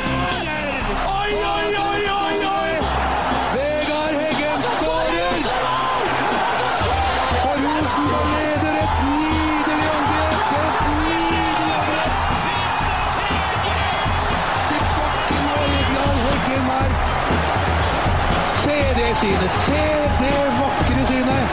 Oi, oi, oi, oi, oi! Vegard Heggen skårer! For Rosenborg leder et nydelig angrep! Et nydelig angrep! Til bakken og Egeland Heggen her. Se det synet! Se det vakre synet!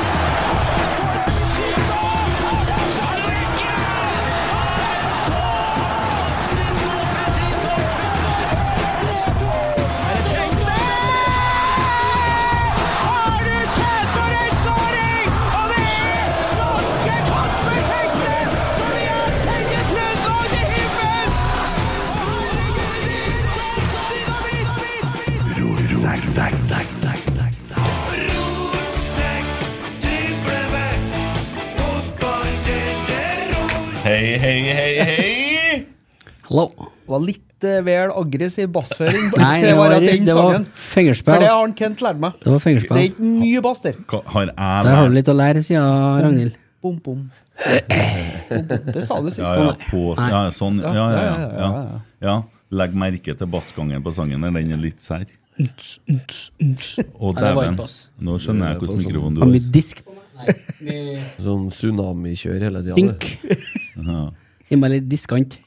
Hei, hei, hei, hei! Hello. var litt eh, vel aggressiv bassføring. Nei, det var, at den det var sangen. For fingerspill. det har han Kent lært meg. Det Det var er fingerspill. ikke mye bass der. Hva- Har jeg Der har du litt å lære, sier Ragnhild. Bom, bom. Bom, bom. Det sa du sist. Ja, ja, på, ja, sånn. Ja, ja, ja. ja, ja. Legg merke til bassgangen på sangen. der, Den er litt sær. Å, Ja, det var dæven. ikke bass. Nå skjønner jeg hvordan mikrofonen du Har har. mye disk. Sånn tsunamikjør hele tida. Dink. Gi meg litt diskant.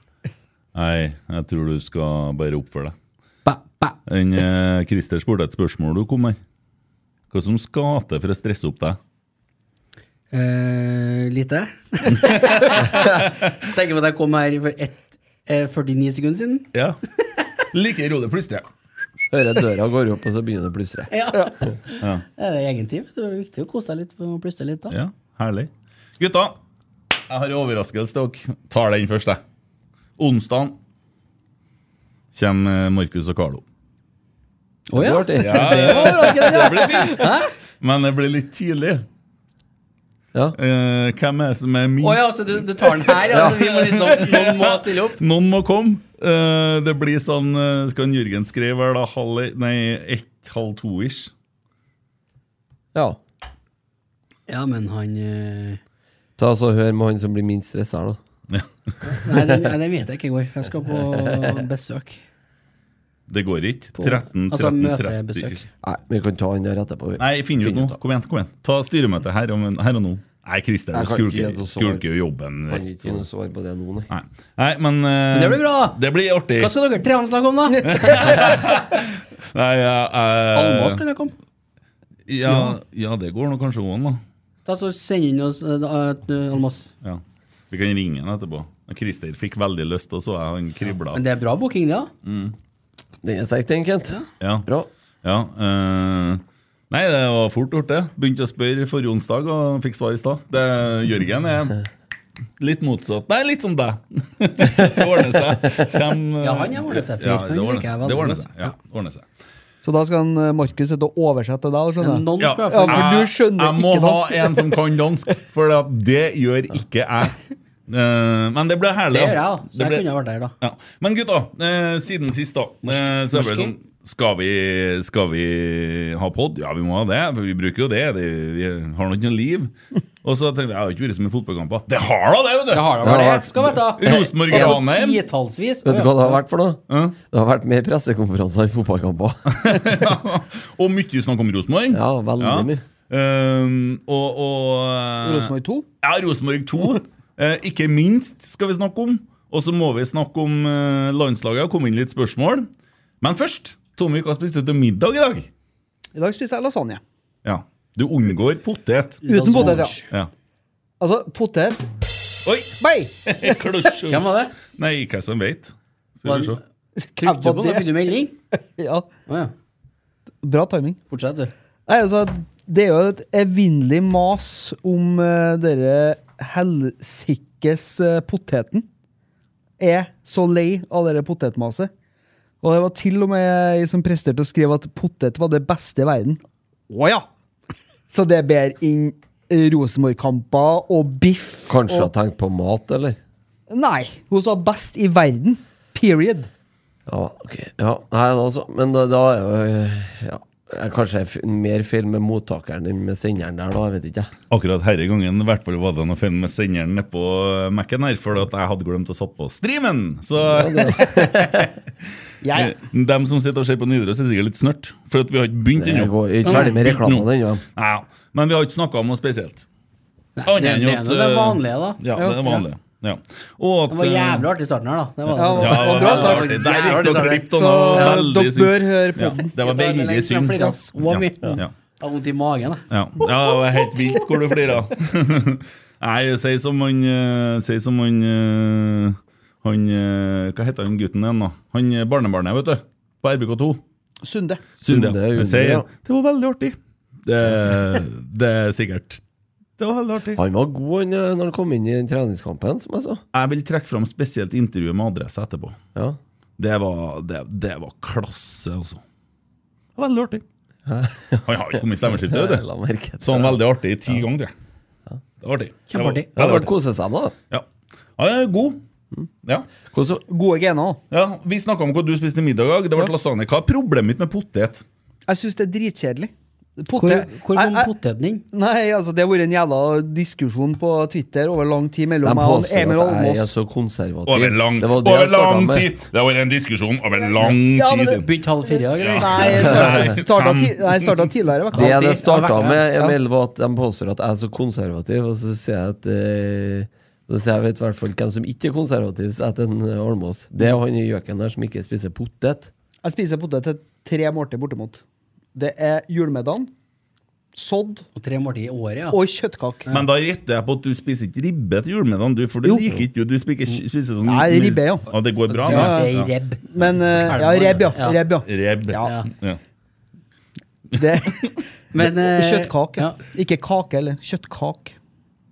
Nei, jeg tror du skal bare oppføre deg. Ba, ba. En, eh, Christer spurte et spørsmål du kom med. Hva som skal til for å stresse opp deg? Eh, lite. Tenker på at jeg kom her for ett, eh, 49 sekunder siden. Ja. Like rolig plutselig. Hører jeg døra går opp, og så begynner det å plystre. Det er egentlig det er viktig å kose deg litt og plystre litt. da. Ja, herlig. Gutta, jeg har en overraskelse til dere. Tar den først, jeg. Onsdag kommer Markus og Carlo. Å ja. Det var artig. Det blir fint. Men det blir litt tidlig. Ja. Eh, hvem er det som er minst? Å ja, så du, du tar den her? Ja. så vi må liksom, noen må stille opp? Noen må komme. Eh, det blir sånn eh, Skal en Jørgen skrive her da halv e- Nei, ett, halv to-ish? ja. Ja, men han eh, Ta oss og Hør med han som blir minst stressa her, da. Nei, den, nei, den vet jeg ikke i går, for jeg skal på besøk. Det går ikke. På- 13, 13, altså, 30. møtebesøk. Nei, vi kan ta han der etterpå. vi. Nei, finn ut Finn nå. ut da. Kom igjen. kom igjen Ta styremøte her, om en- her og nå. Nei, Christer, du Jeg kan ikke gi skulker noe svar. skulker jo jobben. Kan Rett, ikke gi og- noe svar på det nå, nei. nei. nei, men eh, Men det blir bra. Det blir artig. Hva skal dere tre snakke om, da? Nei, ja, Almas eh, kan jeg komme. ja, ja, det går nå kanskje òg, da. Da så Send inn oss eh, da, eh, Almas. Ja. Vi kan ringe han etterpå. Og Christer fikk veldig lyst, og så er han kribla. Men det er bra booking, det, ja. Den er sterk, den, Kent. Ja. Bra. ja eh, nei, det var fort gjort, det. Begynte å spørre forrige onsdag og fikk svar i stad. Det- Jørgen er litt motsatt. Nei, litt som deg. det ordner seg. Kjem, eh, Ja, han er ordner seg fyr. Ja, Han det ordner liker jeg seg. veldig Det ordner godt. seg. Ja, det ordner seg. Så da skal han, eh, Markus sitte og oversette til deg, skjønner Men jeg. Noen Ja, skal Ja, ja, for du jeg, skjønner jeg må ikke ha dansk. en som kan dansk, for at det gjør ikke jeg. Eh, men det ble herlig. Det gjør jeg, da. da. Så jeg ble- kunne jeg vært der, da. Ja. Men gutta, eh, siden sist, da. Eh, så er det Norske? vel sånn skal vi, skal vi ha pod? Ja, vi må ha det, for vi bruker jo det. det vi har nå ikke noe liv. Og så tenkte jeg jeg har ikke vært så mye fotballkamper. Det har da det, vet du! Jeg har da Ja, vært det har det. Skal vi ta Rosenborg Det var Ranheim. Titallsvis. Vet du hva det har vært for noe? Ja. Det har vært mer pressekonferanser enn fotballkamper. Og mye snakk om Rosenborg. Ja, veldig Ja. mye. Ehm, og og eh, Rosenborg 2. Ja, Rosenborg 2. Eh, ikke minst skal vi snakke om. Og så må vi snakke om eh, landslaget og komme inn litt spørsmål. Men først, Tommy, hva spiste du til middag i dag? I dag spiste jeg lasagne. Ja, Du unngår potet. Uten potet, ja. Ja. Altså, potet Oi! Nei! Klosje. Hvem var det? Nei, hva som vet. Skal Var- vi se. Trykte du på den? det- Fikk du melding? Ja, Å ja. bra timing. Fortsett, du. Nei, altså, det er jo et evinnelig mas om uh, dere helsikkes eh, poteten. Er så lei av dere potetmaset. Og det var til og med jeg som presterte å skrive at potet var det beste i verden. Å ja! Så det ber inn Rosenborg-kamper og biff. Kanskje og, har tenkt på mat, eller? Nei! Hun sa best i verden. Period. Ja, ok. Ja, nei, da, altså. Men da, da er jo eh, ja. jeg- Kanskje jeg f- mer feil med mottakeren enn med senderen der, da. Jeg vet ikke. jeg. Akkurat herre gangen i hvert fall var det noe feil med senderen nedpå Mac-en her, for at jeg hadde glemt å satt på streamen. Så Jeg dem som sitter og ser på Nidaros, er sikkert litt snørt, for at vi har ikke begynt Jeg ennå. går jeg er ikke ferdig med Begynt nå. reklamene ennå. Ja, men vi har ikke snakka om noe spesielt. det- det er nå det vanlige, da. eh, Ja, det er vanlig. Ja. Og at, Det var eh, jævlig artig i starten her, da. Det var, Ja, det. ja, det var Bra artig. start. Der gikk Jævlig dere start. glipp av Så noe ja, veldig dere synd. bør høre på. Ja, det var veldig Jeg synd. flirte så mye. Ja, ja. Jeg har vondt i magen. jeg. Ja, ja det var helt vilt hvor du flira. Nei, si som han eh, Si som han eh, Han eh, Hva heter han gutten igjen, da? Han eh, barnebarnet, vet du. På RBK2. Sunde. Sunde. Sunde, Han Unde, sier ja. det var veldig artig. Det, det er sikkert. Det var veldig artig. Han var god han, eh, når han kom inn i den treningskampen, som jeg så. Jeg vil trekke fram spesielt intervjuet med adresse etterpå. Ja. Det var, det, det var klasse, altså. Det var Veldig artig. Han har ikke kommet i stemmeskiftet, vet Jeg du. la merke til Så han er veldig artig i ti ganger, tror jeg. Det var artig. Det var- Kjempeartig. Ja, veldig det artig. var kose seg, da. Ja. Han er god. Mm. Ja. Hvordan, Gode gener. også. ja, Vi snakka om hva du spiste i middag i dag. Det ble lasagne. Hva er problemet mitt med potet? Jeg syns det er dritkjedelig. Hvor, Potet- hvor Jeg- kom jeg- poteten inn? Nei, altså det har vært en jævla diskusjon på Twitter over lang tid mellom de meg og påstår Emil at jeg er Almås. så konservativ. Over lang, Det var det over jeg startet lang med. tid! Det har vært en diskusjon over lang Ja, tid men siden. Begynte halv fire i dag, eller? Nei, jeg Nei, starta- starta fem. ti- nei, jeg starta tidligere. i hvert fall. Det Alltid. det starta Ja, med, Emil, var at de påstår at jeg er så konservativ, og så sier jeg at eh, så sier jeg, jeg vet i hvert fall hvem som ikke er konservativ, så etter en eh, Almås. Det er jo han i gjøken der som ikke spiser potet. Jeg spiser potet til tre måltid bortimot. Det er julemiddagen, sodd Og tre måltider i året, ja. og kjøttkake. Men da gjetter jeg på at du spiser ikke ribbe til julemiddagen, du, for det Jo. liker ikke du. Du spiker, spiser sånn Nei, ribbe, ja. det går bra? Du da. sier rebb. Men eh, ja, rebb, ja. Rebb, ja. Reb. Ja. Ja. Det, Men, eh, kjøttkake. ja. Ikke kake heller. Kjøttkake.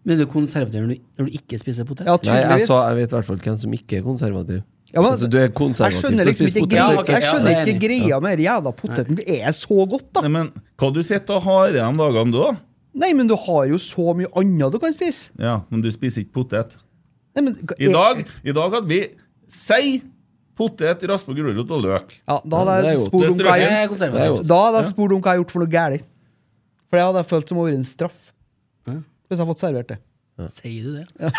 Men du er konservativ når du, når du ikke spiser potet? Ja, Nei, jeg tydeligvis. sa jeg vet i hvert fall hvem som ikke er konservativ. Ja, men- altså, du er Jeg konservativ skjønner liksom ikke potet. greia, Ja, ok, jeg ja, skjønner det er ikke enig. greia med den jævla poteten. Det er så godt, da. Nei, men hva du sitter og har igjen dagene, du, da? Nei, men du har jo så mye annet du kan spise. Ja, men du spiser ikke potet. Nei, men, I dag, i dag hadde vi sei, potet, raspa gulrot og løk. Ja, da hadde Ja, det er jeg godt. spurt Det om hva strøker jeg Jeg er Det er konservativ. jo- Da hadde jeg spurt om hva jeg har gjort for noe galt. For det hadde jeg følt som å være en straff. Hvis jeg hadde fått servert det. Sier du det?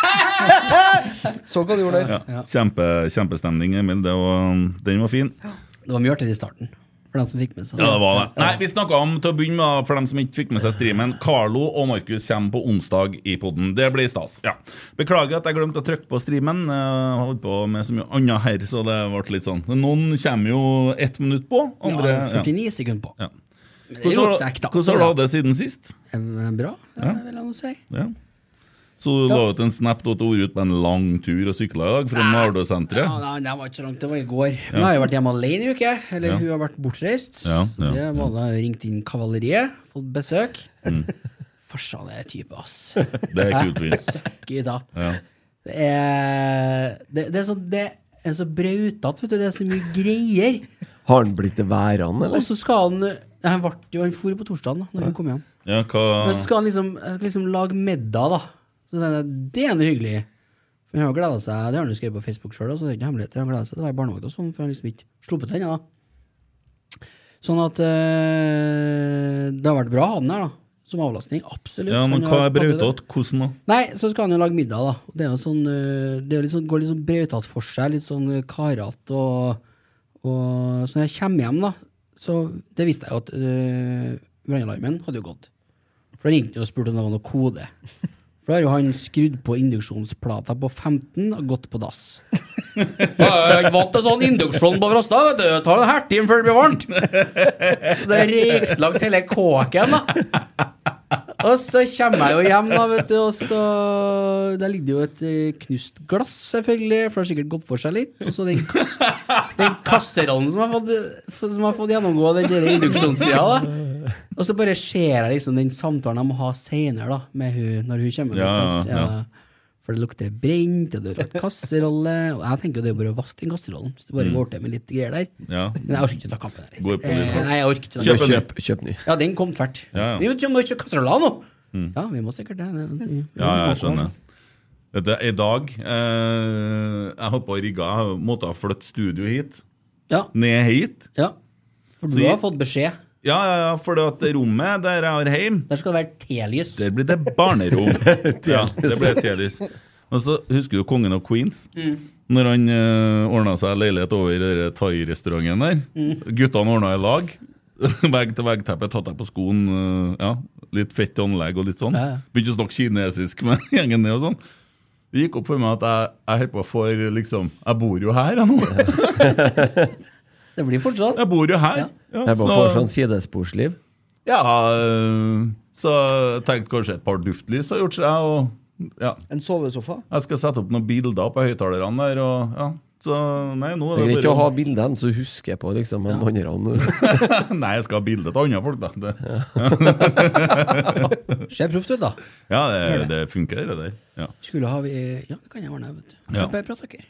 Så hva du gjorde der. Ja. Kjempe, kjempestemning, Emil. Det var, den var fin. Det var mye artigere i starten. For dem som fikk med seg Ja, det var det. Nei, Vi snakka om til å begynne med, for dem som ikke fikk med seg streamen, Carlo og Markus kommer på onsdag i poden. Det blir stas. ja. Beklager at jeg glemte å trykke på streamen. Eh, Jeg holdt på med så mye annet her, så det ble litt sånn. Noen kommer jo ett minutt på, andre Ja, 49 sekunder på. Ja. Men det er Hvordan jo har ikke så ekte, du- altså, hvordan har du hatt da. det siden sist? Eh, Bra, ja. vil jeg nå si. Ja. Så du la ut en snap da til Ore ut på en lang tur og sykla i dag fra Ja, Nardøsenteret? nei, det var ikke så langt, det var i går. Men jeg har jo vært hjemme alene i uke. Eller Ja. hun har vært bortreist. Ja, så ja, Mm. det var da ringt inn kavaleriet, fått besøk. Farsa, det er type, ass. Det er kult. Fint. Søkker da. Ja. Det er, det, det er så, det er så brautete, vet du. Det er så mye greier. Har han blitt det Og værende, eller? så skal han Nei, Han ble jo Han for på torsdagen da når hun kom hjem. Ja, hva eh, Men så skal han liksom, jeg skal liksom lage middag, da. Så tenkte jeg, det er noe hyggelig. For han har gleda seg, Det har han jo skrevet på Facebook sjøl, så det er ikke noe hemmelighet. Han gleda seg til å være barnevakt og sånn, for han liksom ikke sluppet den. da. Sånn at eh, det har vært bra, han her, da. Som avlastning. Absolutt. Ja, men Han hva er har tatt det. Brautått? Hvordan da? Nei, så skal han jo lage middag, da. Det er jo sånn, øh, det er jo litt sånn, går litt sånn brautete for seg, litt sånn øh, karete og, og Så når jeg kommer hjem, da, så det visste jeg jo at øh, brannalarmen hadde jo gått. For da ringte han og spurte om det var noe kode. For da har jo han skrudd på induksjonsplata på 15 og gått på dass. Jeg er ikke vant til sånn induksjon på Frosta. vet du. Det tar en hertime før det blir varmt. Det er røyklagt hele kåken, da. Og så kommer jeg jo hjem, da, vet du, og så Der ligger det jo et eh, knust glass, selvfølgelig, for det har sikkert gått for seg litt. Og så den, kass, den kasserollen som har fått, eh, som har fått gjennomgå den der induksjonstida, da. Og så bare ser jeg liksom den samtalen jeg må ha seinere, da, med hun når hun kommer. Ja, ikke sant? ja, ja. For det lukter brent, og det er en kasserolle Og jeg tenker jo det er bare å vaske den kasserollen. Så det Mm. bare går til med litt greier der. Ja. Men jeg orker ikke å ta kampen der. Går på litt Eh, hardt. nei, jeg orker ikke å ta Kjøp en kampen. ny. Kjøp, kjøp ny. Ja, den kom tvert. Ja, ja. Vi må- må kjøpe kasseroller nå! Ja, vi må sikkert det. det- det- Ja, jeg skjønner. Vet du, I dag eh, Jeg holdt på å rigge. Jeg måtte ha flytte studio hit. Ja. Ned hit. Ja. For du Så- har fått beskjed. Ja, ja, ja, for det at det rommet der jeg har heim, Der skal det være telys. der blir det barnerom. ja, det ble telys. Og så husker du Kongen av Queens? Når han uh, ordna seg leilighet over i den thai-restauranten der. Mm. Guttene ordna i lag. Vegg-til-vegg-teppe, tatt deg på skoen. eh, ja, Litt fett anlegg og litt sånn. Ja, ja. Begynte å snakke kinesisk med gjengen ned og sånn. Det gikk opp for meg at jeg, jeg holdt på for liksom Jeg bor jo her, jeg nå. Det blir fort sånn. Jeg bor jo her. Ja. Ja, Jeg bare så- får sånn sidesporsliv. ja, øh, så jeg tenkte kanskje et par duftlys har gjort seg. Og, ja. En sovesofa. Jeg skal sette opp noen bilder på høyttalerne der. Og, ja. Så nei, nå er Det er det greit å ha bilder dem, så du husker på liksom ja. andre. Nei, jeg skal ha bilde til andre folk, da. Det, Ser proft ut, da. ja, det, det funker, det der. Ja. Skulle ha vi Ja, det kan jeg ordne, vet du. Ja. Bare prat dere.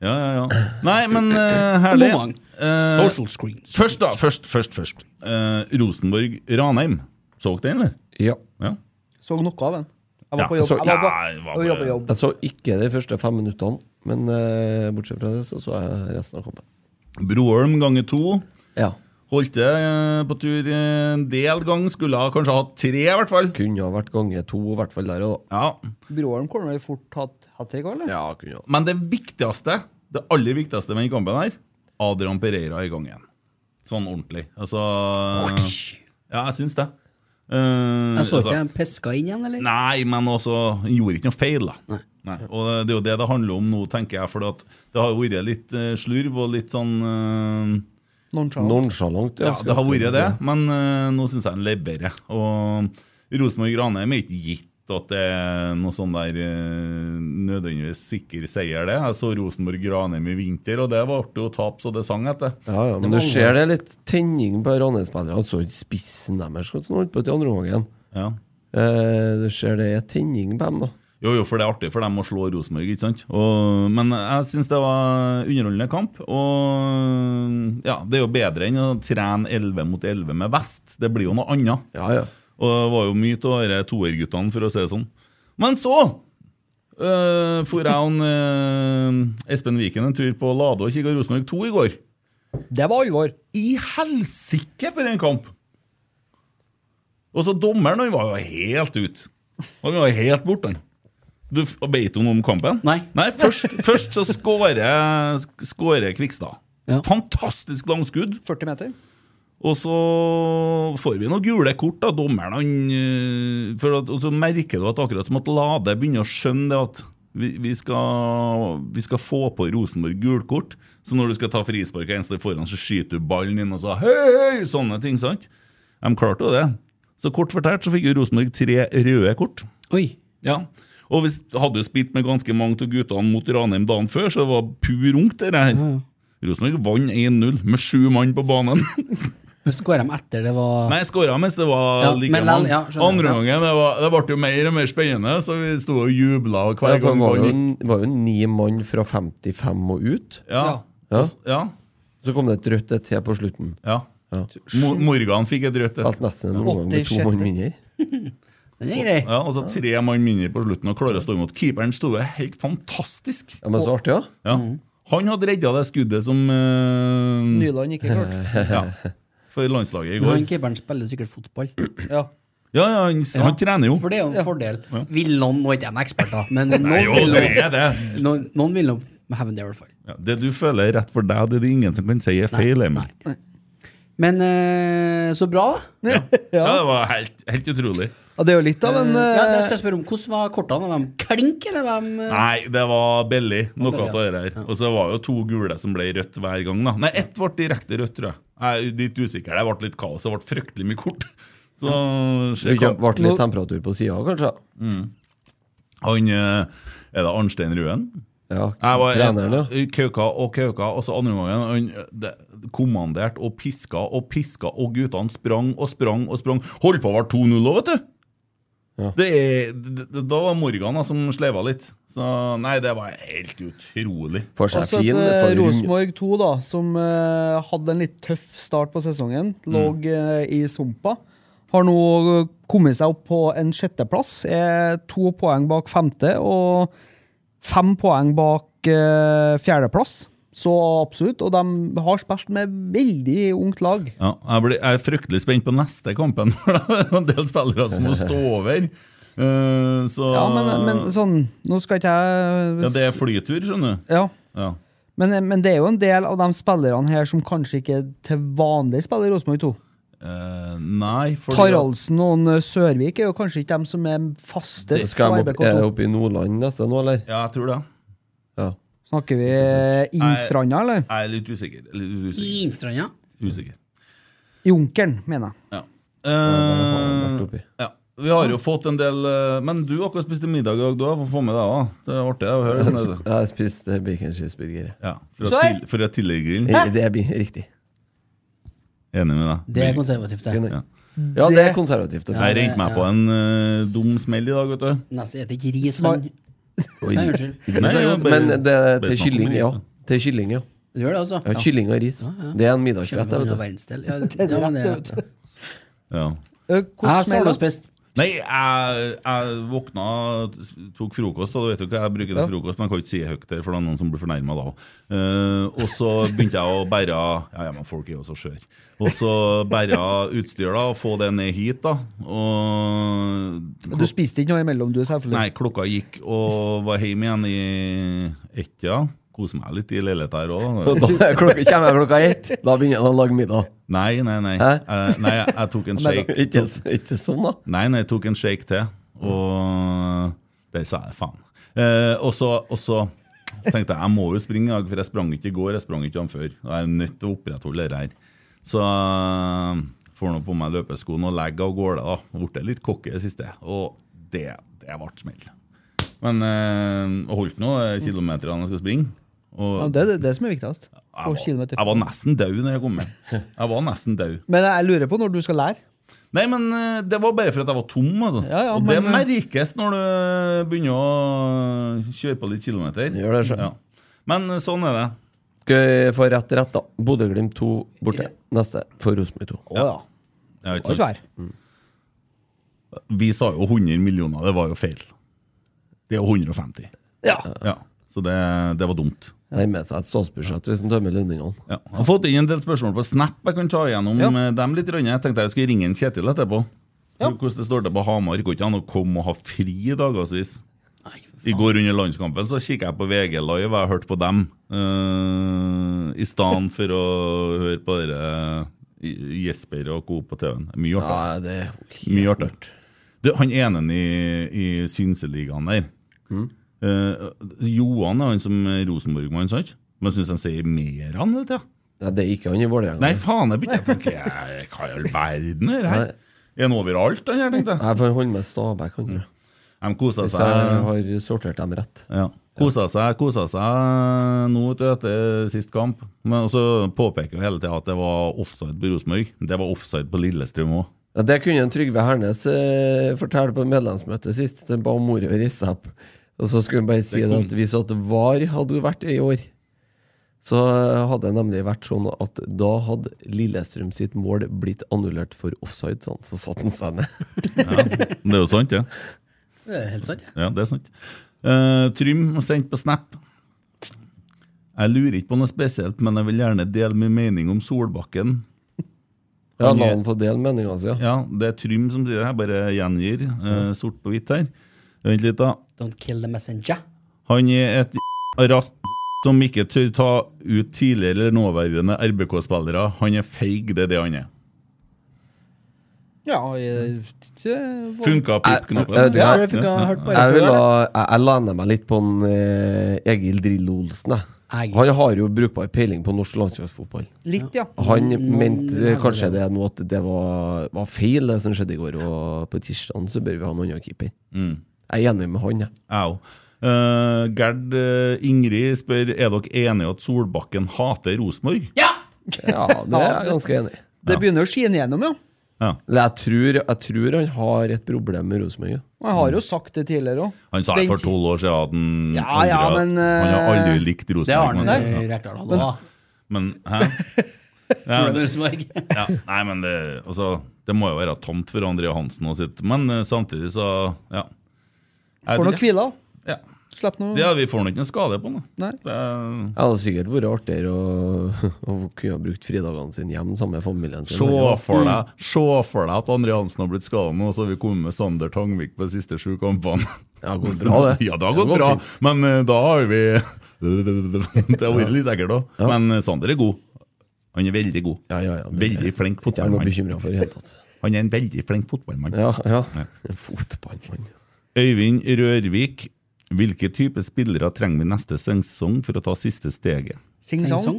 Ja, ja, ja. Nei, men øh, herlig. Moment. Eh, Social screens. først, da. Først, først. først. Eh, Rosenborg-Ranheim. Så dere den, eller? Ja. Ja. Så noe av den. Jeg Ja, var på jobb. så- Jeg var på, Nei, det var jeg var på bare- jobb. Jeg så ikke de første fem minuttene, men eh, bortsett fra det så så jeg resten av kampen. Broholm ganger to. Ja. Holte eh, på tur en del ganger. Skulle ha kanskje hatt tre, i hvert fall. Kunne ha vært gange to, i hvert fall der og da. Ja, Broholm kommer vel fort hatt hat trick, eller? Ja, kunne ha. Men det viktigste, det aller viktigste med den kampen her, Adrian Pereira i gang igjen. Sånn ordentlig. Altså Ja, jeg syns det. Eh, Jeg så altså, ikke jeg peska inn igjen, eller? Nei, men altså, han gjorde ikke noe feil, da. Nei. Og det er jo det det handler om nå, tenker jeg. For at det har jo vært litt eh, slurv og litt sånn eh, Nonchalant. Nonchalant, ja, skulle det har jeg vært til det, å si. men eh, nå syns jeg han leverer. Og Rosenborg-Ranheim er ikke gitt at det er noe sånn der eh, nødvendigvis sikker seier, det. Jeg så Rosenborg-Ranheim i vinter, og det var artig å tape så det sang etter. Ja, ja, men du ser det er litt tenning på Ranheim-spillerne. Han så ikke spissen deres som holdt på til andre omgangen. Ja. Eh, du ser det er tenning på dem, da. Jo, jo, for det er artig for dem å slå Rosenborg, ikke sant? Og, men jeg syns det var underholdende kamp. Og ja, det er jo bedre enn å trene 11 mot 11 med vest. Det blir jo noe annet. Ja, ja. Og det var jo mye av disse toerguttene, for å si det sånn. Men så øh, for jeg og han, øh, Espen Viken en tur på Lade og kikka Rosenborg 2 i går. Det var alvor. I helsike for en kamp! Og så dommeren, han var jo helt ut. Han var jo helt borte, han. Du f- Vet du noe om kampen? Nei. først, først så skårer skårer Kvikstad. Ja. Fantastisk langskudd. 40 meter. Og så får vi noen gule kort av dommeren. Han, øh, for at, og så merker du at akkurat som at Lade begynner å skjønne det at vi, vi, skal, vi skal få på Rosenborg gulkort. Så når du skal ta frispark og en står foran, så skyter du ballen inn og så hei, hei, sånne ting. sant? De klarte jo det. Så kort fortalt så fikk jo Rosenborg tre røde kort. Oi. Ja. Og hvis hadde jo spilt med ganske mange av guttene mot Ranheim dagen før, så det var pur ungt, det her. Rosenborg vant 1-0 med sju mann på banen. Men så går de etter det var Nei, jeg skåra mens det var Ja, like men lall- mange. ja, skjønner. Andre Ja. gangen det, var, det ble jo mer og mer spennende, så vi sto og jubla hver Ja, for gang det var jo, ballen gikk. det var jo ni mann fra 55 og ut. Ja. Ja. Ja. Så kom det et rødt et til på slutten. ja. Ja. Mo- Morgan fikk et rødt et. Falt nesten en omgang med to 86. mann mindre. Den er grei. Ja, altså Tre mann mindre på slutten og klarer å stå imot. Keeperen sto jo helt fantastisk. Ja, men så artig, ja. Han hadde redda det skuddet som eh, Nyland ikke klarte. Ja, for landslaget i Men Han går. keeperen spiller sikkert fotball. Ja. Ja, ja, han, han trener jo. For det er jo en fordel. Vil noen, Nå er ikke jeg en ekspert, da, men noen, Nei, jo, vil, det er det. noen, noen vil nå hevne det, i hvert fall. Ja, det du føler er rett for deg, det er det ingen som kan si er feil. Emil. Men eh, så bra, da. Ja, Det var helt, helt utrolig. Ja, det er jo litt av en Ja, det skal eh, jeg spørre om. Hvordan var kortene? Var de klink, eller var de eh, Nei, det var billig. Noe Billig, av det her. Og så var jo to gule som ble rødt hver gang. da Nei, ett ble direkte rødt, tror jeg. Jeg er litt usikker. Det ble litt kaos. Det ble fryktelig mye kort. Så Det skjer ble kamp. litt temperatur på sida, kanskje. Han eh, Er det Arnstein Ruen? Ja, Jeg var eh, treneren, ja. Kauka og kauka, og så andre gangen han det- kommanderte og piska og piska, og guttene sprang og sprang og sprang. Holdt på å være 2-0 òg, vet du! Ja. Det er, d- d- da var Morgan da, som sleva litt. Så nei, det var helt utrolig. Får seg Altså at fin. eh, får rund- Rosenborg 2, da, som eh, hadde en litt tøff start på sesongen, lå eh, i sumpa, har nå kommet seg opp på en sjetteplass. Er to poeng bak femte og fem poeng bak eh, fjerdeplass. Så absolutt. Og de har spilt med veldig ungt lag. Ja, jeg, blir, jeg er fryktelig spent på neste kampen, for det er en del spillere som må stå over. Eh, så Ja, men, men sånn Nå skal ikke jeg Ja, det er flytur, skjønner du. Ja. Ja. Men, men det er jo en del av de spillerne her som kanskje ikke til vanlig spiller i Rosenborg 2. Eh, nei, fordi Taraldsen og en, eh, Sørvik er jo kanskje ikke dem som er Så fastest på Skal de opp, er det RBK2. oppe i Nordland neste nå, eller? Ja, jeg tror det. Ja. Snakker vi eh, Innstranda, eller? Jeg er litt usikker. Litt i usikker. Innstranda? usikker. Junkeren, mener jeg. Ja. har vært oppi. Eh, ja. Vi har jo fått en del eh, Men du akkurat spiste middag i dag, du har fått få med deg òg. Det er artig å høre. om det. Jeg spiste bacon cheeseburger. Ja, fra, Sorry. til, fra tillegggrillen. Hæ? Det er bi- riktig. Enig med deg. Det er konservativt, det. Ja. ja, det er konservativt. og Jeg fint. rente meg på en eh, dum smell i dag, vet du. Nesten spiser ikke ris. han. Oi. Nei, unnskyld. Nei, ja, bare- Men det er bare til snakk om kylling, ris, ja. da. Til kylling, ja. Du gjør det, altså? ja kylling og ris. Det er en middagsrett. Kjøper jeg noe vet du. verdensdel. Ja, det- ja, men det- Ja. Eh, Hvordan Jeg har smeller aldri det? spist Nei, jeg, jeg våkna, s- tok frokost, og du vet jo hva jeg bruker til frokost, men jeg kan ikke si det høyt der, for det er noen som blir fornærma da. Eh, og så begynte jeg å bære Ja, ja, men folk er jo så skjøre. Og så bære utstyr, da, og få det ned hit, da. Og Du spiste ikke noe imellom, du, selvfølgelig. Nei, klokka gikk, og var hjemme igjen i ett-tida. Koser meg litt i leiligheta her òg. Og Da klokka, kommer jeg klokka ett, da begynner han å lage middag. Nei, nei, nei. Hæ? Eh, nei jeg, jeg tok en shake. Ikke, så- ikke sånn, da. Nei, nei, jeg tok en shake til, og der sa jeg faen. Eh, og, så, og så tenkte jeg jeg må jo springe i dag, for jeg sprang ikke i går, jeg sprang ikke dagen før. Og jeg er nødt til å opprettholde det her. Så eh, får nå på meg løpeskoene og legger av gårde. da. Jeg Ble litt cocky i det siste, og det, det ble smell. Men eh, jeg holdt nå eh, kilometerne jeg skal springe. Og Ja, det er det, det som er viktigst. Få jeg, var, kilometer. jeg var nesten død når jeg kom hjem. Jeg var nesten død. Men jeg lurer på når du skal lære. Nei, men eh, det var bare for at jeg var tom, altså. Ja, ja, og det men, eh, merkes når du begynner å kjøre på litt kilometer. Gjør det, sjø. Ja. Men eh, sånn er det. Skal vi få rett rett, da. Bodø-Glimt 2 borte. Neste for Rosenborg 2. Å ja. Ja, ikke Må ikke sant? være. Vi sa jo 100 millioner, det var jo feil. Det er jo 150. Ja. Ja. Så det, det var dumt. Jeg har med seg et statsbudsjett hvis han tømmer lønningene. Ja. Jeg har fått inn en del spørsmål på Snap jeg kan ta igjennom Ja. eh, dem litt. Rønne. Jeg tenkte jeg skulle ringe en Kjetil etterpå. Hvordan det står til på Hamar. Går ikke an å komme og ha fri i dagevis. Nei, for I går under landskampen så kikket jeg på VG Live, og jeg hørte på dem. eh, I stedet for å høre på dere eh, Jesper og Co. på TV-en. Mye artig. Ja, det er Mye artig. Du, han ene i, i Synseligaen der Mm. eh, Johan er han som er Rosenborg-mann, sant? Men syns de sier mer han hele tida? Nei, det er ikke han i Vålerenga. Nei, faen, jeg begynte å tenke jeg- Hva i all verden er det her? Er han overalt, han her, tenkte jeg. Jeg får holde med Stabæk, han tror jeg. De kosa Hvis jeg seg. har sortert dem rett. Ja. Kosa seg, kosa seg nå vet du, etter sist kamp. Men også påpeker jo hele tida at det var offside på Rosenborg. Det var offside på Lillestrøm òg. Ja, det kunne en Trygve Hernes eh, fortelle på medlemsmøtet sist. Den ba om ordet og reise seg opp. Og så skulle han bare si det at hvis at VAR hadde vært i år, så eh, hadde det nemlig vært sånn at da hadde Lillestrøm sitt mål blitt annullert for offside, sånn, så satte han seg ned. Det er jo sant, det. Det er helt sant. Ja, det er sant. Eh, Trym sendte på Snap. Jeg lurer ikke på noe spesielt, men jeg vil gjerne dele min mening om Solbakken. Ja, la han få dele altså, meninga si. Ja, det er Trym som sier det. Jeg bare gjengir eh, sort på hvitt her. Vent litt, da. Don't kill the messenger. Han er et rast som ikke tør ta ut tidligere eller nåværende RBK-spillere. Han er feig, det er det han er. Ja, jeg, jeg, Funka pip-knappen? Jeg, jeg, Ja, jeg, det funka, jeg hørte på jeg, vil det. ha- jeg, jeg lander meg litt på en, eh, Egil Drillo Olsen. Jeg. Egil. Han har jo brukbar peiling på norsk landslagsfotball. Litt, ja. Han Noen- mente eh, noen- kanskje det nå at det var, var feil, det som skjedde i går. Og på tirsdag så bør vi ha en annen keeper. Jeg er enig med han, jeg. Au. Eh, Gerd eh, Ingrid spør er dere enige at Solbakken hater Rosenborg. Ja, det er jeg ganske enig i. Det begynner å skine gjennom, ja. Eller jeg tror, jeg tror han har et problem med Rosenborg. ja. Og jeg har jo sagt det tidligere òg. Han sa det for tolv år siden at han, Ja, aldri, ja, har- men, han har eh, aldri likt Det har Rosenborg. han men- i ja. Rekdal hadde, da. Men hæ? Ja, Tror du det er Rosenborg? ja, nei, men det, altså, det må jo være tomt for André Hansen å sitte Men eh, samtidig så ja. Jeg vet Får noe ikke. hvile. Ja. Slipp noe ja, vi får nå ikke noen skade på den. Nei. Det er- Det hadde sikkert vært artigere å, å kunne ha brukt fridagene sine hjem sammen med familien sin. Se for Mm. deg Se for deg at André Hansen har blitt skada nå, og så har vi kommet med Sander Tangvik på de siste sju kampene. Ja, det har gått bra, det. Ja, det har gått bra, fint. men eh, da har vi Det har vært litt ekkelt òg. Ja. Men eh, Sander er god. Han er veldig god. Ja, ja, ja. Det Veldig flink Ikke jeg noe bekymra fotballmann. for i det hele tatt. Han er en veldig flink fotballmann. Ja, ja. Fotballmann. Øyvind Rørvik, hvilke type spillere trenger vi neste sesong for å ta siste steget? Sing song. Song.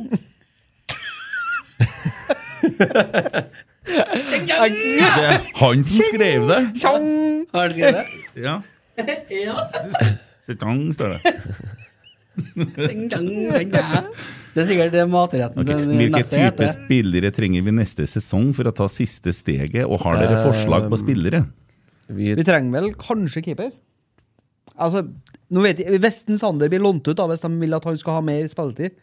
Det er han som skrev det! Har du skrevet det? Ja. Ja. Setang, står det. Ding, dang, ding, dang. Det er sikkert det matretten Ok, den Hvilke neste type heter. spillere trenger vi neste sesong for å ta siste steget, og har dere forslag på spillere? Vi, Vi trenger vel kanskje keeper? Altså, nå vet jeg, Hvis en Sander blir lånt ut, da, hvis de vil at han skal ha mer spilletid,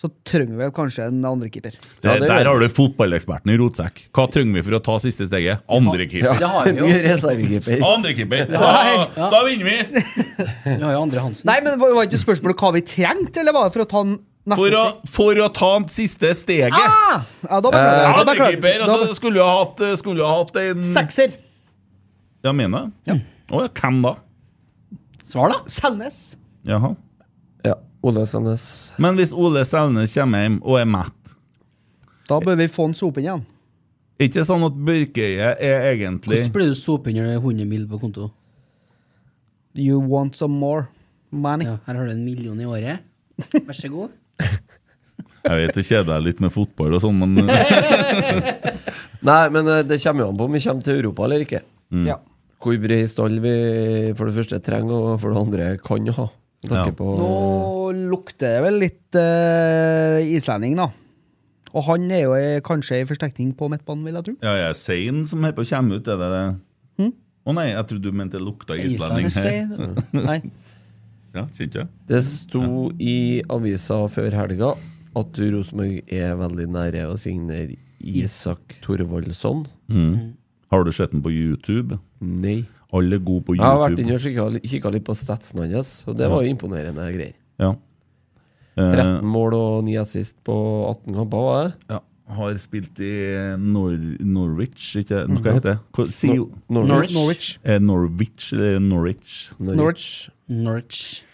så trenger vi vel kanskje en andre keeper. Ja, det Der er der det. har du fotballeksperten i rotsekk. Hva trenger vi for å ta siste steget? ja. Andrekeeper. Det har vi jo. Reservekeeper. Andrekeeper! Da, da vinner vi! Vi har jo Andre Hansen. Nei, men Var var ikke spørsmålet hva vi trengte, eller var det for å ta den neste For å, steg? for å ta siste steget! Ah! Ja, da beklager jeg. Eh, Da beklager jeg. Andrekeeper! Da Eh, Altså, skulle jo ha hatt, skulle jo ha hatt en be- Sekser. Ja, mener jeg? Å ja, hvem da? Svar, da! Selnes. Jaha. Ja. Ole Sandnes. Men hvis Ole Selnes kommer hjem og er mett, Da bør vi få han sopen igjen. er ikke sånn at Børkeøye er egentlig Hvordan blir du sope under 100 mil på konto? You want some more money? Ja, her har du en million i året. Vær så god. Jeg vet det kjeder deg litt med fotball og sånn, men Nei, men eh, det kommer jo an på om vi kommer til Europa eller ikke. Ja. Hvor bred stall vi for det første trenger, og for det andre kan ha. Med tanke Ja. på Nå lukter det vel litt eh, islending, da. Og han er jo eh, kanskje i forsterkning på midtbanen, vil jeg tro. Ja, jeg er sein som holder på å komme ut, er det det? Å nei, jeg trodde du mente det lukta islending Islanders, her. sier du. Nei. Ja, kjente jeg. Det sto i avisa før helga at Rosenborg er veldig nære å signere Isak Thorvaldsson. Har du sett den på YouTube? Nei. Alle er gode på Jeg har vært YouTube. inne og kikka litt på statsen hans, og det var jo imponerende greier. Ja. 13 mål og 9 assist på 18 kamper, var det? ja. Har spilt i Nor Norwich, ikke Hva heter det? Hva- Si jo Nor- Norwich. Norwich. Eh, Norwich eller Norwich? Norwich. Norwich.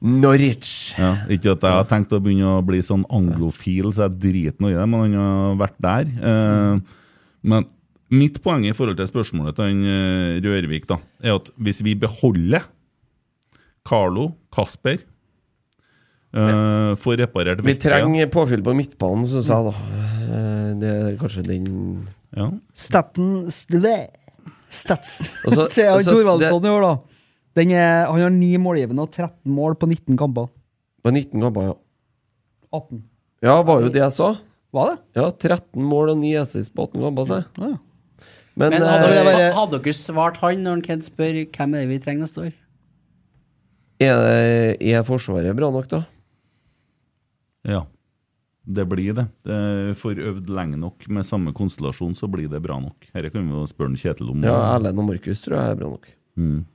Norwich. Ja, ikke at jeg har tenkt å begynne å bli sånn anglofil, så jeg driter nå i det, men han har vært der. Eh, men mitt poeng i forhold til spørsmålet til han eh, Rørvik, da, er at hvis vi beholder Carlo, Kasper eh, Får reparert Vi vekket- trenger påfyll på midtbanen, syns jeg, da. Eh, Det er kanskje den ja. Staten Stve- Statsen Og så- til og han så- Thorvaldsson i år, da. Den er, han har ni målgivende og 13 mål på 19 kamper. på 19 kamper, ja. 18. Ja, var jo det jeg sa. Var det? Ja, 13 mål og 9 assist på 18 kamper, sa jeg. Ja. Men, Men eh, hadde det dere, bare- hadde dere svart han når han Kent spør hvem er det vi trenger neste år? er, er Forsvaret bra nok, da? ja. Det blir det. det Får øvd lenge nok med samme konstellasjon, så blir det bra nok. Dette kan vi jo spørre en Kjetil om. Ja, Erlend og Markus tror jeg er bra nok. Mm.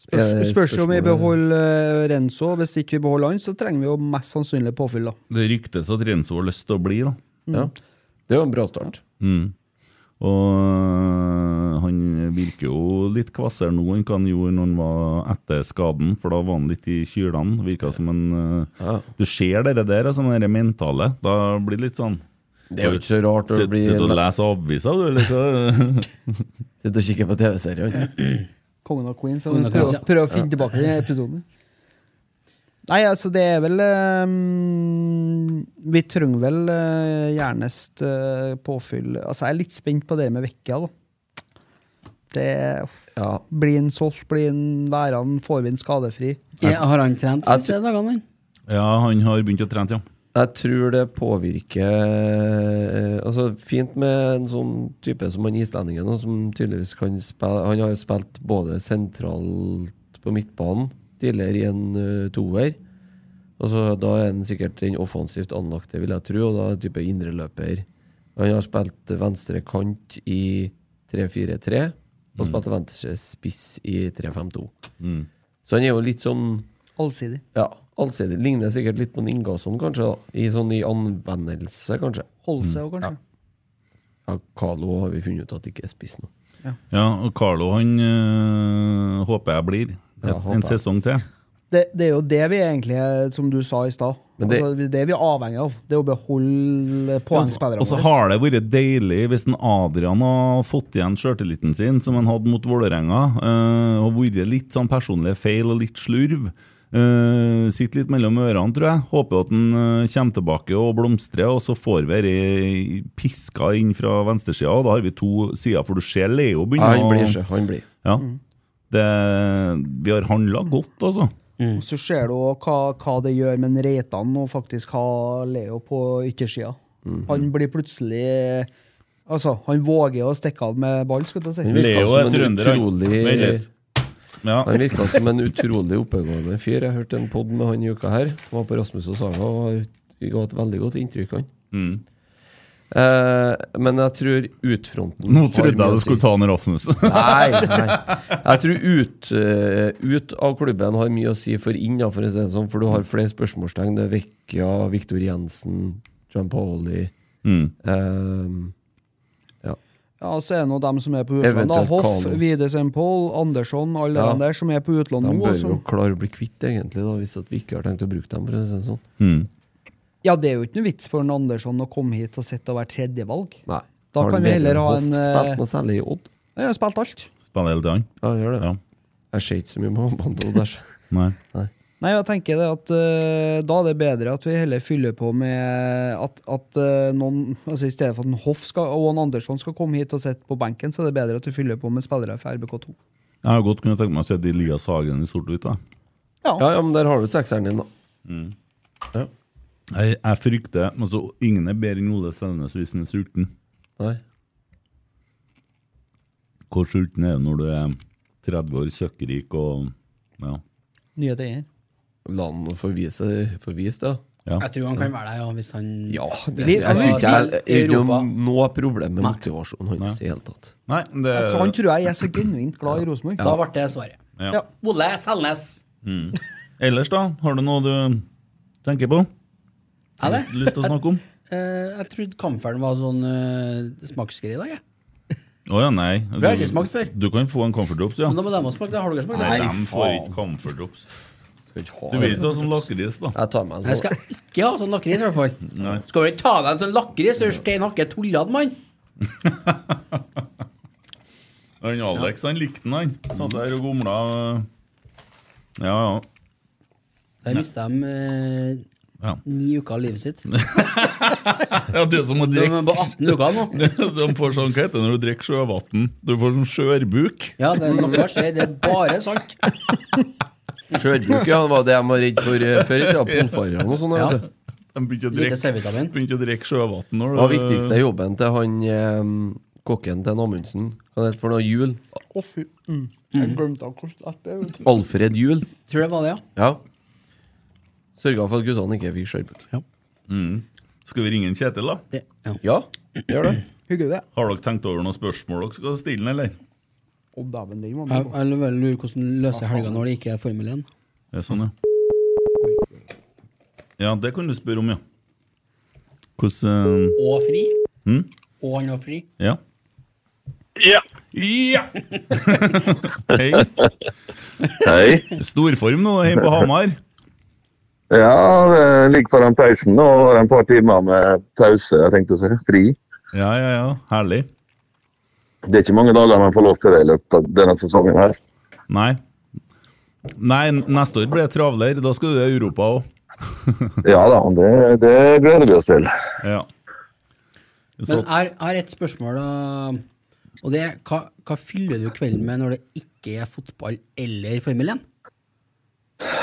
Spørs, Er det spørs om vi spørsmålet- beholder eh, Renzo. Hvis ikke vi beholder han, så trenger vi jo mest sannsynlig påfyll, da. Det ryktes at Renzo har lyst til å bli, da. Ja. Mm. Det er jo en bra start. Mm. Og han virker jo litt kvassere nå enn hva han gjorde når han var etter skaden, for da var han litt i kylene. Virka som en eh, Du ser det der, altså, det der mentale. Da blir det litt sånn Det er jo ikke så rart når Sitt- det blir- Sitter og leser aviser, du, eller hva? Sitter og kikker på TV-serier. Kongen av Queens. Kongen av Queens, Prøv, ja. prøv å finne Ja. tilbake den episoden. Nei, altså, det er vel eh, Vi trenger vel eh, gjernest eh, påfyll Altså, jeg er litt spent på det med Vekka, da. Det Blir han solgt? Blir han værende? Får vi han skadefri? Ja, har han trent de siste dagene, han? Ja, han har begynt å trene, ja. Jeg tror det påvirker eh, Altså, fint med en sånn type som han islendingen, og som tydeligvis kan spille Han har jo spilt både sentralt på midtbanen tidligere i en eh, toer. Altså, da er han sikkert den offensivt anlagte, vil jeg tro, og da er han type indreløper. Han har spilt venstre kant i 3-4-3, og Mm. spilt venstre spiss i 3-5-2. Mm. Så han er jo litt sånn Allsidig. ja, allsidig. Ligner sikkert litt på en Ingasson, kanskje. da I sånn i anvendelse, kanskje. Holde seg òg, kanskje? Ja, Carlo har vi funnet ut at ikke er spiss nå. Ja, og Carlo han øh, håper jeg blir. Et- Ja, håper en jeg. sesong til. Det, det er jo det vi egentlig er, som du sa i stad. Men det- altså, det vi er avhengig av. Det er å beholde altså- poengspillerne Og så har det vært deilig hvis en Adrian har fått igjen sjøltilliten sin, som han hadde mot Vålerenga, øh, og vært litt sånn personlige feil og litt slurv. Øh, sitter litt mellom ørene, tror jeg. Håper at han øh, kommer tilbake og blomstrer, og så får vi ei piska inn fra venstresida, og da har vi to sider, for du ser Leo Ja, begynner han blir å- ikke, han blir. Ja. Det, vi har handla godt, altså. Og Så ser du også hva, hva det gjør med en Reitan å faktisk ha Leo på yttersida. Mhm. Han blir plutselig Altså, han våger å stikke av med ball, skulle jeg til å si. Leo er trønder, han. Vent utrolig litt. Ja. Han virka som en utrolig oppegående fyr. Jeg hørte en pod med han i uka her. Han var på Rasmus og Saga og har- ga et veldig godt inntrykk, han. Mm. Eh, men jeg tror utfronten Nå har trodde jeg mye å du si. skulle ta han Rasmus. nei, nei. Jeg tror ut, eh, ut av klubben har mye å si for inn, da, for å si det sånn. For du har flere spørsmålstegn. Det er Vecchia, Victor Jensen, John Pauli Mm. eh, Ja. Ja, så er det nå dem som er på utlån. da. Eventuelt Hoff, Kano. Wides Paul, Andersson, alle Ja. de der som er på utlån De nå. altså. bør og vi som- jo klare å bli kvitt, egentlig, da, hvis at vi ikke har tenkt å bruke dem. For å si det sånn. Ja, det er jo ikke noe vits for en Andersson å komme hit og sitte og være tredjevalg. Nei. Da Har kan vi Vegard heller ha Hoff en spilt eh, noe særlig i Odd? Ja, jeg har spilt alt. Spiller hele tiden. Ja, han gjør det. Jeg ser ikke så mye på kampene til Odd. jeg ser. Nei. Nei, jeg tenker det at eh, da er det bedre at vi heller fyller på med at, at eh, noen altså I stedet for at en Hoff skal, og en Andersson skal komme hit og sitte på benken, så er det bedre at du fyller på med spillere fra RBK2. Jeg har godt kunnet tenke meg å se Elias Hagen i sort-hvitt. da. Ja. ja, men der har du sekseren din, da. Ja. Jeg, jeg frykter altså, Ingen er bedre enn Ole Selnes hvis han er sulten. Nei. Hvor sulten er du når du er 30 år, søkkrik og ja. Nye tider. La han nå få vise få vise det. Ja. Jeg tror han kan være der, ja, hvis han Ja, det, Hvis jeg han tror ikke jeg vil er jo Europa. noe problem med Nei. motivasjonen hans i det hele tatt. Nei, det Jeg tror- Han tror jeg er så genuint glad i Rosenborg. Da ble det svaret. Ja. Ja. Ole Selnes. Mm. Ellers, da? Har du noe du tenker på? Er det? Lyst til å snakke om? Eh, jeg trodde kamferen var sånn uh, smaksgreie i dag, jeg. Å ja, nei. Vi har aldri smakt før. Du kan få en Comfort Drops, ja. Men da må de ha smakt det. Har dere smakt det? Nei, de får ikke Comfort Drops. Skal ikke ha Du vil det. ikke ha sånn lakris, da? Jeg tar meg en Jeg sånn. skal ikke ha sånn lakris, i hvert fall. Nei. Skal du ikke ta deg en sånn lakris, så er du stein hakke tullete, mann. Han Alex han likte den, han. Satt der og gomla. øh. Ja, ja. Der mista de eh, Ja. ni uker av livet sitt. Ja, det er som å De drikke er på 18 uker nå. De får sånn, hva heter det når du drikker sjøvann? Du får sånn skjørbuk. Ja, det er noe jeg ser. Det er bare sant. Skjørbuk, ja, det var det jeg var redd for eh, før i tida. Polfarerne og sånn. Ja. vet du. De begynte å Lite drikke, C-vitamin. begynte å drikke sjøvann når Hva er viktigste jobben til han eh, kokken til en Amundsen? Hva heter det for noe? Jul? Å, fy. Mm. Jeg glemte akkurat at det er Alfred Jul? Tror det var det, ja. Ja. Sørga for at guttene ikke fikk skjørbuk. Mm. Skal vi ringe en Kjetil, da? Ja, gjør det. Hyggelig, det. Har dere tenkt over noen spørsmål dere skal stille, eller? Å, dæven, den var Jeg, med på. jeg lurer hvordan løser jeg helga når det ikke er Formel 1. Det er sånn, ja. Ja, det kan du spørre om, ja. Hvordan eh, Og fri. hm? Mm. Og han var fri. Ja. Ja. Ja! Hei. Hei. Storform nå hjemme på Hamar. Ja, det ligger foran peisen nå. Har jeg et par timer med pause, jeg tenkte å si. Fri. Ja, ja, ja. Herlig. Det er ikke mange dager man får lov til det i løpet av denne sesongen her. Nei. Nei, n- neste år blir det travlere. Da skal du i Europa òg. Ja da, og det, det gleder vi oss til. Ja. Men jeg har- jeg har et spørsmål, da. Og det er hva, hva fyller du kvelden med når det ikke er fotball eller Formel 1?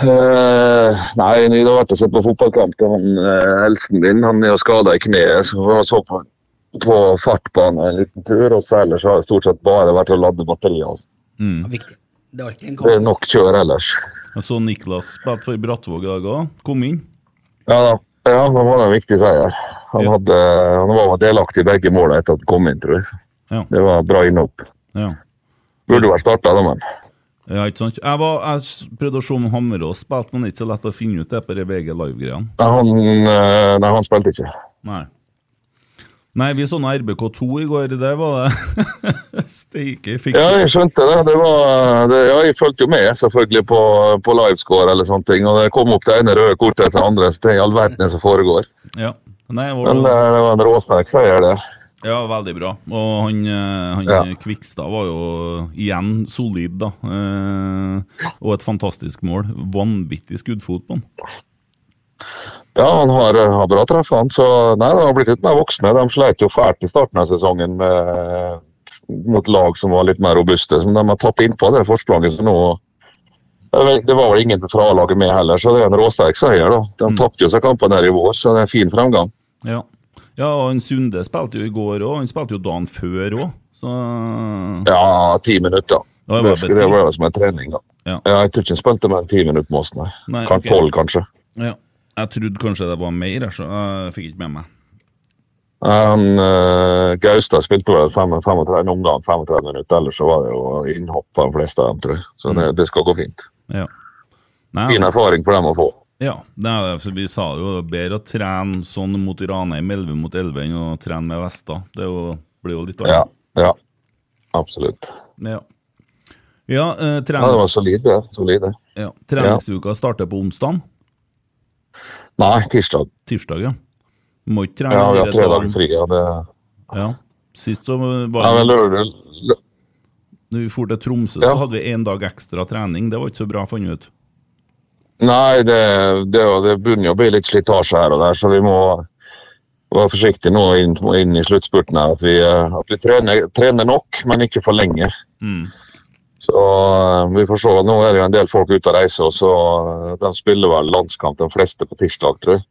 Eh, nei, jeg har vært og sett på fotballkamp til han eh, eldsten din. Han er jo skada i kneet, så vi så på, på fartbanen en liten tur. Og så ellers har jeg stort sett bare vært og lade batterier. altså. Mm. Ja, viktig. Det er alltid en Det er kamp. nok kjør ellers. Jeg så Niklas spilte for Brattvåg i dag òg. Kom inn. Ja da. Ja, det var en viktig seier. Han, hadde, han var delaktig i begge målene etter at han kom inn, tror jeg. Ja. Det var bra innhopp. Ja. Burde vært starta, da, men. Ja, ikke sant? Jeg, var, jeg s- prøvde å se om Hammerås spilte, men det er ikke så lett å finne ut det på de VG Live-greiene. Nei, han, eh, nei, han spilte ikke. Nei. Nei, vi så noe RBK2 i går. Det var det. Steike fikk Ja, jeg skjønte det. det, var, det ja, jeg fulgte jo med selvfølgelig på, på livescore eller sånne ting. Og det kom opp det ene røde kortet etter det andre. Så det er i all verden som foregår. Ja. Nei, var Men eh, det var en råsterk seier, det. Ja, veldig bra. Og han, eh, han Ja. Kvikstad var jo igjen solid, da. Eh, og et fantastisk mål. Vanvittig skuddfot på han. Ja, han har, eh, har bra treff, han. Så nei, det har blitt litt mer voksne. De sleit jo fælt i starten av sesongen med, mot lag som var litt mer robuste. Som de har tatt innpå det forspranget. Så nå Jeg vet- Det var vel ingen fra laget med heller, så det er en råsterk seier, da. De Mm. tapte jo seg kampene her i vår, så det er en fin fremgang. Ja. ja, og han Sunde spilte jo i går òg. Han spilte jo dagen før òg, så Ja, ti minutter. Ja, det Det, var sk- bare ti. det var jo som en trening, da. Ja. jeg tror ikke han spilte mer enn ti minutter med oss, nei. Nei, Kan- ok. Tolv, kanskje. ja. Jeg trodde kanskje det var mer, jeg, så jeg fikk ikke med meg. Han, eh, Gaustad spilte vel fem- 35, noen ganger 35 minutter, ellers så var det jo innhopp på de fleste av dem, tror jeg. Så det, det skal gå fint. Ja. Nei, Fin erfaring for dem å få. Ja, det er, altså, Vi sa jo det er bedre å trene sånn mot Ranheim 11 mot 11 enn å trene med vester. Det er jo, blir jo litt Ja, annet. ja. absolutt. Ja. Ja, eh, Ja, det var trenings, solid, det. Solid, det. ja, treningsuka starter på onsdag. Nei, tirsdag. Tirsdag, ja. Må ikke trene Ja, vi har hele tre dagen. dager fri. Ja, det... Ja. Sist så ja, var men det lørdag, lø- Når vi for til Tromsø, Ja. så hadde vi én dag ekstra trening. Det var ikke så bra funnet ut. Nei, det, det, er jo- det begynner jo å bli litt slitasje her og der, så vi må være forsiktige nå inn, inn i sluttspurten. her, At vi, eh, at vi trener, trener nok, men ikke for lenge. Mm. Så eh, vi får se. Nå er det jo en del folk ute og reiser, og så eh, de spiller vel landskamp de fleste på tirsdag, tror jeg.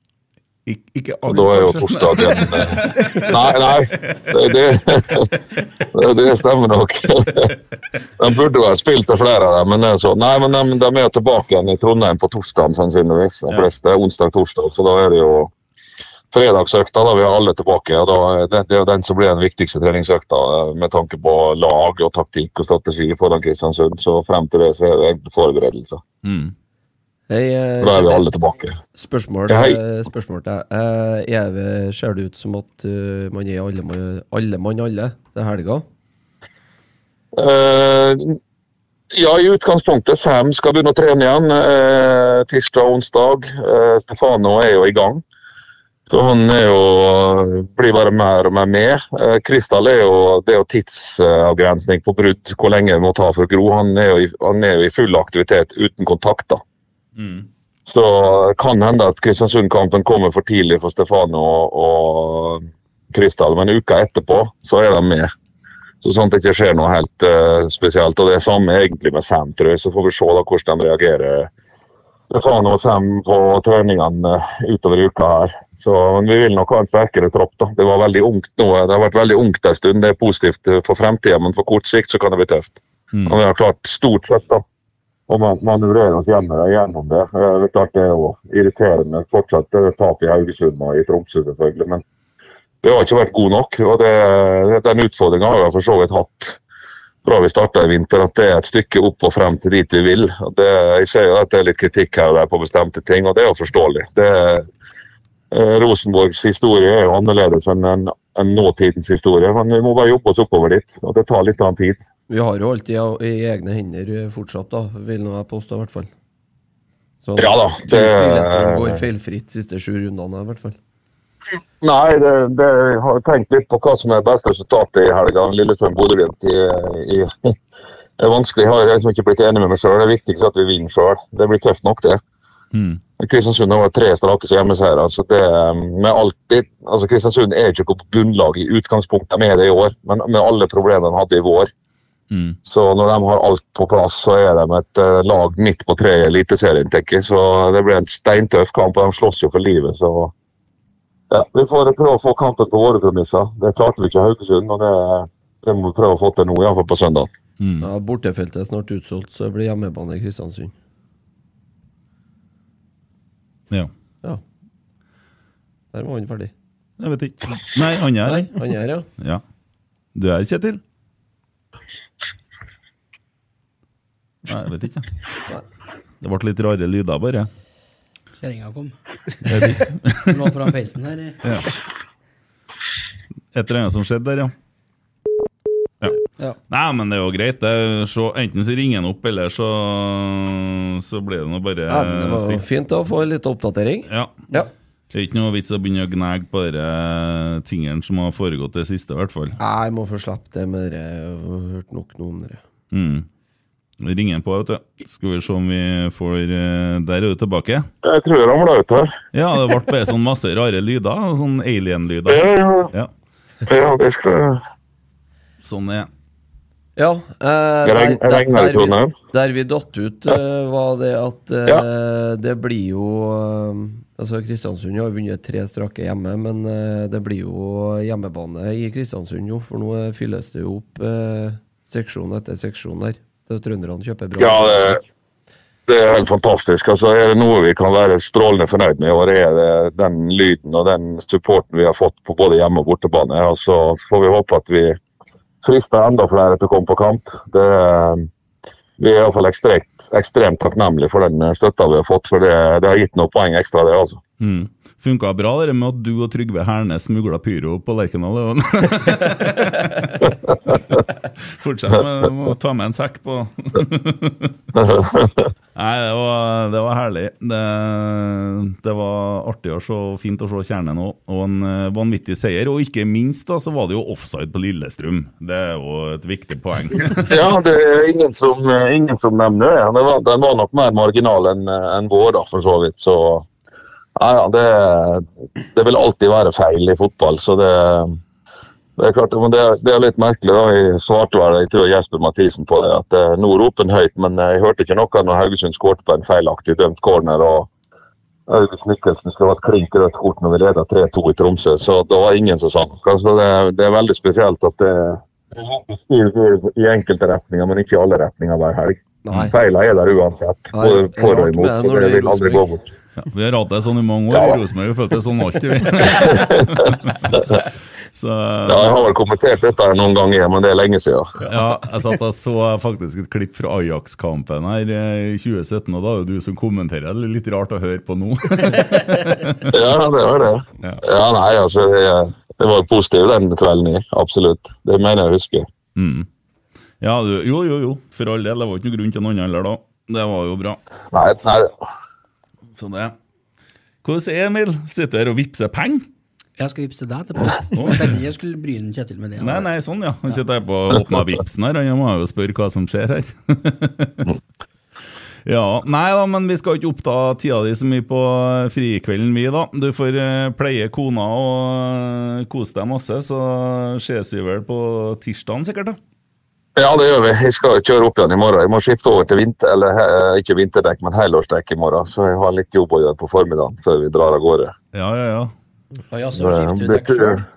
Ik ikke Og alle, da er jo kanskje. torsdag igjen. eh, Nei, nei. Det, det, det, det stemmer nok. De burde vel spilt det flere av dem, men det er sånn. Nei, men de, de er jo tilbake igjen i Trondheim på torsdag, sannsynligvis. De Ja. fleste onsdag-torsdag, så da er det jo fredagsøkta. Da er vi alle tilbake. og da, er det, det er jo den som blir den viktigste treningsøkta eh, med tanke på lag og taktikk og strategi foran Kristiansund. Så frem til det så er det egentlig forberedelser. Mm. Hei, eh, Da er vi Kjetil. alle tilbake. Spørsmål, Ja, hei. eh, spørsmål til deg. Eh, er det- Ser det ut som at eh, man er alle mann alle, mann alle til helga? Eh, ja, i utgangspunktet. Sam skal begynne å trene igjen eh, tirsdag og onsdag. Eh, Stefano er jo i gang. Så han er jo, blir bare mer og mer med. Eh, Kristall er jo, det er jo tidsavgrensning på brudd, hvor lenge det må ta for å gro. Han er jo, i- han er jo i full aktivitet uten kontakter. Mm. Så kan hende at Kristiansund-kampen kommer for tidlig for Stefano og, og Kristall, men uka etterpå så er de med. Så sånn at det ikke skjer noe helt eh, spesielt. Og det er samme egentlig med Sam, tror jeg. Så får vi se da hvordan de reagerer Stefano og Sam på treningene eh, utover i uka her. Så men vi vil nok ha en sterkere tropp, da. Det var veldig ungt nå. Det har vært veldig ungt en stund. Det er positivt eh, for fremtiden, men for kort sikt så kan det bli tøft. Mm. Og vi har klart stort sett, da og man manøvrere oss hjemme gjennom det. Eh, Det er klart det er jo irriterende. Fortsatt eh, tap i Haugesund og i Tromsø, selvfølgelig. Men vi har ikke vært gode nok. og det, Den utfordringa har vi for så vidt hatt fra vi starta i vinter, at det er et stykke opp og frem til dit vi vil. Og Det, jeg ser jo at det er litt kritikk her og der på bestemte ting, og det er jo forståelig. Det, eh, Rosenborgs historie er jo annerledes enn en, enn nåtidens historie, men vi må bare jobbe oss oppover dit. og Det tar litt annen tid. Vi har jo alltid i- i egne hender eh, fortsatt, da, vil nå jeg påstå, i hvert fall. Så Ja da, Tur- det- Turlestrøm går feilfritt siste sju rundene, i hvert fall. Nei, det, det, jeg har tenkt litt på hva som er beste resultatet i helga. Lillestrøm-Bodø-Glimt i, i Det er vanskelig. Jeg har liksom ikke blitt enig med meg sjøl. Det viktigste er at vi vinner sjøl. Det blir tøft nok, det. Mm. Kristiansund har vært tre strake hjemmeseiere. Altså det, med alltid, altså Kristiansund er ikke på grunnlag i utgangspunktet med det i år, men med alle problemene de hadde i vår. Mm. Så når de har alt på plass, så er de et eh, lag midt på treet i Eliteserien, tenker jeg. Så det blir en steintøff kamp, og de slåss jo for livet. så... Ja, Vi får prøve å få kampen på våre premisser. Det klarte vi ikke i Haugesund, og det, det må vi prøve å få til nå, iallfall på søndag. Ja, bortefeltet er snart utsolgt, så det blir hjemmebane i Kristiansund. Ja. ja. Der var han ferdig. Jeg vet ikke. Nei, han er Nei, han er, ja. Ja. Du er Kjetil? Nei, jeg vet ikke. Det ble litt rare lyder, bare. Kjerringa kom. Jeg vet ikke. Den var foran peisen her. Ja. Et eller annet som skjedde der, ja. Ja. Ja. Nei, men det er jo greit. Det. Så enten så ringer han opp, eller så, så blir det nå bare Ja, men det var jo stilt. fint å få en liten oppdatering. Ja. Det er ikke noe vits å begynne å gnage på de tingene som har foregått det siste, i hvert fall. Jeg må få slippe det med dere. Jeg har hørt nok nå om dere. Mm. Vi ringer på, vet du. Skal vi se om vi får eh, Der er du tilbake. Jeg tror jeg ramla ut her. Ja, det ble bare sånn masse rare lyder. Sånn alien-lyder. Ja, ja. Ja, det skal jeg Sånn er Ja. eh, Jeg regn- der, jeg der, regner i der, vi, Trondheim. der vi datt ut, eh, var det at eh, det blir jo eh, Altså Kristiansund har vunnet tre strake hjemme, men eh, det blir jo hjemmebane i Kristiansund, jo. For nå eh, fylles det jo opp eh, seksjon etter seksjon der. Det er Trønderne kjøper bra. Ja, det, det er helt fantastisk. Altså, er det noe vi kan være strålende fornøyd med i år, er det den lyden og den supporten vi har fått på både hjemme- og bortebane. Og så får vi håpe at vi frister enda flere til å komme på kamp. Det, vi er iallfall ekstremt, ekstremt takknemlige for den støtta vi har fått, for det, det har gitt noen poeng ekstra, det. altså. Mm. Funka bra det der med at du og Trygve Hernes smugla pyro på Lerkendal. det var- Fortsett med å ta med en sekk på. Nei, det var, det var herlig. Det, det var artig å se, fint å se kjernen òg, og en eh, vanvittig seier. Og ikke minst da, så var det jo offside på Lillestrøm. Det er jo et viktig poeng. Ja, det er ingen som, eh, ingen som nevner det. Den var, den var nok mer marginal enn eh, enn vår, da, for så vidt. Så ja, ja, det, det vil alltid være feil i fotball. Så det, det er klart, men det, er- det er litt merkelig. da, Jeg svarte vel jeg tror Jesper Mathisen på det, at eh, nå roper han høyt, men eh, jeg hørte ikke noe når Haugesund skåret på en feilaktig dømt corner. og August Mikkelsen skulle hatt klink rødt kort når vi leda 3-2 i Tromsø, så det var ingen som sa noe. Så det, det er veldig spesielt at det Stil går i enkelte retninger, men ikke i alle retninger hver helg. Nei. Feila er der uansett, både det er for og rart med det når imot. så Det det er vil aldri gå Rosenborg. bort. Ja, vi har hatt det sånn i mange år i Rosenborg, vi følte det sånn alltid, vi. Så, Ja, jeg har vel kommentert dette noen ganger, men det er lenge siden. Ja, jeg satt og så faktisk et klipp fra Ajax-kampen her eh, i 2017, og da er det du som kommenterer. Det er litt rart å høre på nå. Ja, det var det. Ja, nei, altså Det, det var positivt den kvelden, jeg. absolutt. Det mener jeg å huske. Mm. Ja, du, jo, jo, jo. For all del. Det var ikke noe grunn til noen heller da. Det var jo bra. Nei, nei. Så det. Hvordan er det, Emil? Sitter du her og vippser penger? Jeg skal vippse deg etterpå. Jeg tenkte ikke jeg skulle bryne Kjetil med det. Nei, nei, sånn, ja. Han sitter her på åpna vipsen her, han må jo spørre hva som skjer her. ja, Nei da, men vi skal ikke oppta tida di så mye på frikvelden, vi, da. Du får eh, pleie kona og eh, kose deg masse, så ses vi vel på tirsdagen sikkert, da. Ja, det gjør vi. Jeg skal kjøre opp igjen i morgen. Jeg må skifte over til vinter, eller eh, ikke vinterdekk, men helårsdekk i morgen. Så jeg har litt jobb å gjøre på formiddagen før vi drar av gårde. altså, Ja, ja, ja. Oi, Det- det-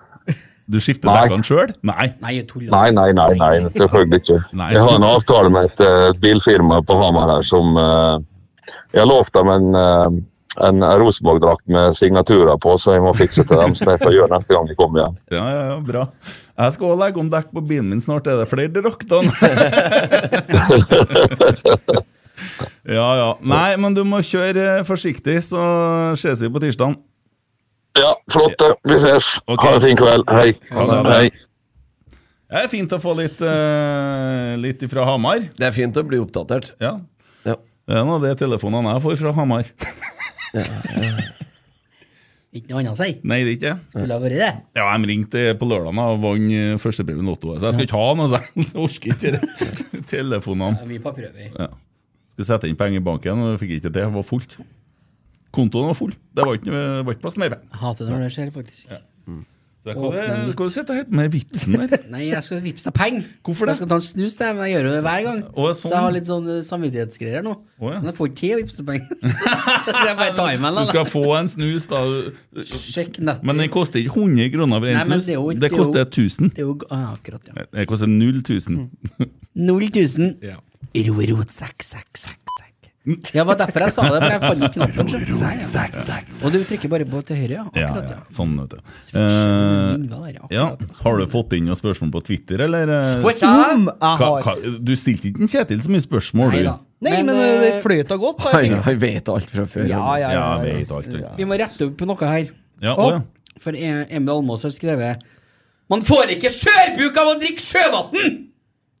Du skifter Nei. dekkene sjøl? Nei. Nei, jeg tuller. Nei, nei, nei, nei, selvfølgelig ikke. Nei. Jeg har en avtale med et eh, bilfirma på Hamar her som eh, Jeg lovte dem en, eh, en Rosenborg-drakt med signaturer på, så jeg må fikse til dem. Så det får jeg gjøre neste gang de kommer igjen. Ja, ja, ja, bra. Jeg skal også legge om dekk på bilen min snart. Er det flere drakter? ja, ja. Nei, men du må kjøre eh, forsiktig, så ses vi på tirsdag. Ja, flott. det. Vi ses. Ha en fin kveld. Hei. Ha det, ha det. Hei. Det er fint å få litt, eh, litt fra Hamar. Det er fint å bli oppdatert. Ja. Det er nå de telefonene jeg får fra Hamar. Ikke noe annet å si. Nei, det er ikke Skulle ha vært det. Ja, de ringte på lørdag og vant eh, førstepremien i Lotto. Så jeg skal ikke ha noe, så jeg orker ikke det. telefonene. Det er mye papirøver. Ja. Skulle sette inn penger i banken, og fikk ikke det. Det var fullt. Kontoen var full. Det var ikke, det var ikke plass til mer penger. Jeg Hater det når det skjer, faktisk. Så jeg Åpne kan- litt. Skal du sitte helt med vipsen der? Nei, jeg skal vippse deg penger. Hvorfor det? Jeg skal ta en snus, det, men jeg gjør jo det hver gang. Å, sånn. Så jeg har litt sånn eh, samvittighetsgreier nå. Men jeg får ikke til å vippse deg penger. så jeg bare tar i meg Du den. skal få en snus, da. Men den koster ikke 100 kroner for Nei, en men snus. det er jo- Det det er jo- koster 1000. Det er jo g- ah, akkurat, ja. Det koster 0 000. Mm. 000. Ja. Ro, ro, sekk, sekk, sekk, sekk. Ja, det var derfor jeg sa det, for jeg fant ikke knappen. skjønner du. sekk, Og du trykker bare på til høyre, ja. Ja, Akkurat, ja, ja. sånn, vet du. skjønner hva Eh, det er, ja. Har du fått inn noen spørsmål på Twitter, eller? eh? Twitter? altså. har. Jeg Hva- hva- Du stilte ikke en Kjetil så mye spørsmål, du. Nei, men, eh, det fløyta godt. bare Han, tenker jeg. han vet alt fra før. Ja, ja, ja, han ja. vet alt. Ja. Vi må rette opp på noe her. Ja, å, ja. For E- Emil Almås har skrevet Man får ikke skjørbuk av å drikke sjøvann!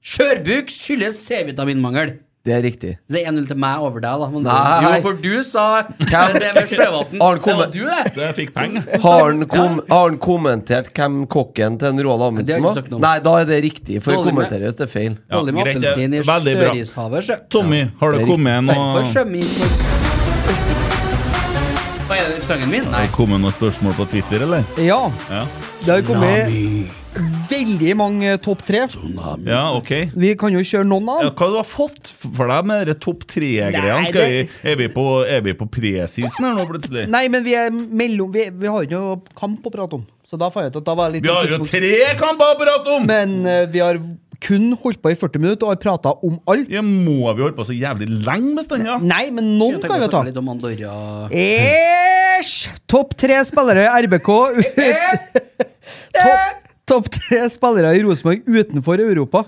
Skjørbuk skyldes C-vitaminmangel. Det er riktig. Det er 1-0 til meg over deg, da. Men Nei. Jo, for du sa eh, det med sjøvann. Det Har han var kommet- du, det. Jeg fikk penger. Har han, kom, har han kommentert hvem kokken til en Roald Det har Amundsen jeg ikke var? sagt noe om. Nei, da er det riktig, for det Dårlig med- kommenteres det feil. Dårlig med greit, det er appelsin i veldig bra. Sørishavet, sjø. Tommy, har det det er kommet Derfor noe sjømi Hva er det sangen min? Nei. Har det kommet noen spørsmål på Twitter, eller? Ja. Ja, Det har kommet veldig mange topp tre. ja ok. Vi kan jo kjøre noen av Ja, dem. hva du har fått for deg med de topp tre-greiene? Nei, Skal vi- det- Er vi på, er vi på presisen her nå, plutselig? Nei, men vi er mellom Vi, vi har jo ikke noe kamp å prate om. Så da fant jeg ut at da var jeg litt sånn Vi har jo tidspunkt- tre kamper å prate om! Men eh, vi har kun holdt på i 40 minutter og har prata om alle. Ja, må vi holde på så jævlig lenge bestandig? Ja? Nei, men noen Jeg kan tenker vi ta. litt om Andorra. Æsj! Topp tre spillere i RBK Topp topp tre spillere er i Rosenborg utenfor Europa.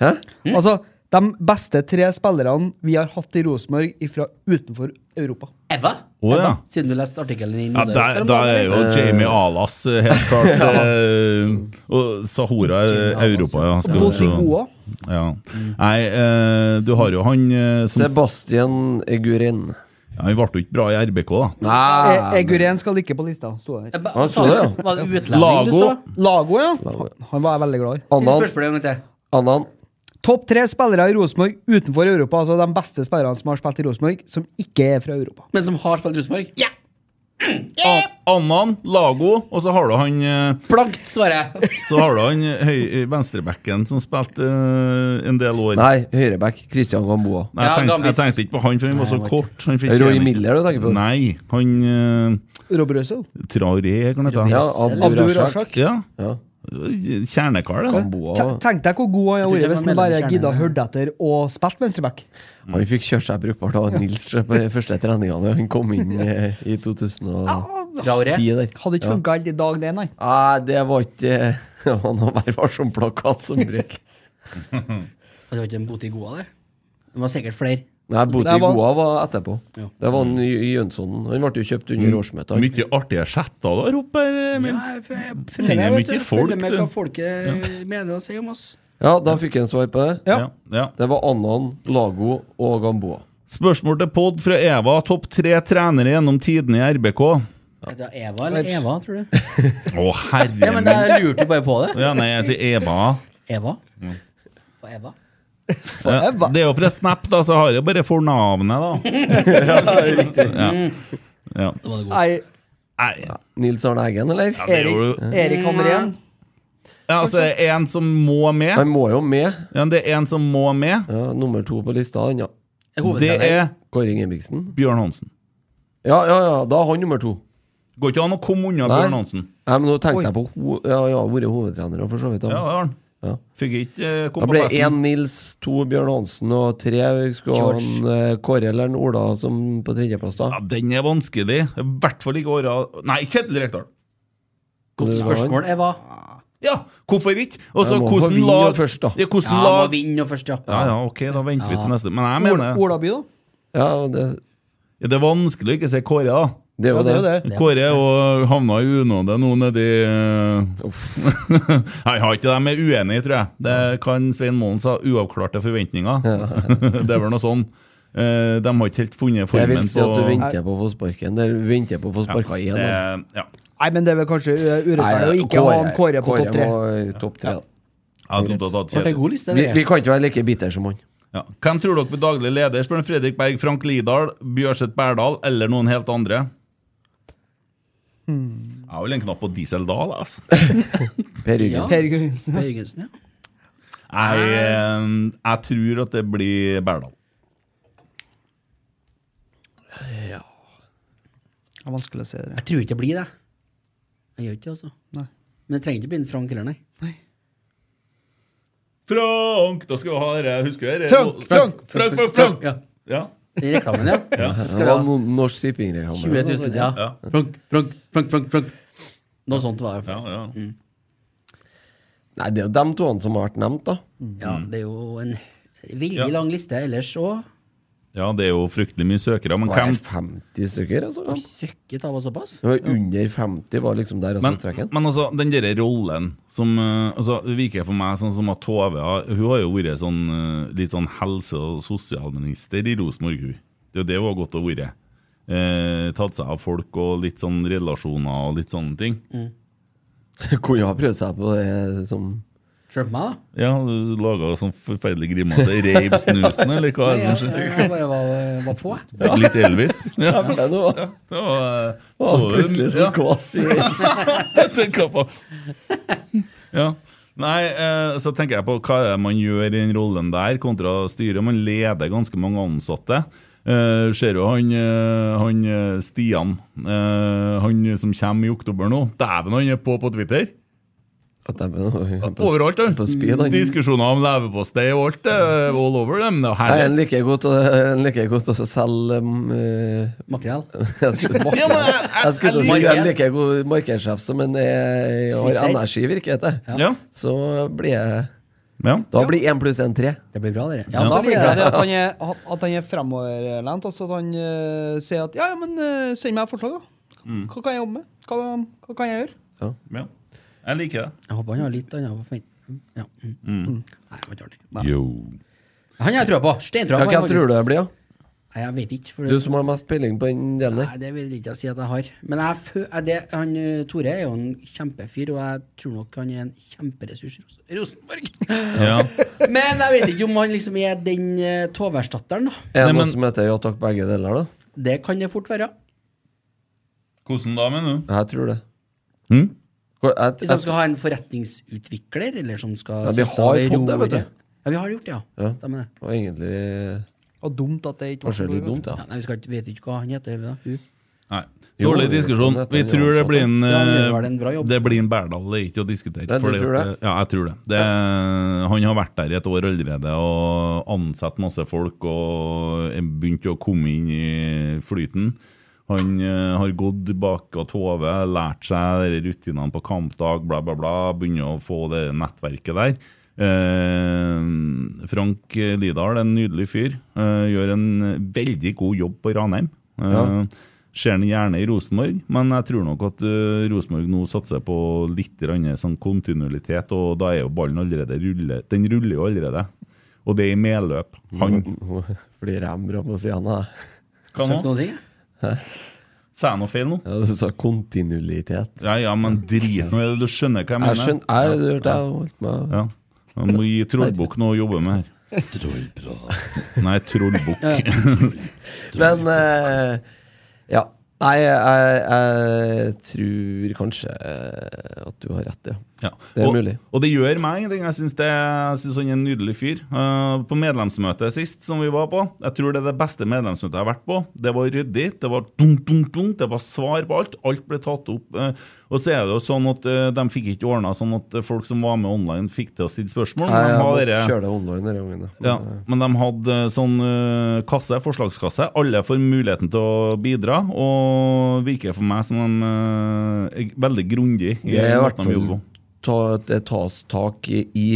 Hæ? Altså de beste tre spillerne vi har hatt i Rosenborg fra utenfor Europa. Eva? Å, ja. Siden du leste artikkelen i Ja, Nordøst. da, da er jo Jamie Alas eh, helt klart eh, Og Sahora er Europa, ja. Skal vi se. Botigoa. ja. Nei, eh, du har jo han eh, som ja, Sebastian Eguren. Han ble jo ikke bra i RBK, da. Nei, E- Eguren skal ikke på lista. Så jeg. Ba- Han sa så det, er, du- ja. Var det utlending du Lago. sa? Lago, ja. Han- Han var jeg er veldig glad i. Still Annan. spørsmålet en gang til. Annan. Topp tre spillere i Rosenborg utenfor Europa. Altså de beste spillerne som har spilt i Rosenborg, som ikke er fra Europa. Men som har spilt Rosenborg? Ja! An- Annan, Lago, og så har du han eh, Blankt, svarer jeg. Så har du han eh, høy, eh, venstrebacken som spilte eh, en del år. Nei, høyreback. Christian Gamboa. Nei, jeg, Ja, tenkte, jeg Gambis. tenkte ikke på han, for han var så kort. Han fikk Roy tjene- Miller du tenker på? Nei, han eh, Rob Røssel. Traoré, kan det Ja, hete. Abdur Abdur Rashak. Rashak. Ja. Ja. Kjernekar, det. Gamboa. Te- Tenk deg hvor god han hadde Jeg tror ikke vært hvis han han var bare medlem i gidda å kjernen. høre etter og spilt venstreback. Han fikk kjørt seg brukbart av Nils på de første treningene da han kom inn eh, i 2010 Traoré. der. Hadde ikke Ja. funka helt i dag, det, nei. Nei, det var ikke Det var noe Vær varsom-plakat som brøk. Det var ikke en bot i Goa, det. Det var sikkert flere. Nei, Boti Det var- Goa var etterpå. Ja. Det var han J- Jønsson. Han ble jo kjøpt Mm. under årsmøtet. han. Mye artige chatter der oppe, eh, Emil. Ja, jeg, jeg, Kjenner jeg, mye vet du, folk, følger med du. hva eh, folket mener å si om oss. Ja, da fikk jeg en svar på det. Ja. Ja, ja. Det var Annan, Lago og Gamboa. Spørsmål til pod fra Eva. Topp tre trenere gjennom tidene i RBK. Å, Er det Eva eller Eva, tror du? Ja, herre min. men Jeg lurte jo bare på det. Ja, nei, jeg sier Eva. Eva? Hva er Eva? Ja, det er jo fra Snap, da, så har jeg bare fornavnet, da. Ja, ja. Nei, Nei, Nils Arne Eggen, eller? ja, det er jo Erik, Erik Hamren. ja, altså, det er en som må med. Han må jo med. Ja, det er en som må med. Ja, nummer to på lista, han, ja. Er Det hovedtrener? er Kåre Ingebrigtsen. Bjørn Hansen. Ja, ja, ja, da er han nummer to. Går ikke an å komme unna Nei. Bjørn Hansen. Nei, men nå tenkte jeg på ho Ja, jeg har vært hovedtrener og for så vidt. da. Ja, det har han. Ja. Fikk ikke eh, Da komme ble på det én festen. Nils, to Bjørn Hansen og tre skulle ha en eh, Kåre eller en Ola som på tredjeplass. da Ja, Den er vanskelig. I hvert fall ikke åra Nei, Kjetil Rekdal. Godt Spørsmål er hva? Ja, hvorfor ikke? Og så Jeg må få hvordan vinne lag først, da. Ja, hvordan Ja, må lag vinne nå først, ja. Ja, ja, ok, da venter vi Ja. til neste. Men jeg mener Ola By, da? Ja, det, ja, det er vanskelig å ikke si Kåre, da. Det er jo Ja, det er det. jo det. Kåre og havna i unåde nå nedi eh, Nei, har ikke de er uenige, tror jeg. Det kan Svein Målen sa. Uavklarte forventninger. det er vel noe sånn. Eh, De har ikke helt funnet Jeg vil formen si at du på- venter på å få sparken. Der venter på å få sparka igjen. da. Det- Ja. Nei, men det er vel kanskje eh, urettferdig å Nei, ikke ha en Kåre på topp tre. må i topp tre. da. Ja, det er godt å ta Ble det god liste, vi, det? vi kan ikke være like bitter som han. Ja. Hvem tror dere blir daglig leder? Spør han Fredrik Berg, Frank Lidahl, Bjørseth Berdal eller noen helt andre? Jeg har vel en knapp på Diesel Dahl, altså. Per Ja. Jørgensen. Per Jørgensen, ja. Jørgensen, ja. Jeg, eh, jeg tror at det blir Berdal. Det er vanskelig å se det. Jeg tror ikke det blir det. Jeg gjør ikke det, altså. Nei. Men det trenger ikke bli en Frank heller, nei. Frank! Da skal vi ha dere, husker dere? Frank, Frank, Frank, Frank, Frank, Frank, Ja. ja. Den reklamen, ja. Ja, Det det skal vi var ha. no- Norsk Tipping-reklame. 20 000, ja. Frank, Frank, Frank, Frank, Frank. Noe sånt var det. Ja, ja. Nei, det er jo de to som har vært nevnt, da. Ja, det er jo en veldig lang liste ellers òg. ja, det er jo fryktelig mye søkere, men Var hvem det 50 stykker? Altså, ja. Søkket av oss såpass. det var under 50 var liksom der. Altså, men, strekken. men altså, den derre rollen som eh, altså, Det virker for meg sånn som at Tove har- Hun har jo vært sånn, eh, litt sånn helse- og sosialminister i Rosenborg, hun. Det er jo det hun har gått og vært. Eh, tatt seg av folk og litt sånn relasjoner og litt sånne ting. Kunne ha prøvd seg på det Eh, som Skjønner du meg, da? Ja, du laga sånn forferdelig grimase. Reiv snusen, eller hva? er det som skjer? Nei, jeg, jeg bare var, var på, jeg. Litt Elvis. Ja. Ja, det var- Det var, eh, Å, plutselig så kås i Tenker på Ja. Nei, eh, så tenker jeg på hva er det man gjør i den rollen der, kontra styret. Man leder ganske mange ansatte. Eh, ser jo han, eh, han eh, Stian, eh, han som kommer i oktober nå. Dæven, han er på på Twitter! At de på, Overalt, han. på speed, han. Diskusjoner om leverpostei og alt. eh, All over dem. Det er Nei, en herlig. liker godt å- en liker godt å selge um, eh, Makrell. Jeg skulle Ja, men jeg- jeg skulle til å si jeg liker- en like god markedssjef som en eh, Sweet har side. energi, virker det til. Ja. Så blir jeg Ja. Da blir én pluss én tre. Det blir bra, dere. Ja, Ja, så da blir liker jeg det det at han er, at han er fremoverlent. Altså at han eh, sier at ja, ja, men eh, send meg forslag, da. Hva kan jeg jobbe med? Hva, hva kan jeg gjøre? ja. Jeg liker det. Jeg håper han har litt annet forventning. Ja. Mm. Nei, det var ikke artig. Nei. Yo. Han har jeg trua på. Steintrua Ja, på. hva han, tror du faktisk. det blir, da? Nei, jeg vet ikke. For Du som har mest peiling på den delen der. Nei, det vil jeg ikke si at jeg har. Men jeg fø er det, han, eh, Tore er jo en kjempefyr, og jeg tror nok han er en kjemperessurs i Ros- Rosenborg. Ja. Men jeg vet ikke om han liksom er den eh, Tove-erstatteren, da. Er det Nei, noe men- som heter ja takk, begge deler, da? Det kan det fort være. Hvordan da, mener du? Jeg tror det. Mm? Hvor- Jeg, Hvis jeg, han skal ha en forretningsutvikler, eller som skal Ja, vi sitte har ved fått det, vet du. roret. Ja, vi har gjort det, ja. Ja. Stemmer det. det var egentlig Og dumt at det ikke var kanskje litt dumt, Ja, ja. nei, vi skal ikke, vet ikke hva han heter. Da. Hun. Nei. Jo, Dårlig det- diskusjon. dette Vi er tror det uansett, blir en ja. Ja, men det var eh, en bra jobb. Det blir en Berdal, det er ikke å diskutere. Nei, du fordi tror at, eh, det? Ja, jeg tror det. det han har vært der i et år allerede og ansatt masse folk og begynt å komme inn i flyten. Han eh, har gått bak og Tove, lært seg de rutinene på kampdag, bla, bla, bla. Begynner å få det nettverket der. Eh, Frank Lidahl, en nydelig fyr, eh, gjør en veldig god jobb på Ranheim. Eh, Ja. Ser den gjerne i Rosenborg, men jeg tror nok at eh, Rosenborg nå satser på litt grann sånn kontinuitet, og da er jo ballen allerede rulle. Den ruller jo allerede. Og det er i medløp. Han Fordi Ram bra på sida av deg. Hva Sagt nå? noen ting? ja? Sa jeg noe feil nå? Ja, du sa kontinuitet. Ja ja, men drit nå i det. Du skjønner hva jeg Jeg mener? skjønner Jeg du hørte jeg holdt meg Ja. Jeg må gi Trollbukk noe å jobbe med her. Nei, Trollbukk. Men eh, Ja. Nei, jeg, jeg, jeg tror kanskje eh, at du har rett, ja. Det er og, mulig. Og det gjør meg ingenting. Jeg syns han er en nydelig fyr. Eh, på medlemsmøtet sist, som vi var på, jeg tror det er det beste medlemsmøtet jeg har vært på. Det var ryddig, det var dunk, dunk, dunk, det var svar på alt. Alt ble tatt opp. eh, og så er det jo sånn at eh, de fikk ikke ordna sånn at eh, folk som var med online, fikk til å stille spørsmål. men Nei, de jeg har må dere- kjøre det online denne gangen. da. ja, men de hadde sånn eh, kasse, forslagskasse. Alle får muligheten til å bidra, og virker for meg som de eh, er veldig grundig i Det er i hvert måten de jobber fall på. ta, det tas tak i, i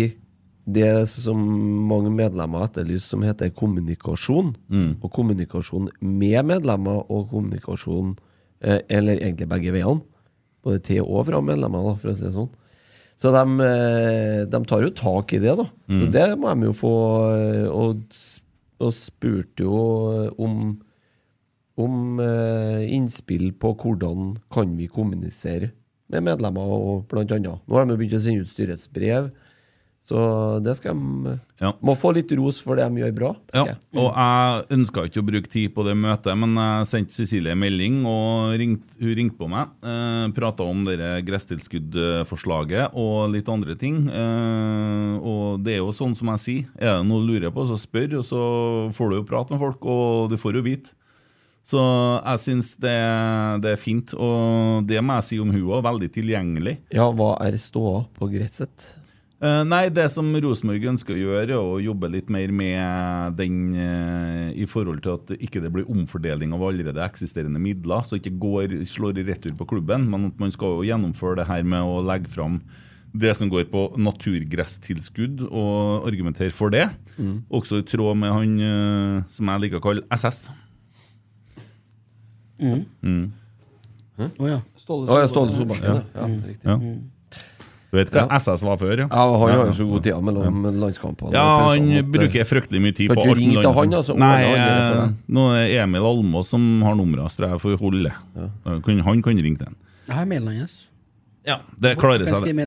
det som mange medlemmer etterlyser, som heter kommunikasjon. Og kommunikasjon med medlemmer, og kommunikasjon eh, Eller egentlig begge veiene. Både til og fra medlemmer, da, for å si det sånn. Så de, eh, de tar jo tak i det, da. Så det må de jo få eh, Og, s- og spurte jo om om eh, innspill på hvordan kan vi kommunisere med medlemmer og blant annet. Nå har de jo begynt å sende ut styrets brev, så det skal de Må få litt ros for det de gjør bra. Mm. Ja, og jeg ønska ikke å bruke tid på det møtet, men jeg sendte Cecilie en melding, og ringt, hun ringte på meg. Eh, Prata om det gresstilskuddforslaget og litt andre ting. Eh, og det er jo sånn som jeg sier, er det noe du lurer på, så spør, og så får du jo prate med folk, og du får jo vite. Så jeg syns det, det er fint, og det må jeg si om hun òg, veldig tilgjengelig. Ja, hva er ståa på Gretset? Eh, nei, det som Rosenborg ønsker å gjøre, er å jobbe litt mer med den eh, i forhold til at ikke det blir omfordeling av allerede eksisterende midler, så ikke går, slår i retur på klubben. Men at man skal jo gjennomføre det her med å legge fram det som går på naturgresstilskudd, og argumentere for det. Mm. Også i tråd med han eh, som jeg liker å kalle SS. Mm. Å ja. Ståle Å ja, Ståle Solbakken. Solbakken. Ja. Ja, Mm. riktig. Ja. Mm. Du vet hva Ja. SS var før, ja? Ja, og han Ja, har jo ja, så god tid mellom landskampene. Ja, og han pausene at, eh, bruker fryktelig mye tid kan på ikke alt ringe til mulig han, annet. altså, Nei, ordne han der for eh, deg. nå er det Emil Almås som har nummeret hans, tror jeg, for Holle. Han kan- Han kan ringe til han. Jeg har mailen hans. Ja, det klarer seg, Ganske det. mail.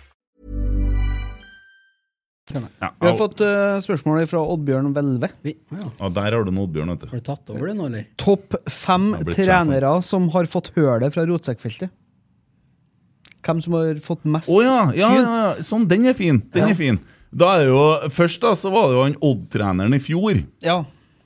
Vi har fått eh, spørsmål fra Oddbjørn Hvelve. Og der har du noe, Oddbjørn. Vet du. Har du tatt over det nå, eller? Topp fem har blitt trenere som har fått hølet fra rotsekkfeltet. Hvem som har fått mest Å ja, ja, ja, ja. Sånn, den er fin. Den Ja. er fin. Da er det jo, først da, så var det jo han Odd-treneren i fjor. Ja,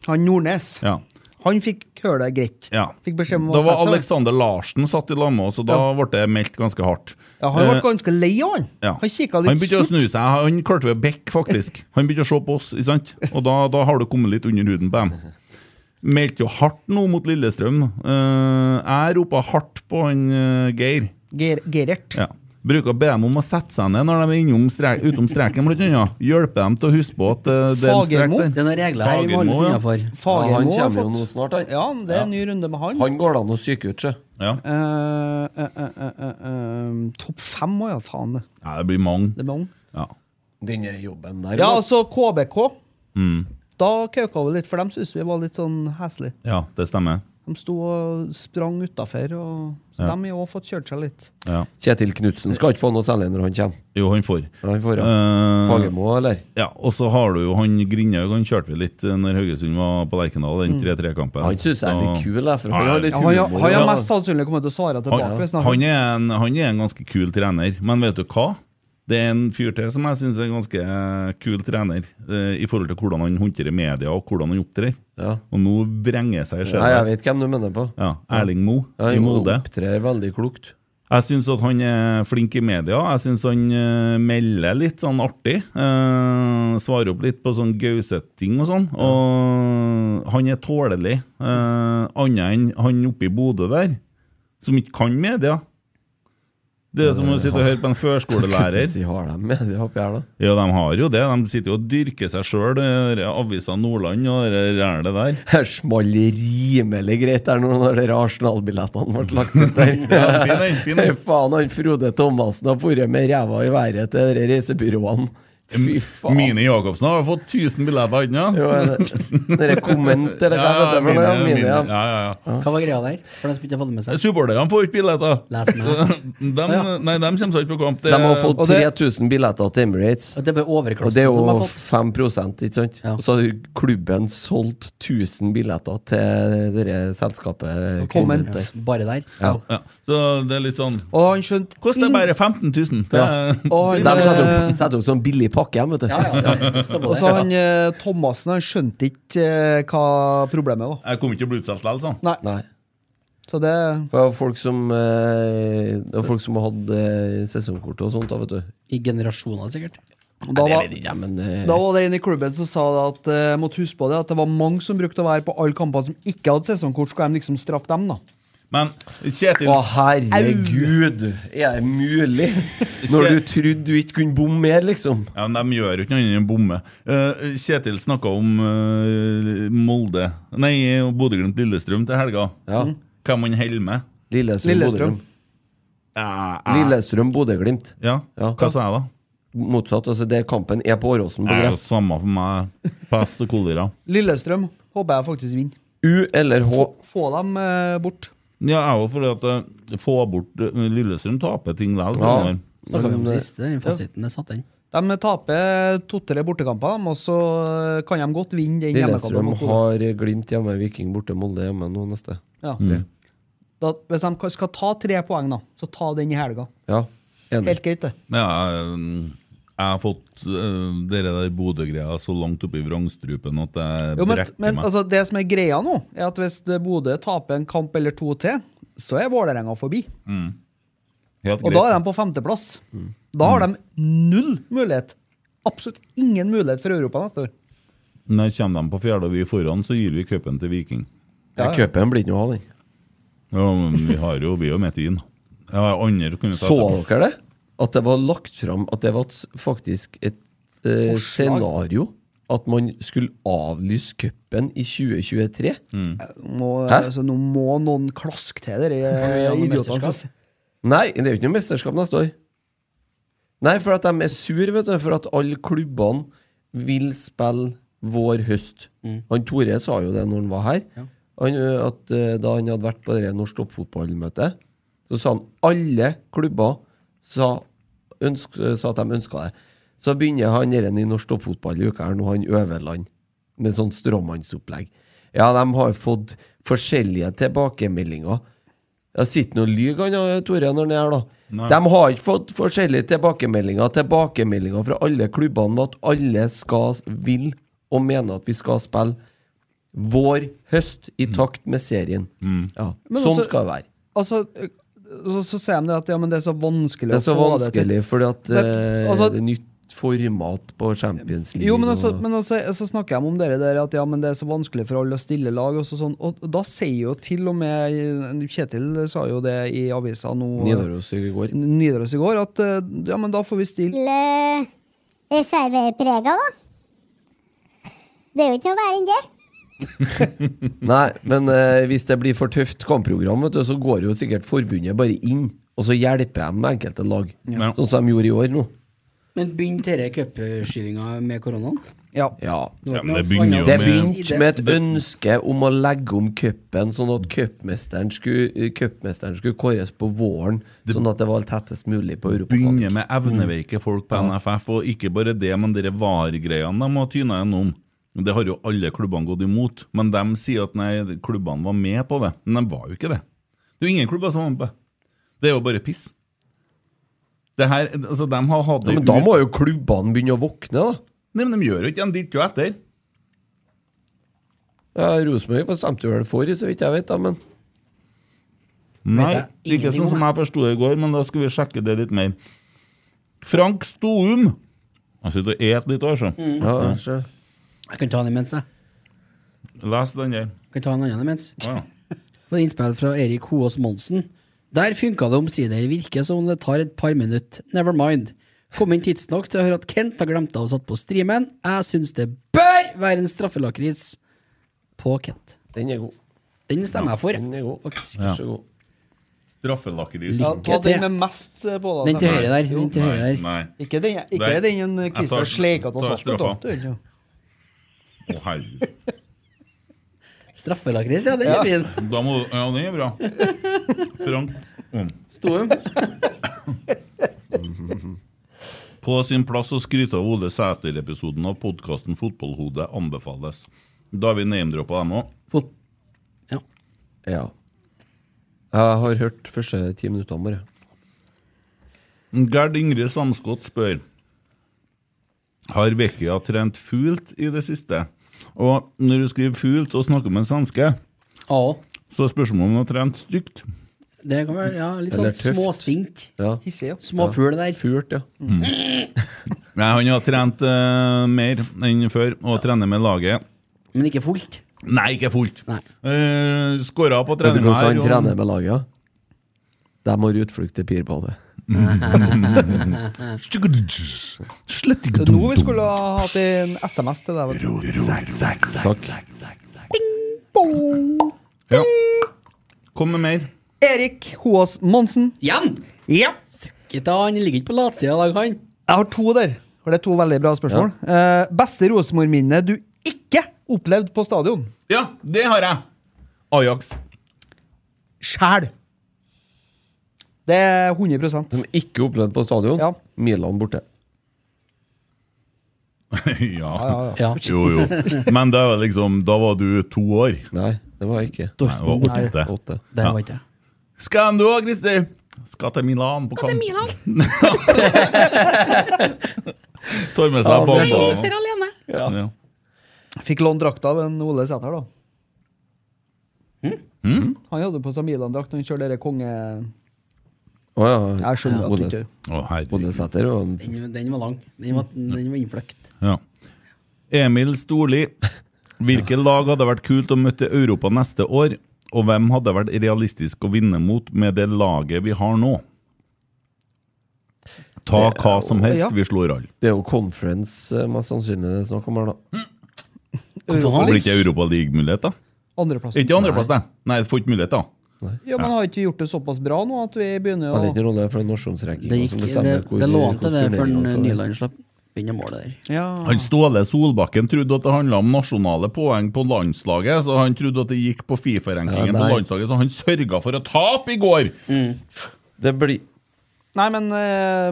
han Nordnes. Ja. Han fikk hølet greit. Ja. Fikk beskjed om å Da var sette seg. Alexander Larsen satt i lag med oss, og da Ja. ble det meldt ganske hardt. Ja, han ble Eh, ganske lei av han. Ja. Han kikka litt Han begynte å surt. snu seg. Han klarte ved bekk, faktisk. Han begynte å se på oss, ikke sant? og da, da har du kommet litt under huden på dem. Meldte jo hardt nå mot Lillestrøm. Eh, jeg ropa hardt på han eh, Geir. Ger Gerert. Ja. Bruker å be dem om å sette seg ned når de er innom strek, utom streken, blant annet. Hjelpe dem til å huske på at eh, det er en strek Fagermo. der. Fagermo, ja. Fagermo Ja, han har kommer jo fått- nå snart, han. Ja, det er en ny runde med han. Han går det an å psyke ut, sjø. Ja. Eh, eh, eh, eh, eh, eh, Topp fem òg, ja. Faen, det. Ja, det blir mange. Det er mange. Ja. Den der jobben der Ja, da. altså KBK. Mm. Da kauka vi litt, for dem syntes vi var litt sånn heslig. ja, det stemmer. De sto og sprang utafor, og så Ja. de har òg fått kjørt seg litt. Ja. Kjetil Knutsen skal ikke få noe særlig når han kommer. Jo, han får. Han får ja. Eh, Fagermo, eller? Ja, og så har du jo han Grindhaug. Han kjørte vi litt eh, når Haugesund var på Lerkendal, den Mm. 3-3-kampen. Han synes jeg er litt Så- kul, jeg, for han har litt Ja, han, har- han har Ja. mest sannsynlig kommet til å svare tilbake. hvis Han, han, er en, han er en ganske kul trener, men vet du hva? Det er en fyr til som jeg syns er en ganske eh, kul trener, eh, i forhold til hvordan han håndterer media og hvordan han opptrer. Og nå vrenger jeg seg i Nei, jeg skjedet. vet hvem du mener på. Ja, Erling Moe Ja, i jo, Molde. Opptrer veldig klokt. Jeg syns at han er flink i media. Jeg syns han eh, melder litt sånn artig. Eh, svarer opp litt på sånn Gauseth-ting og sånn. Og han er tålelig. Eh, Annet enn han oppe i Bodø der, som ikke kan media. Det er som å sitte og høre på en Jeg skulle førskolelærer. til å Si, har de media oppi her, da? Ja, de har jo det. De sitter jo og dyrker seg sjøl, avisa Nordland og det rælet der. Her small rimelig greit der nå når dere Arsenal-billettene ble lagt ut der. Ja, fin den, fin den. Fy faen, han Frode Thomassen har vært med ræva i været til de reisebyråene. Fy faen. Mine Jacobsen har fått 1000 billetter, ikke sant? Jo, er det- dere komment, eller hva heter det for noe? mine, Ja, mine, mine. ja. Ja, ja, ja. Hva var greia der? For de som ikke har fått det med seg. Supporterne får ikke billetter. Les meg. De, nei, de kommer seg ikke på kamp. De har fått 3000 billetter til Emirates. Og det er bare overklassen Og det er som har jo fått. 5 ikke sant? Og så har klubben solgt 1000 billetter til dere selskapet. Comment. Bare der. Ja. Ja, Så det er litt sånn Og han skjønte Koster bare 15 000. Det Ja. er- De setter opp, setter opp sånn billig pakke hjem, vet du. Og så han eh, Thomassen han skjønte ikke eh, hva problemet var. Jeg kommer ikke til å bli utsolgt likevel, sånn. Nei. Nei. Så det For det var folk som eh, Det var folk som hadde eh, sesongkort og sånt, da, vet du. I generasjoner, sikkert. da Nei, det var- vet jeg ikke, men eh, Da var det en i klubben som sa det at eh, jeg måtte huske på det, at det var mange som brukte å være på alle kampene som ikke hadde sesongkort. Skulle de liksom straffe dem, da? Men Kjetil Å, herregud! Er det mulig? Når du trodde du ikke kunne bomme mer, liksom. Ja, men De gjør jo ikke noe annet enn å bomme. Eh, Kjetil snakka om eh, Molde Nei, Bodø-Glimt-Lillestrøm til helga. Mm. Ja. Hvem han holder med. Lillestrøm, Lillestrøm. Lillestrøm Bodø-Glimt. Ja. Hva sa jeg da? Motsatt. altså det Kampen er på Åråsen på Det er jo gress. samme for meg. Pest og kolera. Lillestrøm håper jeg faktisk vinner. U eller H. Få dem eh, bort. Ja, jeg er jo fordi at eh, få bort eh, Lillestrøm taper ting likevel. Ja. tror jeg. Snakka vi om Men, eh, sist. Den fasiten er satt inn. De taper to-tre bortekamper, dem, og så eh, kan de godt vinne den hjemmekampen. Lillestrøm mot Bodø. har Glimt hjemme, Viking borte, Molde hjemme nå neste. Ja. Tre. Da, hvis de ka- skal ta tre poeng, da, så ta den i helga. Ja, enig. Helt greit, det. Ja, jeg, jeg har fått uh, dere der Bodø-greia så langt opp i vrangstrupen at jeg Jo, men, brekker men meg. altså, det som er greia nå, er at hvis det Bodø taper en kamp eller to til, så er Vålerenga forbi. mm. Helt Og greit. Mm. da er de på femteplass. Da har de null mulighet. Absolutt ingen mulighet for Europa neste år. Når kommer de på fjerde og vi er foran, så gir vi cupen til Viking. Ja, Cupen blir ikke noe av, den. Ja, men vi har jo vi er jo midt i den. Ja, andre kunne Så dere det? At det var lagt fram at det var et s- faktisk et eh, Forslag. scenario at man skulle avlyse cupen i 2023? Nå, Hæ? altså, nå må noen klaske til dere eh, noe idiotene. mesterskap. Nei, det er jo ikke noe mesterskap neste år. Nei, for at de er sur, vet du, for at alle klubbene vil spille vår høst. Mm. Han Tore sa jo det når han var her. Han, ø, at ø, Da han hadde vært på det norsk toppfotballmøtet, så sa han alle klubber sa, ønsk, sa at de ønska det. Så begynner han der i norsk toppfotball i uka her nå, han Øverland, med sånn stråmannsopplegg. Ja, de har fått forskjellige tilbakemeldinger. Jeg sitter nå og lyver, han ø, Tore, når han er her, da. Nei. De har ikke fått forskjellige tilbakemeldinger. Tilbakemeldinger fra alle klubbene med at alle skal, vil og mener at vi skal spille vår høst i takt med serien. Ja, Men sånn også- skal det være. Altså, eh, så, så sier de det at ja, men det er så vanskelig Det er så å få det til. vanskelig fordi at Men, eh, altså- det er nytt format på Champions League. Jo, men, altså, og- men altså, så snakker de om dere der at ja, men det er så vanskelig for alle å stille lag. Og, så sånn, og da sier jo til og med Kjetil sa jo det i avisa nå Nidaros i går. Nidaros i går at eh, ja, men da får vi stille L- reserveprega, da. Det er jo ikke noe verre enn det. Nei, men eh, hvis det blir for tøft kampprogram, vet du, så går jo sikkert forbundet bare inn, og så hjelper de enkelte lag. Ja. Sånn som de gjorde i år nå. Men begynte denne cupskyvinga med koronaen? Ja. Ja, men det begynner jo Det med- begynte med et ønske om å legge om cupen, sånn at cupmesteren skulle, eh, cupmesteren skulle kåres på våren. Sånn at det var tettest mulig på Europa. Begynner med evneveike folk på NFF, og ikke bare det, men dere VAR-greiene de har tyna gjennom. Det har jo alle klubbene gått imot, men de sier at nei, klubbene var med på det. Men de var jo ikke det. Det er jo ingen klubber som var med på det. Det er jo bare piss. Det her, altså de har hatt Ja, men da må jo klubbene begynne å våkne, da. Nei, men de gjør jo ikke det. De dytter jo etter. Ja, Rosenborg stemte vel for, så vidt jeg vet, da, men Nei, Vet jeg ikke ingenting sånn om som jeg forsto det i går, men da skal vi sjekke det litt mer. Frank Stoum. Jeg sitter og et litt, altså. Mm. Ja, Ja. Jeg kan ta den imens, jeg. Les den der. Kan ta en annen imens. Ja. På innspill fra Erik Hoås Monsen. Der funka det omsider. Virker som om det tar et par minutter. Never mind. Kom inn tidsnok til å høre at Kent har glemt av å satt på streamen. Jeg syns det bør være en straffelakris på Kent. Den er god. Den stemmer jeg for. Den er god. Faktisk. Ja. Straffelakris. Ja, ta den med mest eh, på, da. Den til Nei. høyre der, Jo. den til høyre der. Nei. Ikke den, ikke Nei. den en eh, Jeg Christer tar- altså. Sleika til tar å satt straffa. ut, da. Å, herregud. Straffelakris, ja, den er fin. Da må, ja, den er bra. Frank mm. Stoum. På sin plass å skryte av Ole Sæter-episoden av podkasten Fotballhodet anbefales. Da har vi name-droppa dem òg. Ja. Jeg har hørt første ti minuttene bare. Gerd Ingrid Samskott spør Har Vekia trent fult i det siste? Og når du skriver fult og snakker med en svenske, så spørs det om hun har trent stygt. Det kan være ja, litt Eller sånn tøft. småsint. Ja. Hissig, ja. Småfugl der. Furt, ja. Nei, han har trent eh, mer enn før, og trener med laget. Men ikke fullt? Nei, ikke fullt. Uh, Skåra på Vet du treninga hvordan han og- trener med laget? ja? De har utflukt til pirbadet. Det er nå vi skulle ha hatt en SMS til deg. vet du. Boom. Ja. Kom med mer. Erik Hoas Monsen. Igjen? Ja. han ligger ikke på latsida i dag, han. Jeg har to der. For det er to veldig bra spørsmål. Eh, beste Rosenborg-minne du ikke opplevde på stadion? Ja, det har jeg! Ajax. Sjæl. Det er 100 Som ikke opplevde på stadion. Milan borte. ja. Ja. Jo, jo. Men det var liksom, da var du to år. Nei, det var jeg ikke. Nei, det var åtte. Det Ja. var ikke jeg. Skal du òg, Christer? Skal til Milan på kamp. Tar med seg bamba. alene. Ja. Ja. Fikk lånt drakta av en Ole Sæther, da. Hm? Mm? Han hadde på seg Milan-drakt når han kjørte dere konge... Å ja. Jeg skjønner at Oles. ikke- Oles Sæter og en Den, den var lang. Den var, den var innfløkt. Ja. Emil Storli. Hvilke lag hadde vært kult å møte i Europa neste år? Og hvem hadde vært realistisk å vinne mot med det laget vi har nå? Ta hva som helst, Ja. vi slår alle. Det er jo conference eh, mest sannsynlig det er snakk om her, da. Blir det ikke Europa League-mulighet, da? Andreplass. Ikke andreplass, det. Nei, du får ikke mulighet, da. Ja, men har ikke vi gjort det såpass bra nå at vi begynner Det er å ikke rolle for en nasjonsranking Det, gikk, som det, bestemmer hvor det lå an til det hvordan før turneringen får det. Nyland slapp inn i målet der. Han Ståle Solbakken trodde at det handla om nasjonale poeng på landslaget, så han trodde at det gikk på Fifa-rankingen Ja, på nei. landslaget, så han sørga for å tape i går! Det blir Nei, men eh,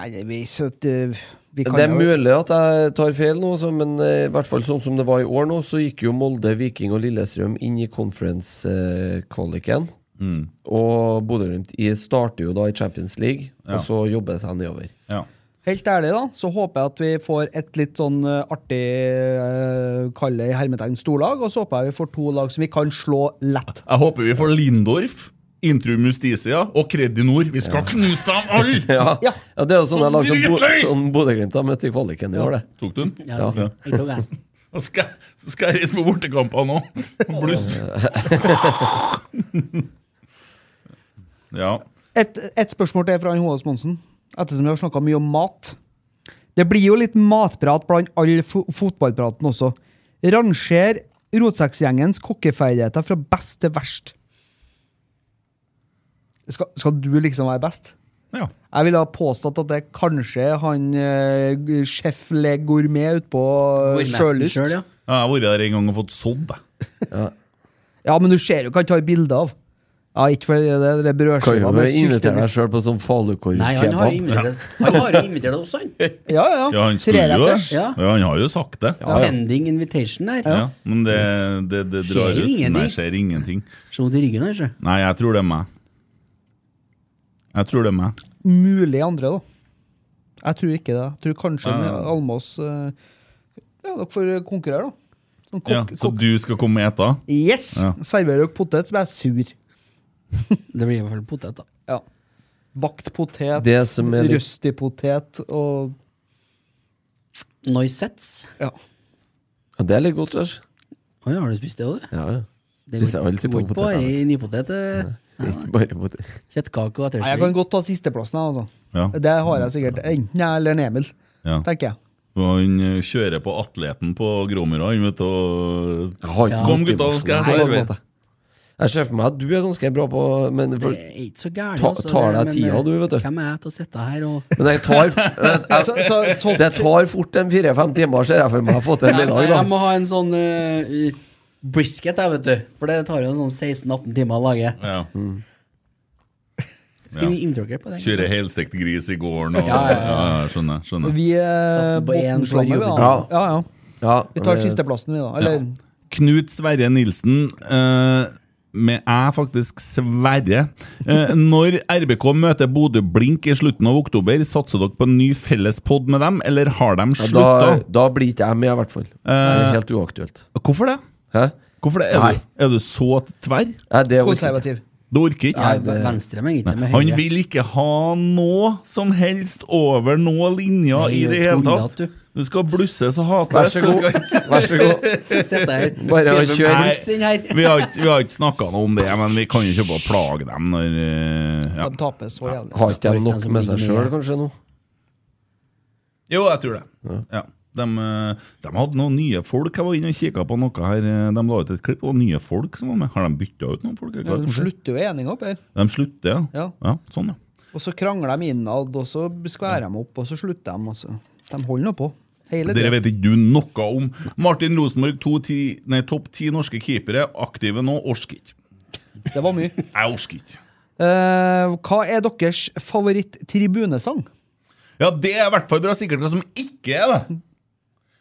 Nei, vi, så, at, eh, vi kan Det er jo- mulig at jeg tar feil nå, så, men eh, i hvert fall sånn som det var i år nå, så gikk jo Molde, Viking og Lillestrøm inn i conference-kvaliken. Mm. Og Bodø-Glimt i- starter jo da i Champions League, Ja. og så jobber det seg nedover. Ja. Helt ærlig, da, så håper jeg at vi får et litt sånn eh, artig uh, Kall det i hermetegn storlag, og så håper jeg vi får to lag som vi kan slå lett. Jeg håper vi får Lindorf, Intrum Justicia og Kredinor. Vi skal knuse dem alle! Ja. Ja, det er jo sånne Så lag som, Bo- dritløy! som Bodø-Glimt har møtt i kvaliken i Ja. år, det. Tok du den? Ja. Ja. Jeg tok den. Så skal, så skal jeg reise på bortekamper nå. Bluss. ja. Et, et spørsmål til fra han H.S. Monsen, ettersom vi har snakka mye om mat. Det blir jo litt matprat blant all fo fotballpraten også. Ranger Rotsekkgjengens kokkeferdigheter fra best til verst. Skal, skal du liksom være best? Jeg ville ha påstått at det er kanskje han eh, sjef Le Gourmet ute på eh, Sjølyst. Ja, ja. Jeg har vært der en gang og fått sådd, jeg. men du ser jo hva han tar bilde av. Ja, ikke fordi det er Kan jo brødskiva bare invitere deg sjøl på sånn falukorv Nei, han har kebab. invitert- Han har jo invitert oss, han. Ja, Ja, han skulle jo det. Ja. Ja, han har jo sagt det. Ja, Pending invitation der. Ja, men det, det, det Skjer drar jo ut. ingenting. Nei, skjer ingenting. Så vondt i ryggen her, sjø. Nei, jeg tror det er meg. Jeg tror det er meg. mulig andre, da. Jeg tror ikke det. Jeg tror kanskje Nei, nei, en nei. Almås eh, Ja, dere får eh, konkurrere, da. Som Ja, kokk- så du skal komme og ete? Yes! Ja. Serverer dere potet, så blir jeg sur. det blir i hvert fall potet, da. Ja. Bakt potet, Det som er litt- røstig potet og Noisets. Ja. Ja, det er litt godt, Lars. Å ja, har du spist det òg, du? Ja, ja. Det Spiser går alltid går på ikke poteter. bare i vet du. nypotet. eh. Det er ikke bare potet. Kjøttkake og Nei, jeg kan ettertrekk. godt ta sisteplassen, jeg, altså. Ja. Det har jeg sikkert. Enten jeg eller en Emil, Ja. tenker jeg. Og Han eh, kjører på atleten på Gråmyra, han, vet du. og- har Kom, ikke gutta, nå skal jeg motivasjon. Nei, servere. Jeg ser for meg at du er ganske bra på men for, Det er ikke så gærent. Ta- altså, det- tar deg men, tida, eh, du, vet du. Hvem er jeg til å sitte her og Men jeg tar, jeg, Så- så topp- det tar fort en fire-fem timer, ser jeg for meg. Jeg har fått en Nei, middag, Jeg da. må ha en sånn eh, brisket, jeg, vet du. For det tar jo sånn 16-18 timer å lage. Ja. Skal vi interrogere på det? Kjører helstekt gris i gården og ja, Ja, ja, ja. Skjønner. skjønner. Vi er Satt på en Bottenslamme, periode. vi, da. Ja. Ja, ja. Ja, Vi tar men- sisteplassen, vi, da. Eller Knut Sverre Nilsen eh, med æ faktisk Sverre. Eh, når RBK møter Bodø Blink i slutten av oktober, satser dere på en ny fellespod med dem, eller har de Ja, slutta? da, da blir ikke jeg med, i hvert fall. Det er Eh, helt uaktuelt. Hvorfor det? Hæ? Hvorfor det? Er, Nei. du, er du så tverr? Nei, det orker ikke. konservativ. Du orker ikke? Nei, venstre men ikke Nei. med Han høyre. vil ikke ha noe som helst over noe linja Nei, i det jeg hele tuller tatt. Du skal blusse så hates. Vær så god. Vær så god. Sitte her. Bare å kjøre. Nei, Bussen her. vi har ikke, vi har ikke snakka noe om det, men vi kan jo ikke bare plage dem når eh, ja. de taper så jævlig. Har ikke de nok med seg sjøl, kanskje, nå? Jo, jeg tror det. Ja. De, eh, de hadde noen nye folk. Jeg var inne og kikka på noe her. eh, De la ut et klipp, og nye folk som var med. Har de bytta ut noen folk? eller hva er Ja, det de som skjer? slutter jo eninga opp her. De slutter, ja. Ja. ja sånn, ja. Og så krangler de innad, og så skværer de opp, og så slutter de. Og så. De holder nå på. Hele Dere tiden. vet ikke du noe om. Martin Rosenborg, to ti, nei, topp ti norske keepere, aktive nå, orsker ikke. Det var mye. Jeg orsker ikke. Eh, hva er deres favoritt-tribunesang? Ja, det er i hvert fall bra sikkert hva som ikke er det.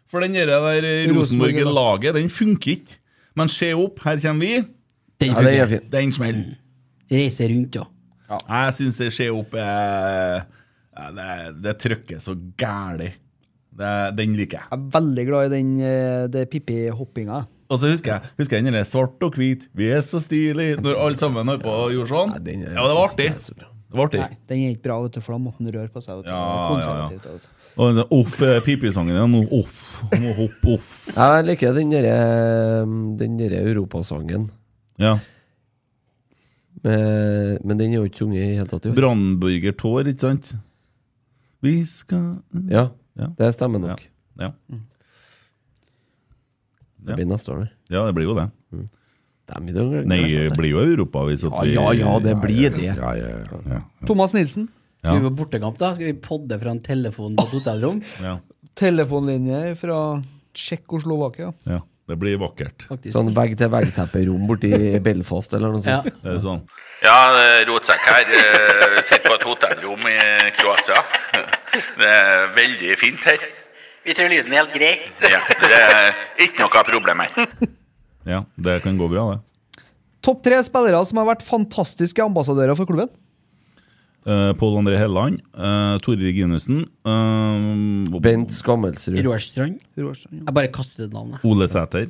For den der, der Rosenborg, ja. Rosenborg-laget, den funker ikke. Men se opp, her kommer vi. Den funker. Ja, den er Den smeller. Reise rundt, ja. Jeg syns det se opp eh, ja, Det, det trykker så gæli. Det, den liker jeg. Jeg er veldig glad i den eh, det Pippi-hoppinga. Og så husker jeg, husker jeg den der svart og hvit, vi er så stilig, når alle sammen holdt på og gjorde sånn. Ja, det var artig. altså. Det var artig. Nei, den er ikke bra, vet du, for da måtte den røre på seg. Vet du. Ja, Det er ja, konservativt, ja. vet du. Og den off, eh, pipesangen den, off, må hoppe off. Jeg liker den derre Den derre europasangen. Ja. Men, men den er jo ikke sunget i hele tatt. i år. Brannburger tår, ikke sant? Vi skal Ja, det stemmer nok. Ja. Ja. Det blir neste år, det. Ja, det blir jo det. Dem i dag gleder Nei, jeg seg det til. blir jo Europa hvis at Ja, ja, ja, det blir det. Ja, ja, ja, ja. Thomas Nilsen. Ja. Skal vi på bortekamp, da? Skal vi podde fra en telefon på et hotellrom? Ja, Telefonlinje fra Tsjekkoslovakia. ja. Det blir vakkert. Faktisk. Sånn vegg-til-vegg-tepperom borti Belfast eller noe sånt. Det er sånn. Ja, eh, rotsekk her. eh, Vi sitter på et hotellrom i Kroatia. Det er veldig fint her. Vi tror lyden er helt grei. Ja, det er ikke noe problem her. Ja, det kan gå bra, det. Topp tre spillere som har vært fantastiske ambassadører for klubben. Uh, Pål André Helland, uh, Tore Reginussen eh, Bent Skammelsrud. Roar Strand. Jeg bare kaster ut navnet. Ole Sæter.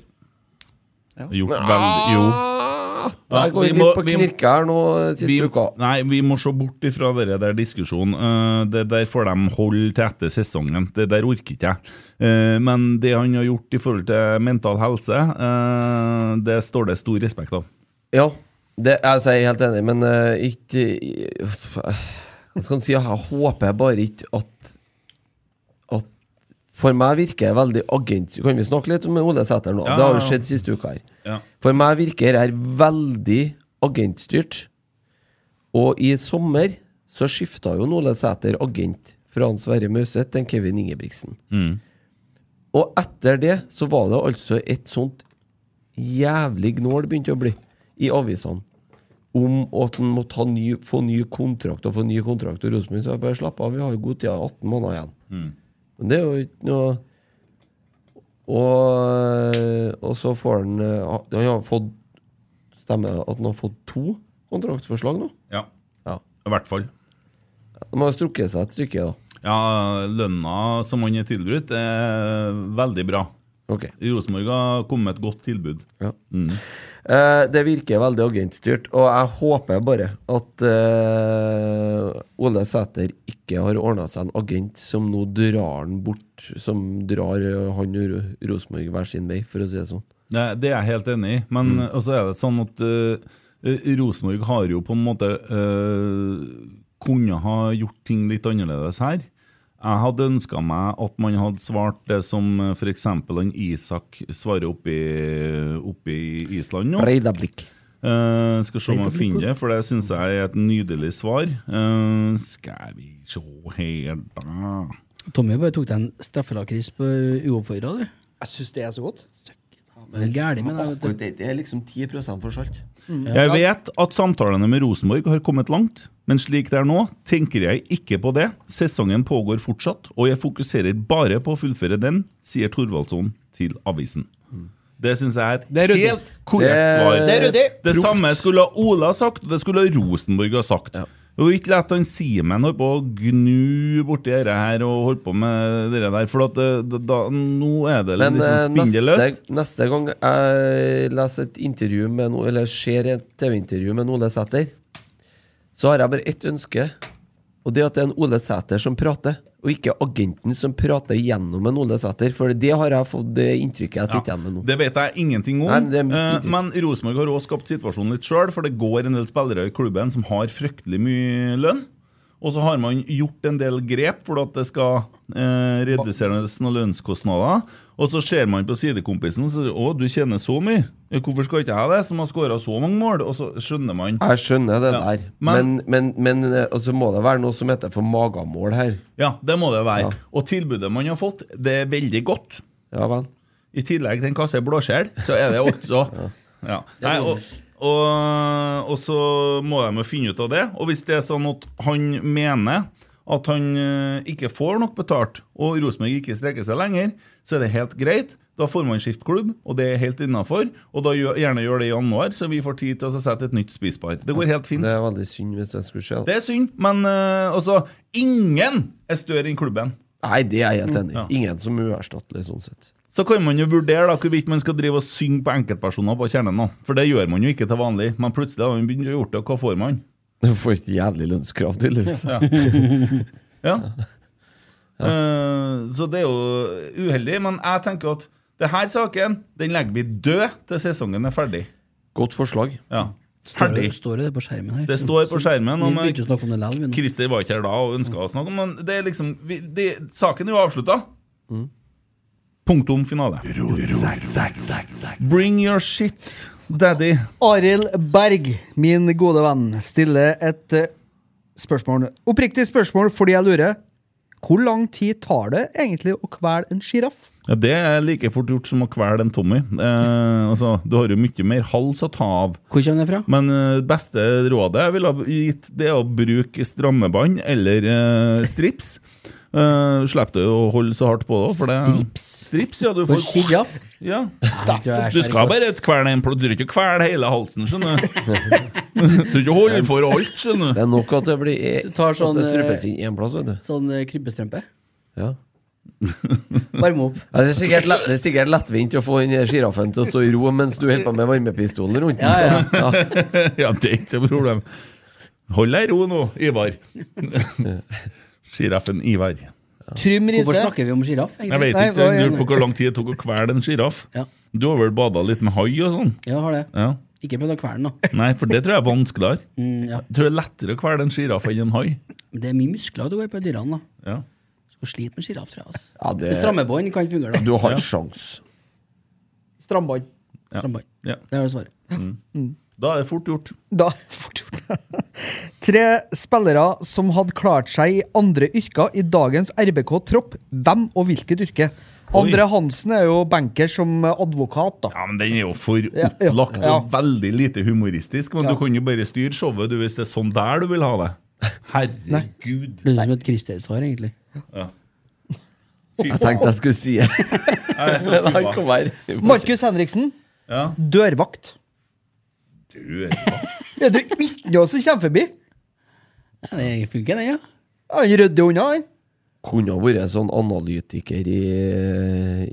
Gjort veldig Jo. Ja, jeg ah, går vi litt på vi knirke her nå, eh, siste vi, uka. Nei, vi må se bort ifra det der diskusjonen. Eh, det der får de holde til etter sesongen. Det der orker ikke jeg. Eh, men det han har gjort i forhold til mental helse, eh, det står det stor respekt av. Ja, det, altså, jeg er helt enig, men eh, ikke i- uff, eh, Hva skal man si? Jeg håper bare ikke at At For meg virker det veldig agent Kan vi snakke litt om Ole Sæter nå? Ja, det har ja, jo ja. skjedd siste uka her. Ja. For meg virker det her veldig agentstyrt. Og i sommer så skifta jo Nole Sæter agent fra han Sverre Mauseth til en Kevin Ingebrigtsen. Mm. Og etter det så var det altså et sånt jævlig gnål begynte å bli i avisene om at en måtte ha ny, få ny kontrakt og få ny kontrakt. Og Rosenborg sa bare slapp av, vi har jo god tid, 18 måneder igjen. Mm. Men det er jo ikke noe Og, og så får han eh, Han har fått Stemmer det at han har fått to kontraktsforslag nå? Ja. Ja. I hvert fall. De har strukket seg et stykke, da. Ja, lønna som han er tilbudt, er veldig bra. Okay. Rosenborg har kommet med et godt tilbud. Ja. Eh, det virker veldig agentstyrt, og jeg håper bare at eh, Ole Sæter ikke har ordna seg en agent som nå drar han bort, som drar eh, han og Ro- Rosenborg hver sin vei, for å si det sånn. Det, det er jeg helt enig i, men Mm. også er det sånn at eh, Rosenborg har jo på en måte eh, kunne ha gjort ting litt annerledes her. Jeg hadde ønska meg at man hadde svart det som f.eks. han Isak svarer oppe i, oppe i Island nå. Breidablikk. Eh, skal se om jeg Breidablikk, finner det, for det syns jeg er et nydelig svar. Eh, skal vi se her, da Tommy bare tok deg en straffelakris på uoppfordra, du. Jeg syns det er så godt. Det er gærlig med deg, vet du. Det er liksom 10 for salt. Jeg vet at samtalene med Rosenborg har kommet langt, men slik det er nå, tenker jeg ikke på det. Sesongen pågår fortsatt, og jeg fokuserer bare på å fullføre den, sier Thorvaldsson til avisen. Mm. Det syns jeg er et helt korrekt svar. Det er ryddig. Det Proft. samme skulle Ola ha sagt, og det skulle Rosenborg ha sagt. Og ikke lett han Simen holde på å gnu borti dette her og holde på med det der, for at eh, da, da, nå er det Men eh, liksom neste, spindelløst. neste gang jeg leser et intervju med no, Eller ser et TV-intervju med en Ole Sæter, så har jeg bare ett ønske. Og det er at det er en Ole Sæter som prater, og ikke agenten som prater gjennom en Ole Sæter. For det har jeg fått det inntrykket jeg sitter igjen med nå. Det vet jeg ingenting om. Nei, men det er mitt eh, inntrykk. men Rosenborg har også skapt situasjonen litt sjøl, for det går en del spillere i klubben som har fryktelig mye lønn. Og så har man gjort en del grep for at det skal eh, reduseres noen lønnskostnader. Og så ser man på sidekompisen og sier 'Å, du tjener så mye'. Ja, 'Hvorfor skal ikke jeg det, som har skåra så mange mål?' Og så skjønner man Jeg skjønner det Ja, der, men, men- men, men, eh, altså må det være noe som heter for magamål her. Ja, det må det være. Og tilbudet man har fått, det er veldig godt. Ja vel. I tillegg til en kasse blåskjell, så er det også ja. Nei, og, og, og så må de jo finne ut av det. Og hvis det er sånn at han mener at han eh, ikke får nok betalt, og Rosenborg ikke strekker seg lenger, så er det helt greit. Da får man skifte klubb, og det er helt innafor. Og da gjør, gjerne gjør det i januar, så vi får tid til å sette et nytt spisepar. Det går helt fint. Det er veldig synd hvis det skulle skje. da. Det er synd, men eh, altså Ingen er større enn klubben. Nei, det er jeg helt enig i. Ja. Ingen som er uerstattelig sånn sett. Så kan man jo vurdere da hvorvidt man skal drive og synge på enkeltpersoner på kjernen. nå. For det gjør man jo ikke til vanlig. Men plutselig har man begynt å gjøre det, og hva får man? Du får et jævlig lønnskrav, tydeligvis. Ja. ja. Eh, så det er jo uheldig. Men jeg tenker at det her saken den legger vi død til sesongen er ferdig. Godt forslag. Ja. Står Ferdig. det- Står det det på skjermen her? Det står på skjermen. Vi Og begynte å snakke om det likevel, vi nå. Christer var ikke her da og ønska å snakke om men det. Er liksom, vi, det saken er jo avslutta. Mm. Punktum finale. Bring your shit, daddy. Arild Berg, min gode venn, stiller et eh, spørsmål. Oppriktig spørsmål fordi jeg lurer. Hvor lang tid tar det egentlig å kvele en sjiraff? Ja, det er like fort gjort som å kvele en Tommy. Eh, altså, du har jo mye mer hals å ta av. Hvor kommer det fra? Men eh, beste rådet jeg ville ha gitt, det er å bruke strammebånd eller eh, strips. Uh, Slipper du å holde så hardt på det. For det strips? Strips, ja. Du For får sjiraff? Ja. Da- Du skal bare kvele en pl- Du trenger ikke kvele hele halsen, skjønner du. Du trenger ikke holde for alt, skjønner Det er nok at det blir e- Du tar sånn, at det strupes eh, inn i en plass, vet du. Sånn eh, krybbestrømpe? Ja. Varme opp. Ja, det, er sikkert lett, det er sikkert lettvint å få den der sjiraffen til å stå i ro mens du holder på med varmepistolen rundt den. Ja, så- ja. ja, det er ikke noe problem. Hold deg i ro nå, Ivar. Sjiraffen Ivar. Trym Riise. Hvorfor snakker vi om sjiraff? Jeg vet ikke, jeg lurer på hvor lang tid det tok å kvele en sjiraff. Ja. Du har vel bada litt med hai og sånn? Ja, har det. Ja. Ikke prøvd å kvele den, da. Nei, for det tror jeg er vanskeligere. Mm, ja. Jeg tror det er lettere å kvele en sjiraff enn en hai. Men Det er mye muskler du går på dyrene, Ja. da. Skal slite med sjiraff, tror jeg. Altså. Ja, det- Stramme bånd kan ikke fungere, da. Du har Ja. ikke sjans. Strambånd. Ja. Stramme bånd. Ja. Det er det svaret. Da er det fort gjort. Da fort gjort. Tre spillere som hadde klart seg i andre yrker i dagens RBK-tropp. Hvem og hvilket yrke? Andre Hansen er jo banker som advokat, da. Ja, men Den er jo for Ja, ja, opplagt ja. og veldig lite humoristisk. Men Ja. du kan jo bare styre showet du, hvis det er sånn der du vil ha det. Herregud. Det er som et kristersvar, egentlig. Ja. Jeg tenkte jeg skulle si det. Jeg er så skuffa. Men han kom her. Markus Henriksen. Dørvakt. Du er Er det ikke noe som kommer forbi? det funker, det, ja. Han rydder unna, han. Kunne ha vært sånn analytiker i,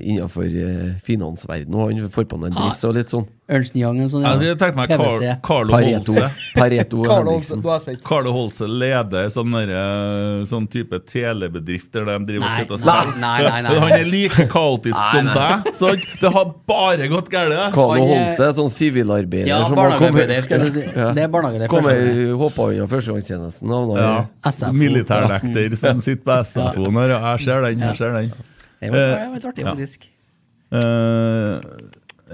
innenfor eh, finansverdenen. og Han får på seg en dress og litt sånn. Ernst Young og sånn. Jeg hadde tenkt meg Carl, PVC. Carlo Pareto. Holse. Pareto Carlo Holse, Henriksen. du Carlo Holse leder sånn, derre- sånn type telebedrift der de driver Nei, og sitter og nei, selger. nei, nei, nei. Han er like kaotisk Nei, som nei. deg. Så det har bare gått galt. Carlo Holse er sånn sivilarbeider Ja, som har kommet barnearbeider, skal jeg si. Det er barnearbeider, Kommer førstearbeider. hoppa unna førstegangstjenesten. havna i- Ja. Militærnekter som sitter på SFO-en her. Ja, Jeg ser den, jeg ser den. Det var- Eh, det var litt artig, ja. faktisk.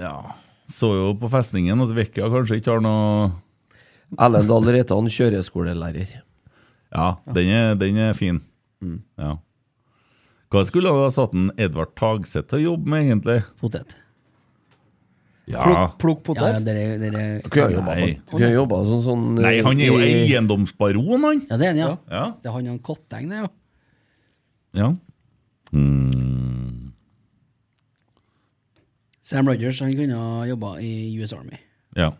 Eh, ja Så jo på festningen at Vekka kanskje ikke har noe Erlend Dahl Reitan, kjøreskolelærer. Ja, den er, den er fin. Mm. Ja. Hva skulle han ha satt en Edvard Tagseth til å jobbe med, egentlig? Potet. Ja. Plukk- plukk potet? Ja, ja, dere- dere- Kunne ha jobba Nei. på- kunne ha jobba sånn, sånn Nei, han er jo eh, i- eiendomsbaron, han. Ja, det er han, ja. Ja. Det er han og Kotteng, det, jo. Ja. Mm. Sam Rogers han kunne ha jobba i US Army. ja.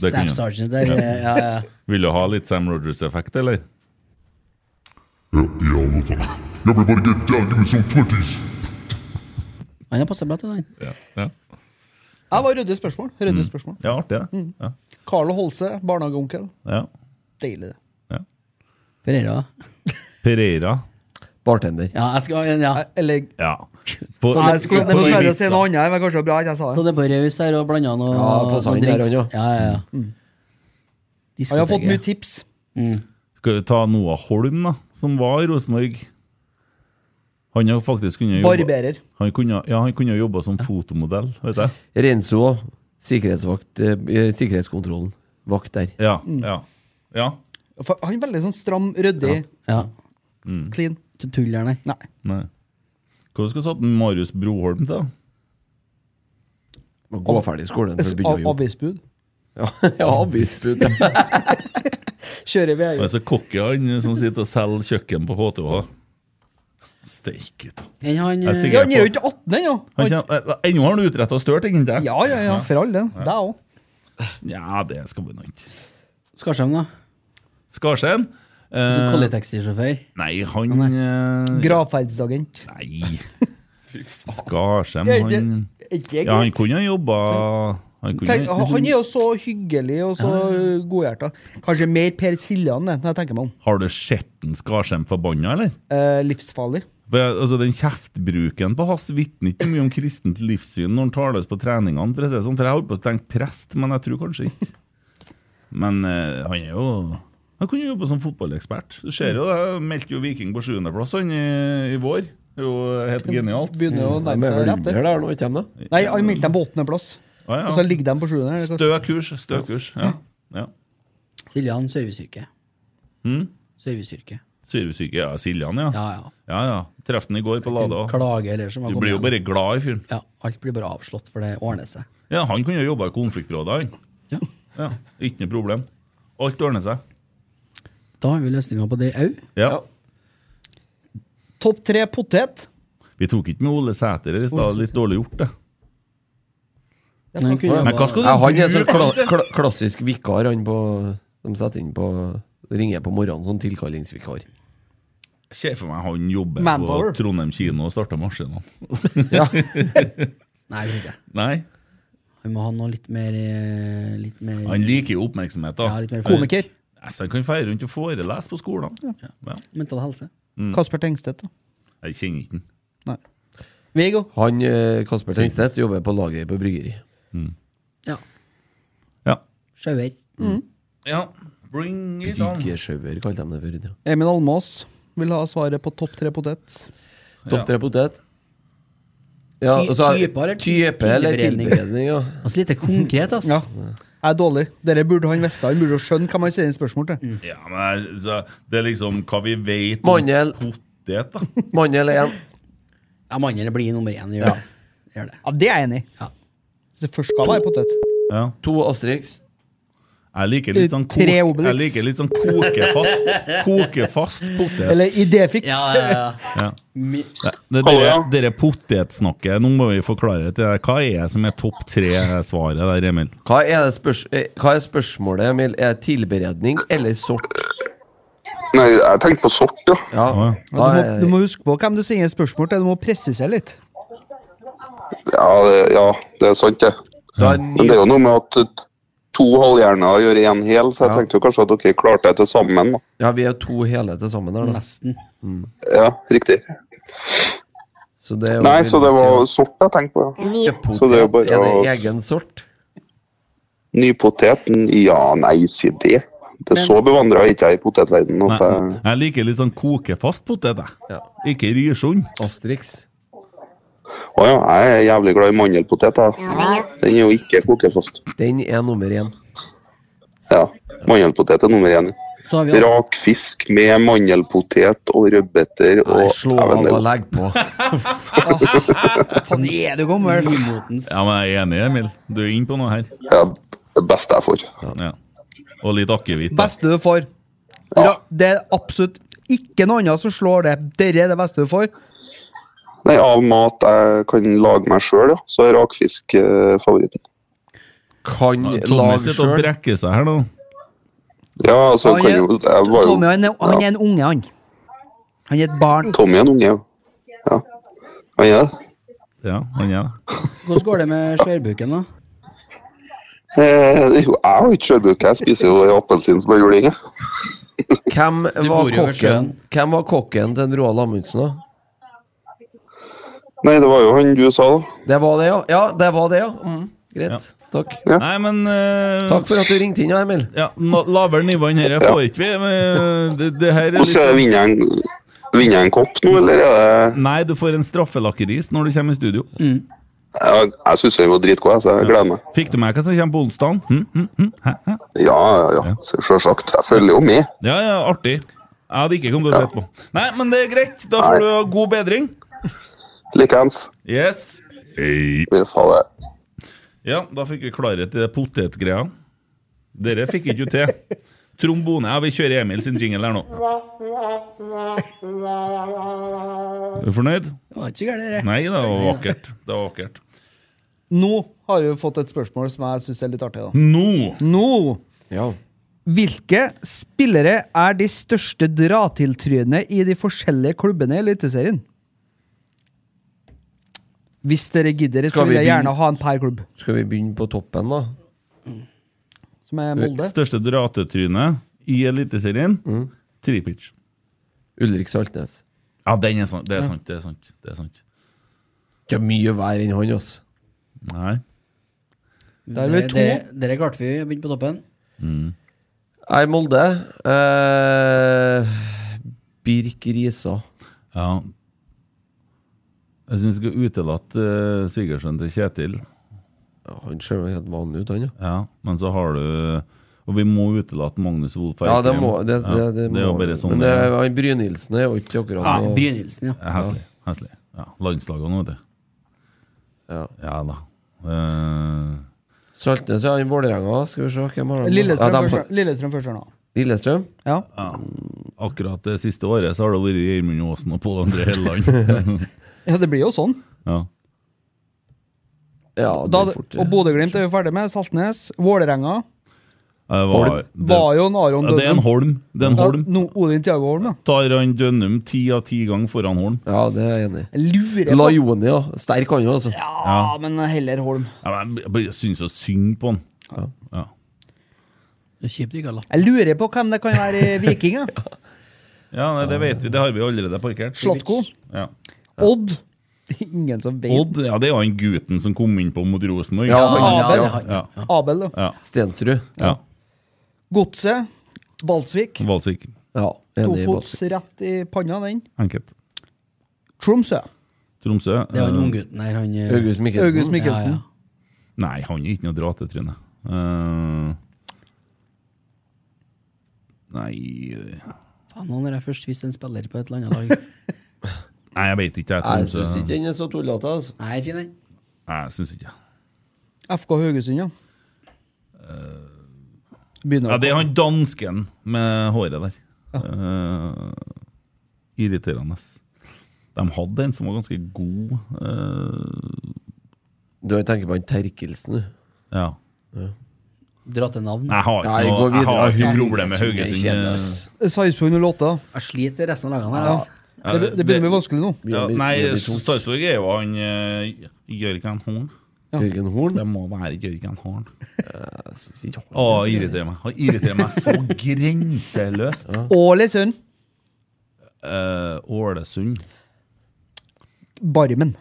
Det Staff kunne han. sergeant der, ja, ja. Vil du ha litt Sam Rogers-effekt, eller? Everybody get down, give me some 20s. Han har passa bra til den. Ja. Ja. Jeg var ryddig spørsmål. Ryddig Mm. spørsmål. Ja, artig, det. Mm. Ja. Carlo Holse, barnehageonkel. Ja. Deilig, det. Pereira. Pereira. Bartender. Ja, jeg skal, ja. Eller Ja. På- Sånn Faen, jeg skulle på- på dessverre Ibiza. si noe annet, her, men kanskje det var bra at jeg sa Så det. det er på raus her og blanda noe Ja, passet noe han der, han, driks. ja. Ja, ja, ja. Jeg har fått Diskoteket. mye tips. Skal vi ta Noah Holm, da, som var i Rosenborg? Han har faktisk kunnet jobbe Barberer. Han kunne, ja, han kunne jobba som fotomodell, vet jeg. Renso, sikkerhetsvakt, eh, sikkerhetskontrollen. Vakt der. Ja, Mm. ja. ja. For Han er veldig sånn stram, ryddig, Ja. Mm. clean. Ikke tull der, nei. Nei. Hva skal du satt en Marius Broholm til? Må Gå ferdig skolen før du begynner å jobbe. Avisbud. Ja, ja avisbud. Kjører vi Han er så cocky, han eh, som sitter og selger kjøkken på HTH. Steike ta. Men han, Jeg er sikker Ja, han er jo på- ikke 18 ennå! Han kjem- eh, Ennå har han utretta større ting enn deg. Ja, ja, ja, for all del. Deg òg. Ja, det skal vi nå ikke. Skarsheim, da? Skarsheim? Som eh, Kolletaxisjåfør? nei, han eh, Gravferdsagent. Nei. Skarsheim, Ja, det- han ikke jeg Ja, han vet. kunne ha jobba Han kunne Tenk, han han er jo så hyggelig og så uh, godhjerta. Kanskje mer Per Siljan, det, når jeg tenker meg om. Har du sett en Skarsheim forbanna, eller? Eh, livsfarlig. For, jeg- altså, Den kjeftbruken på hans vitner ikke mye om kristent livssyn når han tales på treningene. For å si det sånn, for jeg holdt på å tenke prest, men jeg tror kanskje ikke. Men eh, han er jo Han kunne jo jobbe som fotballekspert. Du ser jo det, meldte jo Viking på sjuendeplass han i, i vår. Det er jo helt genialt. Begynner Mm, å nærme seg rett. det. Nei, han meldte dem på åttendeplass. Ja, ja. Og så ligger de på sjuende. eller hva? Stø kurs, stø kurs. Ja. ja. Siljan, serviceyrke. Mm. Serviceyrke. Syresyke, ja. Siljan, ja. Ja, ja. ja, ja. Treff den i går på Lade òg. Klage eller som har Du kommet blir jo igjen. bare glad i fyren. Ja, alt blir bare avslått, for det ordner seg. Ja, han kunne jo jobba i konfliktrådet, han. Ja. Ikke noe problem. Alt ordner seg. Da har vi løsninga på det òg. Ja. Topp tre potet. Vi tok ikke med Ole Sæter her i Ole stad. Sæter. Litt dårlig gjort, det. Men han kunne jobba- Ja, ja, han er sånn kla kla klassisk vikar, han på De setter inn på Ringer på morgenen, sånn tilkallingsvikar. Jeg ser for meg han jobber Manpower. på Trondheim kino og starter maskinene. Nei, det tror ikke jeg. Nei, Vi må ha noe litt mer, eh, litt mer han liker jo oppmerksomhet, da. Ja, litt mer Komiker. Ja, så han kan feire rundt og forelese på skolen. Ja. mental helse. Mm. Kasper Tengstedt. da. Jeg kjenner ikke han. Viggo. Han eh, Kasper Tengstedt jobber på laget på bryggeri. Sjauer. Mm. Ja, bring it on. Byggesjauer, kalte de det før i tida. Emil Almås vil ha svaret på topp tre potet. Topp tre potet. Ja, Ty- og så er- typer eller ty- type eller tilberedning? tilberedning, ja. Altså litt konkret, ass. Ja. Jeg er dårlig. Dere burde han visst. Han burde jo skjønne hva man stiller spørsmål til. Ja, men jeg- så, Det er liksom hva vi vet om Mandel. potet, da. Mandel er én. Ja, mandel blir nummer én. Gjør det. Gjør det. Ja, det er jeg enig i. Hvis det først skal være potet. Ja. To Asterix. Jeg liker litt sånn, Tre kok- Obelix. jeg liker litt sånn kokefast Kokefast potet. Eller idéfiks. Ja, ja, ja. Ja. Mi- Nei, Det dere, dere potetsnakket, nå må vi forklare til deg. Hva er det som er topp tre-svaret der, Emil? Hva er, det spørs eh, hva er spørsmålet, Emil? Er det tilberedning eller sort? Nei, jeg tenkte på sort, ja. Ja, Ja, du, må, Eh, du må huske på hvem du sender spørsmål til. Du må presisere litt. Ja, det, ja, det er sant, det. Men det er jo noe med at eh, to halvhjerner gjør én hel, så jeg tenkte jo kanskje at dere klarte det til sammen. da. Ja, vi er to hele til sammen her, da. Nesten. Mm. Ja, riktig. Så det er jo Nei, veldig så det var siden. sort jeg tenkte på. Er ja. potet Så det er jo er bare det å egen sort? Nypoteten? Ja, nei, si det. Det er så bevandra ikke jeg i potetverdenen at jeg Jeg liker litt sånn kokefast potet, jeg. Ikke Ryrsund. Asterix. Å ja, jeg er jævlig glad i mandelpotet. jeg. Den er jo ikke kokefast. Den er nummer én. Ja. Mandelpotet er nummer én. Så har vi også- Rak fisk med mandelpotet og rødbeter og slå Jeg vet av det. og legg på. Faen, er du gammel? Ja, men jeg er enig, Emil. Du er inne på noe her. Ja, det beste jeg får. Ja. Og litt akevitt. da. Beste du får. Ja. Det er absolutt ikke noe annet som slår det. Dere er det beste du får. Nei, av mat jeg kan lage meg sjøl, ja. Så er rakfisk eh, favoritten. Kan Tommy sitter og brekker seg her nå. Ja, altså Han kan er- jo Jeg var jo Tommy han er, han er en unge, han. Han er et barn. Tommy er en unge, ja. ja. Han er det. Ja, han er det. Hvordan går det med skjørbuken, da? Eh, jo, jeg har jo ikke skjørbuk. Jeg spiser jo en appelsin som en juling, jeg. Hvem var bor jo ved kokken, hvem var kokken til Roald Amundsen, da? Nei, det var jo han du sa, da. Det var det, ja. Ja, det var det, ja. Mm, greit. Takk. Nei, men eh, Takk for at du ringte inn, ja, Emil. Ja, nå- Lavere nivå enn dette får ikke vi. men Det, det her er litt Hvordan er det? sånn- Vinner jeg en- vinner jeg en kopp nå, eller er det Nei, du får en straffelakkeris når du kommer i studio. Jeg, jeg syns den var dritgod, jeg, så jeg gleder meg. Fikk du med hva som kommer på onsdag? Hm? Hm? Hm? Hæ? Hæ? Ja, ja, ja. Sjølsagt. Jeg følger jo med. Ja, ja, artig. Jeg hadde ikke kommet til å sette på. Nei, men det er greit. Da får du ha god bedring. Likeens. Yes. Vi sa det. Ja, da fikk vi klarhet i det potetgreia. Dere fikk ikke til. Trombone. Ja, vi kjører Emil sin jingle her nå. Er du fornøyd? Det var ikke gærent, det. Nei, det var vakkert. Det var vakkert. Nå har vi fått et spørsmål som jeg syns er litt artig. da. Nå! Hvilke spillere er de største dratiltrydene i de forskjellige klubbene i Eliteserien? Hvis dere gidder, så Skal vi vil jeg begynne? gjerne ha en per klubb. Skal vi begynne på toppen, da? Som er Molde. Største dratetryne i Eliteserien? Tripic. Mm. Ulrik Saltnes. Ja, den er sant. Det Ja. er sant. Det er sant. Det er sant. Det er mye verre enn han, altså. Nei. Der er vi Dere- to. Dere dere klarte vi å begynne på toppen. Jeg er Molde. Eh, Birk Risa. Ja. Jeg syns vi skal utelate uh, svigersønnen til Kjetil. Han ser jo helt vanlig ut, han, ja. Ja, men så har du Og vi må utelate Magnus Wolff Ja, det må det, Ja, det, det, er jo må- bare sånn Men det, det er. han Brynildsen er jo ikke akkurat Ja, noe- Brynildsen, ja. Ja, Heslig. heslig. Ja, Landslagene, vet du. Ja. da. Eh, Saltnes ja, i Vålerenga. Skal vi se hvem har de? Lillestrøm ja, de- først- Lillestrøm først her nå. Lillestrøm? Ja. akkurat det siste året så har det vært Gjermund Aasen og Pål André Helleland. Ja, det blir jo sånn. ja. Ja, Da, og Bodø-Glimt er vi ferdig med. Saltnes. Vålerenga. Det Eh, var, Holm. Var jo en Aron Ja, det er en Dønnum. Holm. Det er en Holm. Ja, no, Odin Tiago Holm, da. Tar han Dønnum ti av ti ganger foran Holm? Ja, det er jeg enig i. Lurer på Lajoni, ja. Sterk han jo, altså. Ja, men heller Holm. men jeg jeg syns jo synd på han. Ja. Det er kjipt ikke har latt Jeg lurer på hvem det kan være i Viking. ja. Ja, nei, det vet vi. Det har vi allerede parkert. Slatko. Ja. Odd. Ingen som vet. Odd, ja, det er jo han gutten som kom inn på mot Rosenborg. Ja, Abel. ja. Abel, da. Ja. Stensrud. Ja. Godset. Valsvik. Valsvik. Ja, Tofots rett i panna, den. Enkelt. Tromsø. Tromsø. Det er han eh, unggutten her, han eh, August Mikkelsen. August Mikkelsen. Ja, ja. Nei, han er ikke noe dratetryne. Eh, nei eh, Faen, nå når jeg først visste en spiller på et eller annet lag. Nei, jeg vet ikke. Jeg, Nei, tror jeg synes ikke den er så tullete. Altså. Nei, fin den. Nei, jeg synes ikke. FK Haugesund, ja. Ja, det er han dansken med håret der. Eh, irriterende. De hadde en som var ganske god. eh, Du tenker på han Terkelsen, du. Ja. Dra til navn. Jeg har ikke Nei, noe- gå jeg har videre. ikke problem med eh, Haugesund. Det er kjedelig, ass. Sarpsborg 08. Jeg sliter resten av lagene her. Ja. Altså. Ja, Det, det begynner å bli vanskelig nå. Ja, nei, Sarpsborg er jo han eh, Jørgen Horn. Ja. Jørgen Horn? Det må være Jørgen Horn. Å, Horn er så- irriterer meg. Han irriterer meg så grenseløst. Ålesund. Eh, Ålesund Barmen.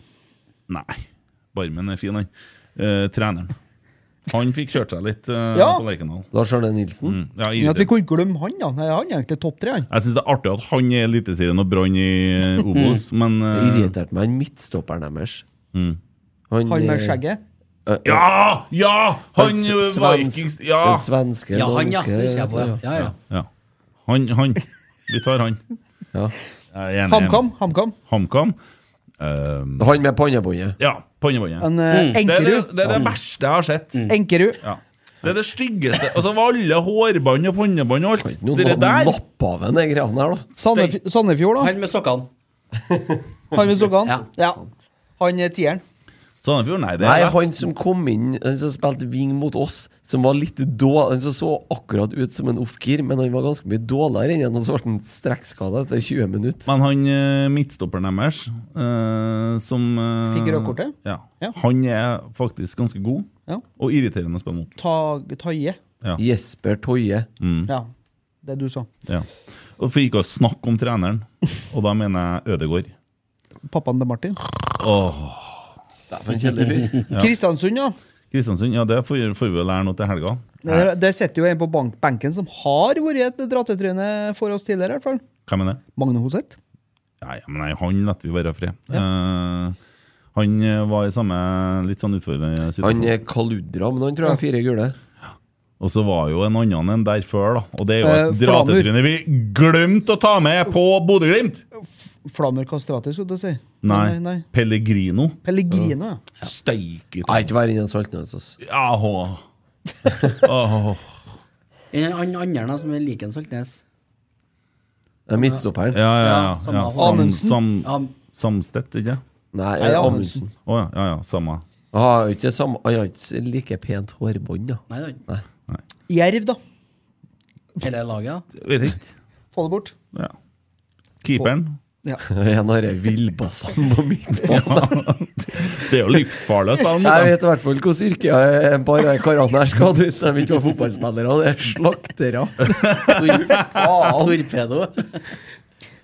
Nei. Barmen er fin, han. Eh, treneren. Han fikk kjørt seg litt eh, Ja. på Lerkendal. Lars Arne Nilsen? Mm. Ja, Men at vi irriterer. kunne glemme han, ja. Nei, Han er egentlig topp tre, han. Jeg syns det er artig at han er i Eliteserien og Brann i eh, Obos, men Det eh, irriterte meg han midtstopperen deres. Mm. Han med eh, skjegget? eh, Ja! Ja! Han, s- eh, svensk- Vikings- ja. den svenske Ja, han, ja. danske- Husker jeg på, ja. Ja, ja. Ja. Han, han. Vi tar han. Jeg er enig. HamKam. HamKam. HamKam. Ehm, Han med pannebåndet. ja, pannebåndet. En, eh, Mm. Det er det, Enkerud. det er det verste jeg har sett. Mm. Enkerud. Ja. Det er det styggeste. Altså, var alle hårbånd og pannebånd og alt Nå det der nappa av en de greiene her, da. Sandef Sandefjord, da. Han med sokkene. Han med sokkene? Ja. Han er tieren. Sandefjord, nei, det Nei, er rett. han som kom inn, han som spilte wing mot oss, som var litt dårlig Han som så akkurat ut som en ofkir, men han var ganske mye dårligere enn han som ble en strekkskade etter 20 minutter. Men han eh, midtstopperen deres, eh, som eh, Fikk rødt kortet? Ja. Ja. Han er faktisk ganske god, Ja. og irriterende å spille mot. Ta- Taie. Ja. Jesper Toje. Mm. Ja. Det du sa. Ja. Og for ikke å snakke om treneren, og da mener jeg Ødegård. Pappaen til Martin. Åh. Dæven, kjedelig fyr. Ja. Kristiansund, ja. Kristiansund, ja, det får, får vi vel lære nå til helga. Der, der sitter jo en på bank benken som har vært et drattetryne for oss tidligere, i hvert fall. Hvem er det? Magne Hoseth. Nei, ja, men nei, han lar vi være fri. Eh, han eh, var i samme litt sånn utfordrende Han situasjon. er kaludra, men han tror jeg har fire gule. Og så var jo en annen enn der før, da. Og det er jo et Eh, Flamur. dratetryne vi glemte å ta med på Bodø-Glimt! Flammer Kastrati, skulle jeg til å si. Nei. Pellegrino. Pellegrino, ja. Steike Nei, ikke vær inne i Saltnes, altså. Ja, hå. Åh. En- Han andre da, som er lik en Saltnes. Det er midtstopperen. Ja, ja, ja. Ja, samme ja. avstand. Sam, Amundsen. sam, Am- samstedt, ikke Nei, Nei, Amundsen. Amundsen. Å ja, ja, ja, samme. Han har jo ikke samme Han har ikke like pent hårbånd, da. Nei, det Nei. Jerv, da. Hele laget. ja. Vet ikke. Få det bort. Ja. Keeperen. Ja. En av de villbassene på midtbanen. Det er jo livsfarlig å spille mot Jeg dem. vet i hvert fall hvordan yrket er et par av karene her skal ut, så de ikke var fotballspillere, det er slaktere. Faen! Torpedo.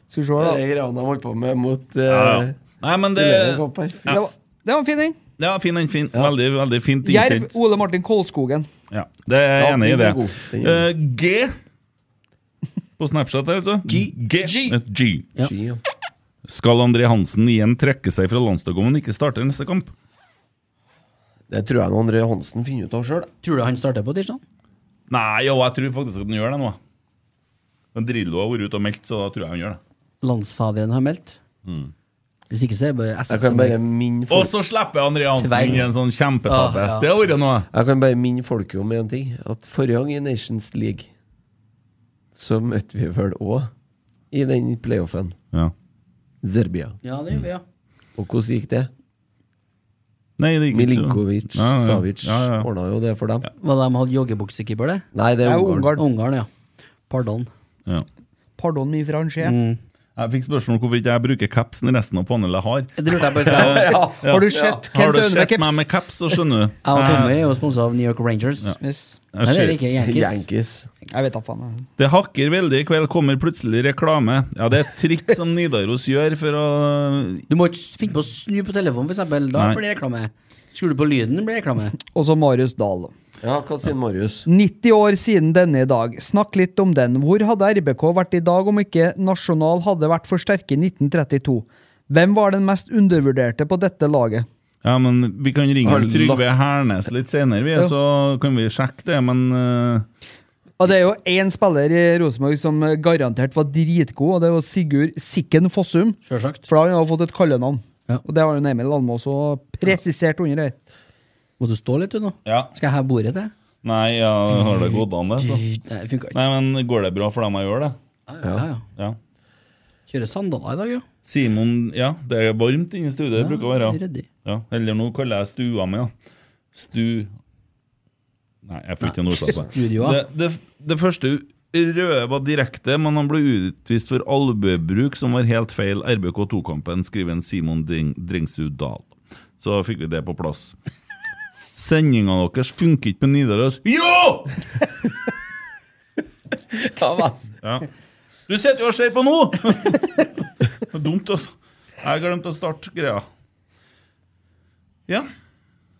Skal vi se, Det da. er de greiene de holdt på med mot eh, Ja, ja. Nei, men det tidligere kamper. Det var, det var en fin en. Ja, fin, en fin. Veldig, veldig fint Jerv, innsett. Ole Martin Kolskogen. Ja, det er jeg Ja, enig i den det. er god. Den er Eh, G på Snapchat der, vet du. G. Et G. Ski, ja. Skal André Hansen igjen trekke seg fra landslaget om han ikke starter neste kamp? Det tror jeg André Hansen finner ut av sjøl. Tror du han starter på tirsdag? Nei, jo, jeg tror faktisk at han gjør det nå. Men Drillo har vært ute og meldt, så da tror jeg han gjør det. Landsfaderen har meldt. Hvis ikke så er det bare SF Mm. Jeg kan som er bare minne Og folk så slipper André Hansen Tvei. inn i en sånn kjempetabbe. Ah, ja. Det har vært noe. Jeg kan bare minne folket om én ting. At forrige gang i Nations League så møtte vi vel òg i den playoffen Ja. Serbia. Ja, det gjør vi, ja. Og hvordan gikk det? Nei, det gikk ikke så- Milinkovic, Ja, ja, Savic ja, ja. ordna jo det for dem. Hva de hadde joggebuksekeeper, det? Nei, Det det er er Ungarn. Ungarn. Ungarn, ja. Pardon. Ja. Pardon, mi franché. Jeg fikk spørsmål om hvorfor ikke jeg bruker capsen resten av panelet har. Det lurte jeg på i sted. Har du sett Har Kent du Aune med sett meg med caps? caps, så skjønner du. Jeg og Tommy er jo sponset av New York Rangers. Yes. Jeg Nei, det er ser- det ikke. Yankees. Yankees. Jeg vet da faen. jeg. Det hakker veldig i kveld, kommer plutselig reklame. Ja, det er et trikk som Nidaros gjør for å Du må ikke finne på å snu på telefonen, for eksempel. Da Nei. blir det reklame. Skrur du på lyden, blir det reklame. Og så Marius Dahl. Ja, hva sier Marius? 90 år siden denne i dag. Snakk litt om den. Hvor hadde RBK vært i dag om ikke Nasjonal hadde vært for sterke i 1932? Hvem var den mest undervurderte på dette laget? Ja, men vi kan ringe Har jo Trygve lagt- Hernes litt senere, vi, Ja. så kan vi sjekke det, men eh, Og det er jo én spiller i Rosenborg som garantert var dritgod, og det var Sigurd Sikken Fossum. Selvsagt. For han har fått et kallenavn. Og det har jo Emil Alme også presisert under her. Må du stå litt, du, nå? Ja. Skal jeg heve bordet til? Nei, ja, har det gått an, det? Så. Nei, det funker ikke. Nei, men går det bra for dem jeg gjør det? Ja, ja. Ja. Kjører sandaler i dag, ja. Simon, ja, det er varmt inne i studiet, det Ja, bruker å være. jeg er redd i. Ja, eller nå kaller jeg stua mi, da. Stu... Nei, jeg får ikke en ordtak på det. Studioa. det. Det, det første røde var direkte, men han ble utvist for albuebruk, som var helt feil RBK2-kampen, skriver en Simon Dring, Drengsrud Dahl. Så fikk vi det på plass. Sendinga deres funker ikke på Nidaros. Jo! Ja. Du sitter jo og ser på nå! Det er Dumt, altså. Jeg glemte å starte greia. Ja.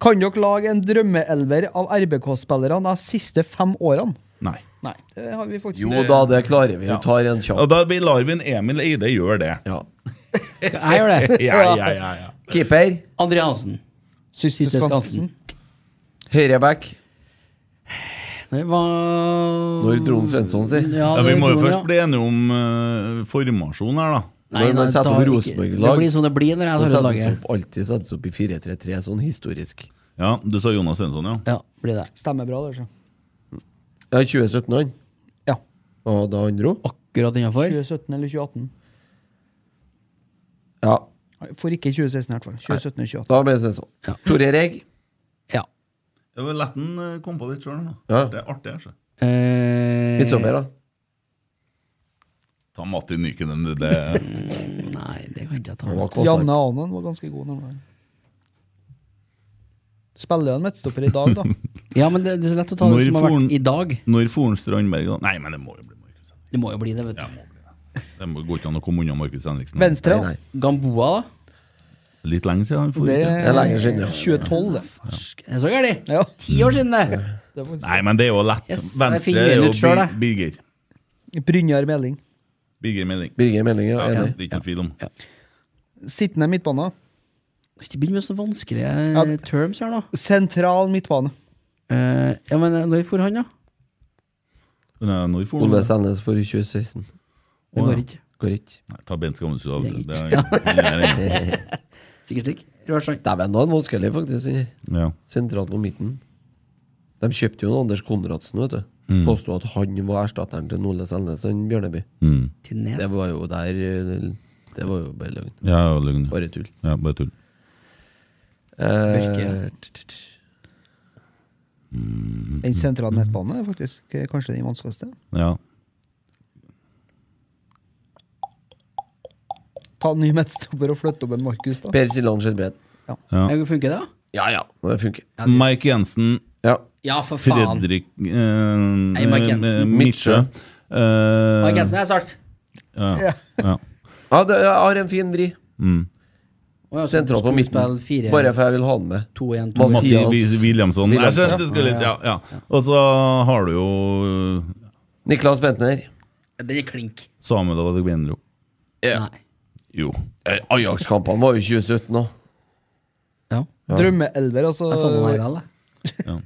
Kan dere lage en drømmeelver av RBK-spillerne de siste fem årene? Nei. Nei, det har vi faktisk Jo da, det klarer vi. Vi tar en kjapp. Og da blir- lar vi en Emil Eide gjøre det. Ja. Jeg gjør det. ja, ja, ja, ja. Keeper. André Hansen. Siste Skansen. Høyreback. Nei, hva Når dro han Svensson, si? Ja, Ja, vi det må jo dro han, først bli enige om eh, formasjon her, da. Nei, nei, da- Det blir som Sånn det blir når jeg tar ut laget. Alltid settes opp i 4-3-3, sånn historisk. Ja, Du sa Jonas Svensson, ja? Ja, blir det. Stemmer bra, det. så. Ja, 2017, han. Ja. Og da han dro? Akkurat innafor. 2017 eller 2018. Ja. For ikke 2016, i hvert fall. 2017 og 2018. Da ble det Svensson. Tor Erik. Det var lett han eh, kom på litt sjøl. Ja. Det er artig. altså. Eh, Midtstopper, da. Ta Matti Nykenen, du. Det Nei, det kan ikke jeg ta. Han var Janne kvassarm. Anen var ganske god. når han var- Spiller jo en midtstopper i dag, da. Ja, men det, det er så lett å ta det som har vært i dag. Når Foren Strandberg da? Nei, men det må jo bli Markus Henriksen. Det må jo bli det, vet du. Det må- går ikke an å komme unna Markus Henriksen. Venstre, da. Gamboa, da? Litt lenge siden. han får Det ikke. er lenge siden, ja. 2012, det. Er det så gærent? Ja. Ti år siden, det! Nei, men det er jo lett. Yes, jeg Venstre finner er den jo ut selv, Bir- jeg. Birger. Brynjar Meling. Birger Meling. Birger Meling, ja. Ja, det er Enig. ikke noe tvil om. Sittende midtbane. Kan ikke begynne med sånne vanskelige eh, terms her, da. Sentral midtbane. Eh, ja, men eh, når for han, da? Nei, eh, Når Foren Ole Sandnes for Det 2016. Å, ja. går ikke. Går ikke. Nei, Ta Bent Skammelsrud av. Det er Det ikke- er- Sikkert ikke. Rørstrand. Dæven, da er han vanskelig, faktisk. den her. Ja. Sentralt på midten. De kjøpte jo en Anders Konradsen, vet du. Mm. Påstod at han var erstatteren til Ole Sandnes og en Bjørneby. Mm. Til Nes. Det var jo der eh, Det var jo bare løgn. Ja, løgn. Bare tull. Ja, bare tull. Eh, Bjørke. t- t- t- Den sentrale midtbanen er faktisk eh, kanskje den vanskeligste. Ja. Ta en ny midtstopper og flytte opp en Markus, da. per Siljan Skjelbred. Ja. Ja, Funker det, da? Ja ja, det funker. Mike Jensen, Ja. Ja, for faen! Fredrik eh, Nei, Mike Jensen. eh, Midtsjø. Eh, Mark Jensen er sart. ja, ja. ja det, jeg har en fin vri. Mm. Å, ja, så Sentralt på skulle midten. spille Fire, Mm. Bare for jeg vil ha den med. to, en, to. Mathias. Matti Wi- Williamson. Jeg Williamson, skjønte det skulle litt, ja, ja. Og så har du jo eh, Niklas Bentner. Den er klink. Samuel Adegbenro. Nei. Jo. Eh, Ajax-kampene var jo i 2017 òg. Ja. Drømmeelver, Jeg sa noen her, altså. eller?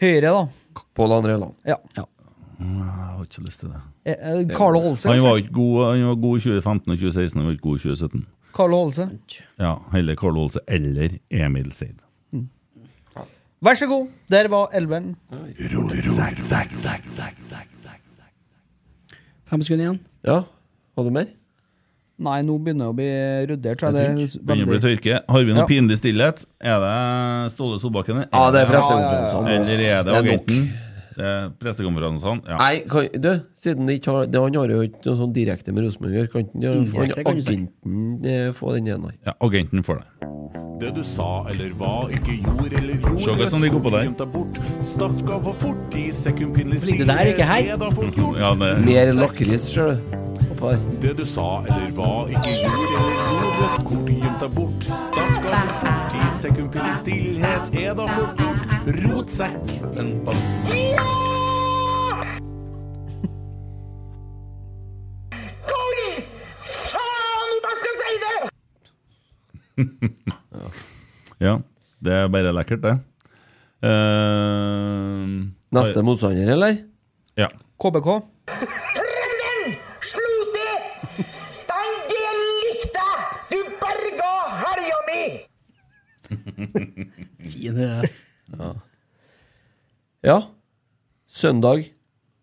Høyre, da. Pål André Land. Ja. Jeg har ikke lyst til det. Eh, eh, Carlo Holse. Han var kanskje? ikke god Han var god i 2015 og 2016, han var ikke god i 2017. Carlo Holse. Ja, Heller Karl Olse eller Emil Seid. Vær så god. Der var elveren. Fem sekunder igjen. Ja, har du mer? Nei, nå begynner det å bli ruddert. så er det Begynner å bli veldig- tørke. Har vi noe Ja. pinlig stillhet? Er det Ståle Solbakken? Ja, det er Ja, pressekonferansen. Eller er det Det er nok. Ågerten? Det er Pressekonferansene? Ja. Nei, kan, du, siden det ikke har, det, han har jo ikke noe sånn direkte med Rosenborg å gjøre, kan ikke han- Indirekte, han kan du si. agenten eh, få den igjen? Nei. ja, Agenten får det. Det du sa eller hva, ikke gjorde eller gjorde. Se hva som ligger oppå der. Gjemt deg bort. Snakka for fort i sekundpinnelig Ligger det der, ikke her? Det da fort gjort. Ja, det Mer lakris, ser du. Oppå der. Det du sa eller hva, ikke gjorde eller gjorde. Kort gjemt deg bort. Snakka for fort i sekundpinnelig stillhet. Er da fort gjort. Rotsekk. En ball. Ja, det er bare lekkert, det. Eh, Neste motstander, eller? Ja. KBK. Trønderen slo til! Den delen likte jeg! Du berga helga mi! Fin ass. Ja. ja. Søndag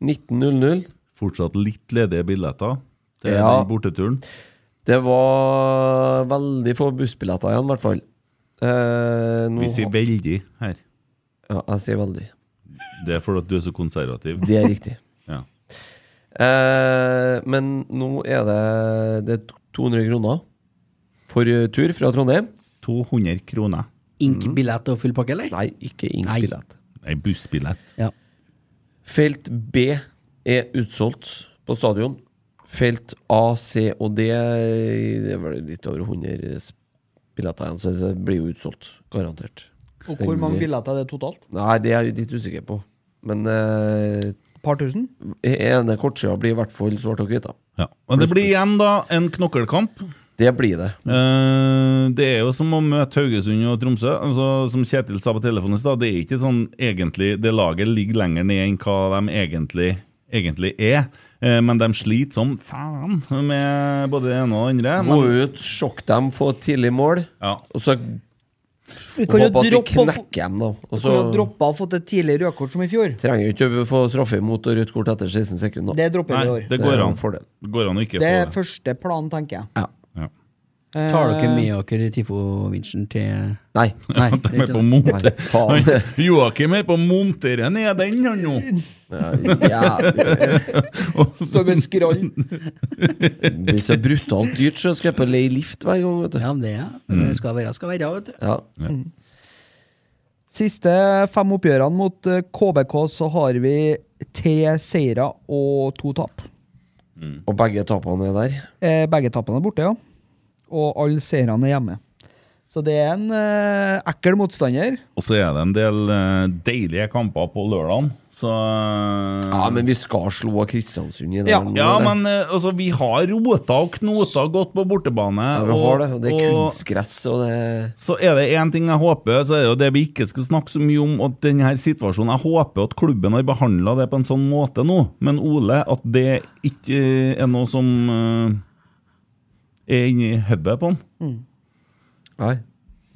19.00. Fortsatt litt ledige billetter til Ja. den borteturen. Det var veldig få bussbilletter igjen, i hvert fall. Eh, nå Vi sier har- veldig her. Ja, jeg sier veldig. Det er fordi at du er så konservativ. Det er riktig. Ja. Eh, men nå er det, det er 200 kroner for eh, tur fra Trondheim. 200 kroner. Ink-billett og full pakke, eller? Mm. Nei, ikke ink-billett. Ei bussbillett. Ja. Felt B er utsolgt på stadion. Felt A, C og D Det er vel litt over 100 billetter igjen, så det blir jo utsolgt. Garantert. Og hvor mange billetter er det totalt? Nei, det er jeg litt usikker på. Men eh, Par tusen? ene kortsida blir i hvert fall svart og hvit, da. Men det blir igjen da en knokkelkamp. Det blir det. Eh, det er jo som å møte Haugesund og Tromsø. Altså, som Kjetil sa på telefonen i stad, det er ikke sånn egentlig Det laget ligger lenger ned enn hva de egentlig, egentlig er. Eh, men de sliter som faen med både det ene og det andre. Gå Men, ut, sjokk dem, få et tidlig mål, og så Vi kan jo håpe at vi droppe å få- knekker dem, da. Og Du kunne jo så droppa og fått et tidlig rødkort som i fjor. trenger jo ikke å få straffe imot og rødt kort etter 16 sekunder. Det dropper vi i år. det går er an. en fordel. Det går an å ikke Det få er første planen, tenker jeg. Eh, Tar dere med dere Tifo-vinsjen til Nei. Nei De er på monte. Han- Joakim er på å montere ned den her nå. Står med skrall. Det blir så brutalt dyrt, så skal jeg på lei lift hver gang, vet du. Ja, men det er Men det skal være, skal være, vet du. Mm. Ja. Mm. Siste fem oppgjørene mot eh, KBK, så har vi tre seire og to tap. Og begge tapene er der. Eh, Begge tapene er borte, ja. Og alle seirene er hjemme. Så det er en eh, ekkel motstander. Og så er det en del eh, deilige kamper på lørdagen, så Ja, men vi skal slå Kristiansund i den. Ja, men eh, altså, vi har rota og knota godt på bortebane. ja, vi har det, og det er kunstgress og det Så er det én ting jeg håper, så er det jo det vi ikke skal snakke så mye om, at denne her situasjonen Jeg håper at klubben har behandla det på en sånn måte nå, men Ole, at det ikke er noe som eh, er inni hodet på han. Mm. Nei.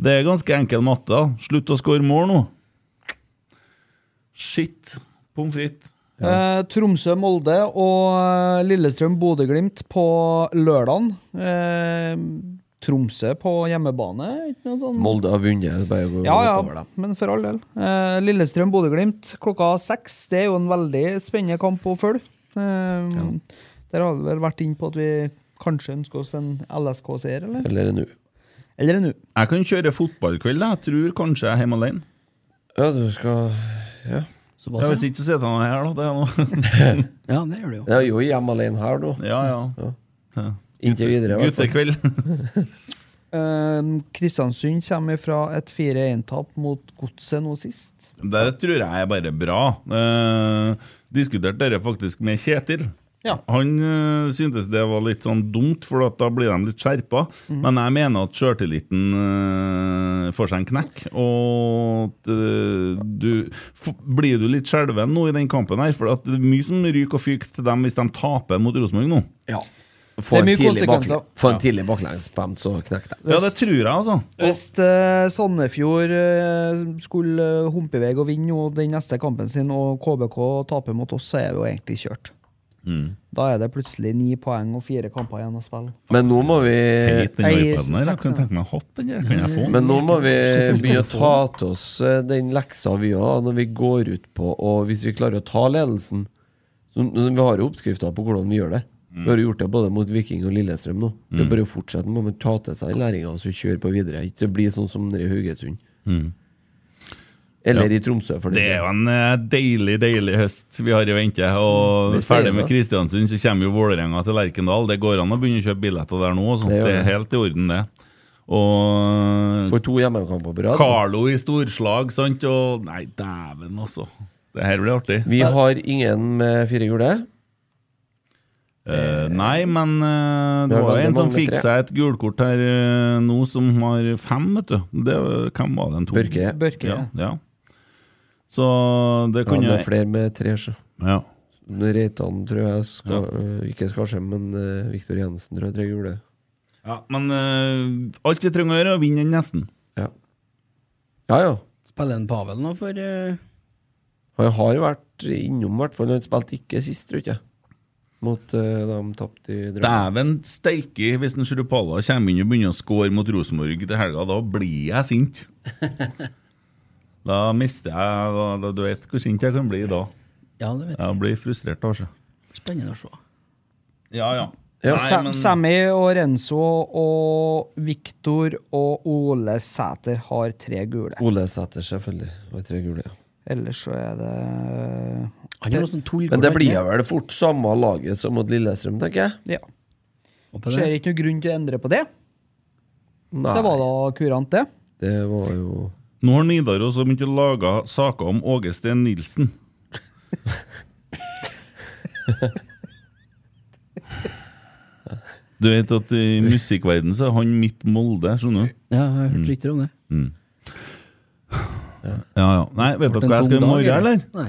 Det er ganske enkel matte. da. Slutt å skåre mål nå. Shit. Pommes frites. Eh, Tromsø-Molde og Lillestrøm-Bodø-Glimt på lørdagen. Eh, Tromsø på hjemmebane, ikke noe sånn Molde har vunnet. det er Bare å gå Ja, oppover ja, dem. men for all del. Eh, Lillestrøm-Bodø-Glimt klokka seks. Det er jo en veldig spennende kamp å følge. Eh, Der har vi vel vært inne på at vi kanskje ønsker oss en LSK-seier, eller? Eller en U. Eller en U. Jeg kan kjøre fotballkveld. Jeg tror kanskje jeg er hjemme alene. Ja, du skal Ja. Ja, hvis ikke, så sitter han her, da. Det er noe. Ja, det gjør du jo. Jeg er jo hjemme alene her nå. Ja, ja. Inntil videre. i hvert fall. Guttekveld. Eh, Kristiansund kommer fra et 4-1-tap mot Godset nå sist. Det tror jeg er bare bra. Eh, diskuterte dette faktisk med Kjetil. Ja. Han eh, syntes det var litt sånn dumt, for at da blir de litt skjerpa. Mhm. Men jeg mener at sjøltilliten eh, får seg en knekk. Og at eh, du f Blir du litt skjelven nå i den kampen her? For at det er mye som ryker og fyker til dem hvis de taper mot Rosenborg nå. Ja. Det Få er en mye tidlig konsekvenser. bakle- få en tidlig baklengspem, så knekk det. Ja, det tror jeg, altså. Hvis eh, Sandefjord eh, skulle eh, humpe i vei og vinne nå den neste kampen sin, og KBK taper mot oss, så er vi jo egentlig kjørt. Mm. Da er det plutselig ni poeng og fire kamper igjen å spille. Men nå må vi Teit, den Jeg gir iPaden her. Jeg kunne tenke meg å ha den der. Kan jeg få den? Men nå må vi Selvfølgelig begynne å kan du ta få til oss eh, den leksa vi har når vi går ut på Og hvis vi klarer å ta ledelsen så, Vi har jo oppskrifter på hvordan vi gjør det. Vi har jo gjort det både mot Viking og Lillestrøm nå. Det er Mm. bare å fortsette med å ta til seg læringa og så kjøre på videre. Ikke bli sånn som nede i Haugesund. Mm. Eller Ja. i Tromsø, for Det er den del. jo en eh, deilig deilig høst vi har i vente. Og Mm, Vi skal ferdig gjøre med det. Kristiansund, så kommer jo Vålerenga til Lerkendal. Det går an å begynne å kjøpe billetter der nå. altså. Det gjør Det er det. helt i orden, det. Og eh, For to hjemmekamper på rad. Carlo i storslag, sant? Og Nei, dæven, altså. Det her blir artig. Vi har ingen med fire gule. Eh, nei, men eh, det Det er var veldig en som mange fikk tre. seg et gulkort her eh, nå, som har fem, vet du. Det, hvem var den? To? Børke. Børke, ja. ja. ja. Så det kunne ja, det er flere med tre, så. Ja. Reitan tror jeg skal, øh, ikke skal skje, men øh, Viktor Jensen tror jeg tre gule. Ja, men eh, alt vi trenger å gjøre, er å vinne den nesten. Ja, ja. Spiller en Pavel nå for eh, Han har jo vært innom, i hvert fall. Han spilte ikke sist, tror jeg. Mot Eh, øh, da de tapte i Drømmen. Dæven steike, hvis en Sjurupala kommer inn og begynner å score mot Rosenborg til helga, da blir jeg sint. Da mister jeg da, da, Du vet hvor sint jeg kan bli da. Ja, det vet jeg. Jeg blir frustrert, altså. Spennende å se. Ja, ja. Ja, Nei, Sam, men- Sammy og Renzo og Viktor og Ole Sæter har tre gule. Ole Sæter, selvfølgelig. Og tre gule, ja. Ellers så er det eh, Han er jo sånn tull- Men det blir vel fort samme laget som mot Lillestrøm, tenker jeg. Ja. det. Ser ikke noe grunn til å endre på det. Nei. Det var da kurant, det. Det var jo Nå har Nidaros så mye laga saker om Åge Steen Nilsen. Du vet at i musikkverdenen så er han mitt Molde, skjønner du? Ja, jeg har hørt rykter om det. Mm. Ja, ja. Nei, vet Ble dere det en hva jeg skal tom i dag, morgen, eller? Nei.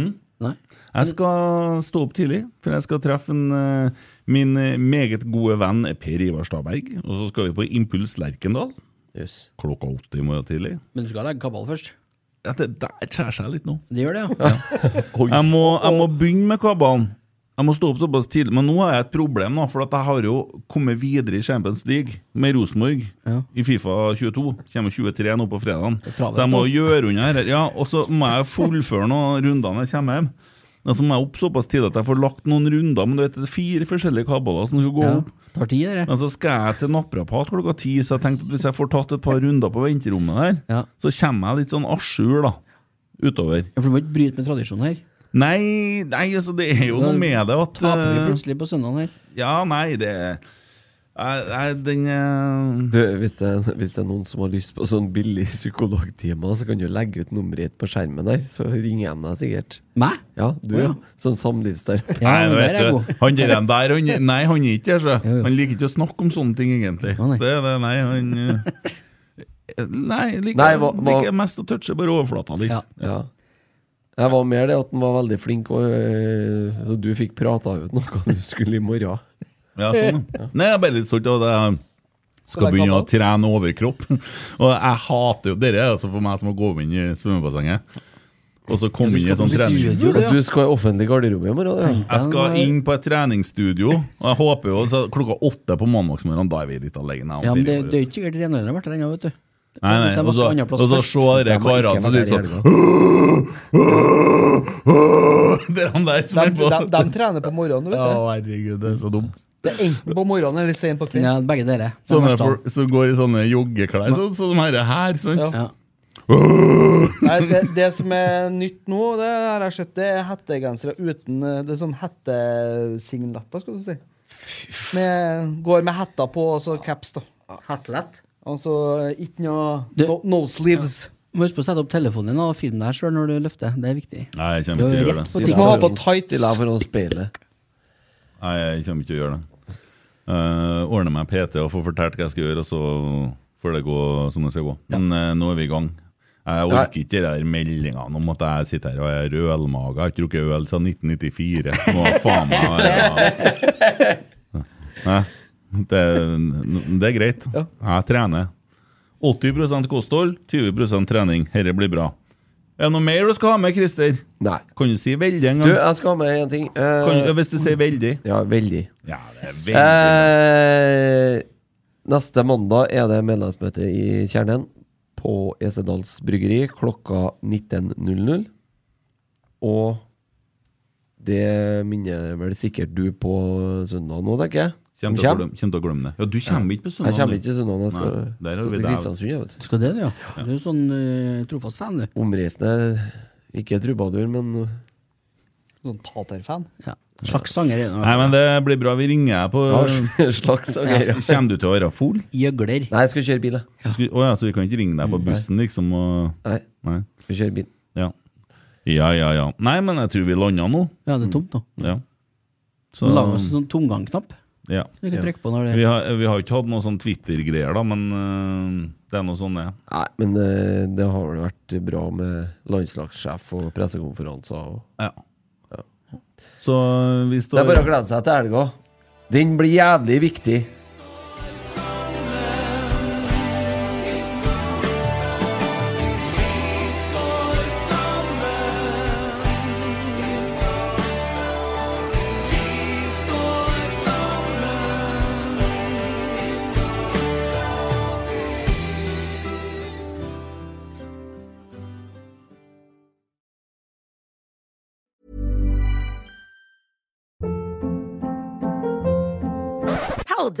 Mm? Nei. Jeg skal stå opp tidlig, for jeg skal treffe en, eh, min eh, meget gode venn eh, Per Ivar Staberg. Og så skal vi på Impuls Lerkendal klokka åtte i morgen tidlig. Men du skal legge kabal først? Ja, det der skjærer seg litt nå. Det gjør det, ja. Jeg må, jeg må begynne med kabalen. Jeg må stå opp såpass tidlig, men nå har jeg et problem, da, for at jeg har jo kommet videre i Champions League med Rosenborg i Fifa 22. Kommer 23 nå på fredagen. travelt, Så jeg må da. gjøre unna her. Ja, og så må jeg fullføre noen runder når jeg kommer hjem. Og så må jeg opp såpass tidlig at jeg får lagt noen runder, men du vet, det er fire forskjellige kabaler som skal gå Ja, opp. Tar tid, det. Men så skal jeg til naprapat klokka ti, så jeg tenkte at hvis jeg får tatt et par runder på venterommet der, så kommer jeg litt sånn à jour, da. Utover. Ja, for du må ikke bryte med tradisjonen her. Nei, nei altså det er jo Da noe med det at Taper vi eh, plutselig på søndagen her? Ja, nei, det Nei, nei, den eh, Du, hvis, det, er- hvis det er noen som har lyst på sånn billig psykologtime, så kan du legge ut nummeret ditt på skjermen der, så ringer jeg deg sikkert. Meg? Ja, du, Å, ja. ja. Sånn samlivsterapeut. Nei, vet du, han der, han der han, Nei, han er ikke der, så. Han liker ikke å snakke om sånne ting, egentlig. Det, er det, nei, han eh, Nei, liker, Nei, hva- hva- liker mest å touche bare liksom. overflata litt. Ja. Jeg var mer det at han var veldig flink, og øh, så du fikk prata ut noe du skulle i morgen. Ja, sånn. ja. Nei, jeg er bare litt stolt av det. Jeg Skal Skal det begynne å gammel? trene overkropp. Og jeg hater jo Dere er altså for meg som har gått inn i svømmebassenget. Og så komme inn i en sånn trening. Og du skal i offentlig garderobe i morgen. ja. Jeg skal inn på et treningsstudio, og jeg håper jo så klokka åtte på mandagsmorgen Da er vi litt alene. Ja, men det, det er jo ikke sikkert renholderen har vært der ennå, vet du. Nei, nei, Hvis de og så, vasker andre plass og så først. se dere karene som sitter sånn Det er han der som De, er på de, de trener på morgenen, du vet Å, du. herregud, det er så dumt. Det er enten på morgenen eller sent på kvelden. Ja, begge dere. Sånne folk som går i sånne joggeklær, sånn som de her, her, sant? Ja. Nei, det, det som er nytt nå, det har jeg sett, det er hettegensere uten eh, Det er sånn hettesignetter, skal du si. Med, går med hetta på og så caps, da. Hattelett? Altså ikke noe Du- no, no sleeves. Må huske å sette opp telefonen din og filme deg sjøl når du løfter. Det er viktig. Nei, jeg kommer ikke til å gjøre det. Du må ha på tights. Stille deg foran speilet. Nei, jeg kommer ikke til å gjøre det. Uh, ordne meg PT og få fortalt hva jeg skal gjøre, og så får det gå som det skal gå. Men eh, nå er vi i gang. Jeg orker ikke de der meldingene om at jeg sitter her og er rødmage. Jeg har ikke drukket øl siden 1994. Må faen meg være Nei, det, det er greit. Jeg trener. 80 kosthold, 20 trening. Dette blir bra. Er det noe mer du skal ha med, Christer? Nei. Kan du si veldig en gang? Du, jeg skal ha med en ting. eh, Kan du- hvis du sier veldig. Ja, veldig. Ja, det er Eh, neste mandag er det medlemsmøte i Kjernen på Esedals Bryggeri klokka 19.00. Og det minner vel sikkert du på søndag nå, tenker jeg. Som Kjem til å glem- kjem til å glemme det. Ja, du kommer ikke på søndag, Jeg kommer du. ikke søndag. Jeg skal, Nei, der er skal vi til der. Kristiansund, jeg, vet Du skal det, du, ja. Du er jo sånn eh, trofast fan, du. Omreisende. Ikke trubadur, men Sånn taterfan. Ja. Slags sanger er det nå. Nei, men det blir bra. Vi ringer deg på Ja, slags sanger, ja. Kommer du til å være full? Gjøgler. Nei, jeg skal kjøre bil, jeg. Du skal- Å ja, så vi kan ikke ringe deg på bussen, liksom? Og... Nei. Vi kjører bil. Ja. ja, ja, ja. Nei, men jeg tror vi landa nå. Ja, det er tomt nå. Ja. Så- Lag oss en sånn tomgangknapp. Ja. Så vi kan trykke på når det- vi, har, vi har ikke hatt noe sånn Twitter-greier, da, men eh, det er noe sånn det er. Nei, men eh, det har vel vært bra med landslagssjef og pressekonferanser. Og, ja. Så eh, vi Det står er bare å glede seg til helga. Den blir jævlig viktig. Hold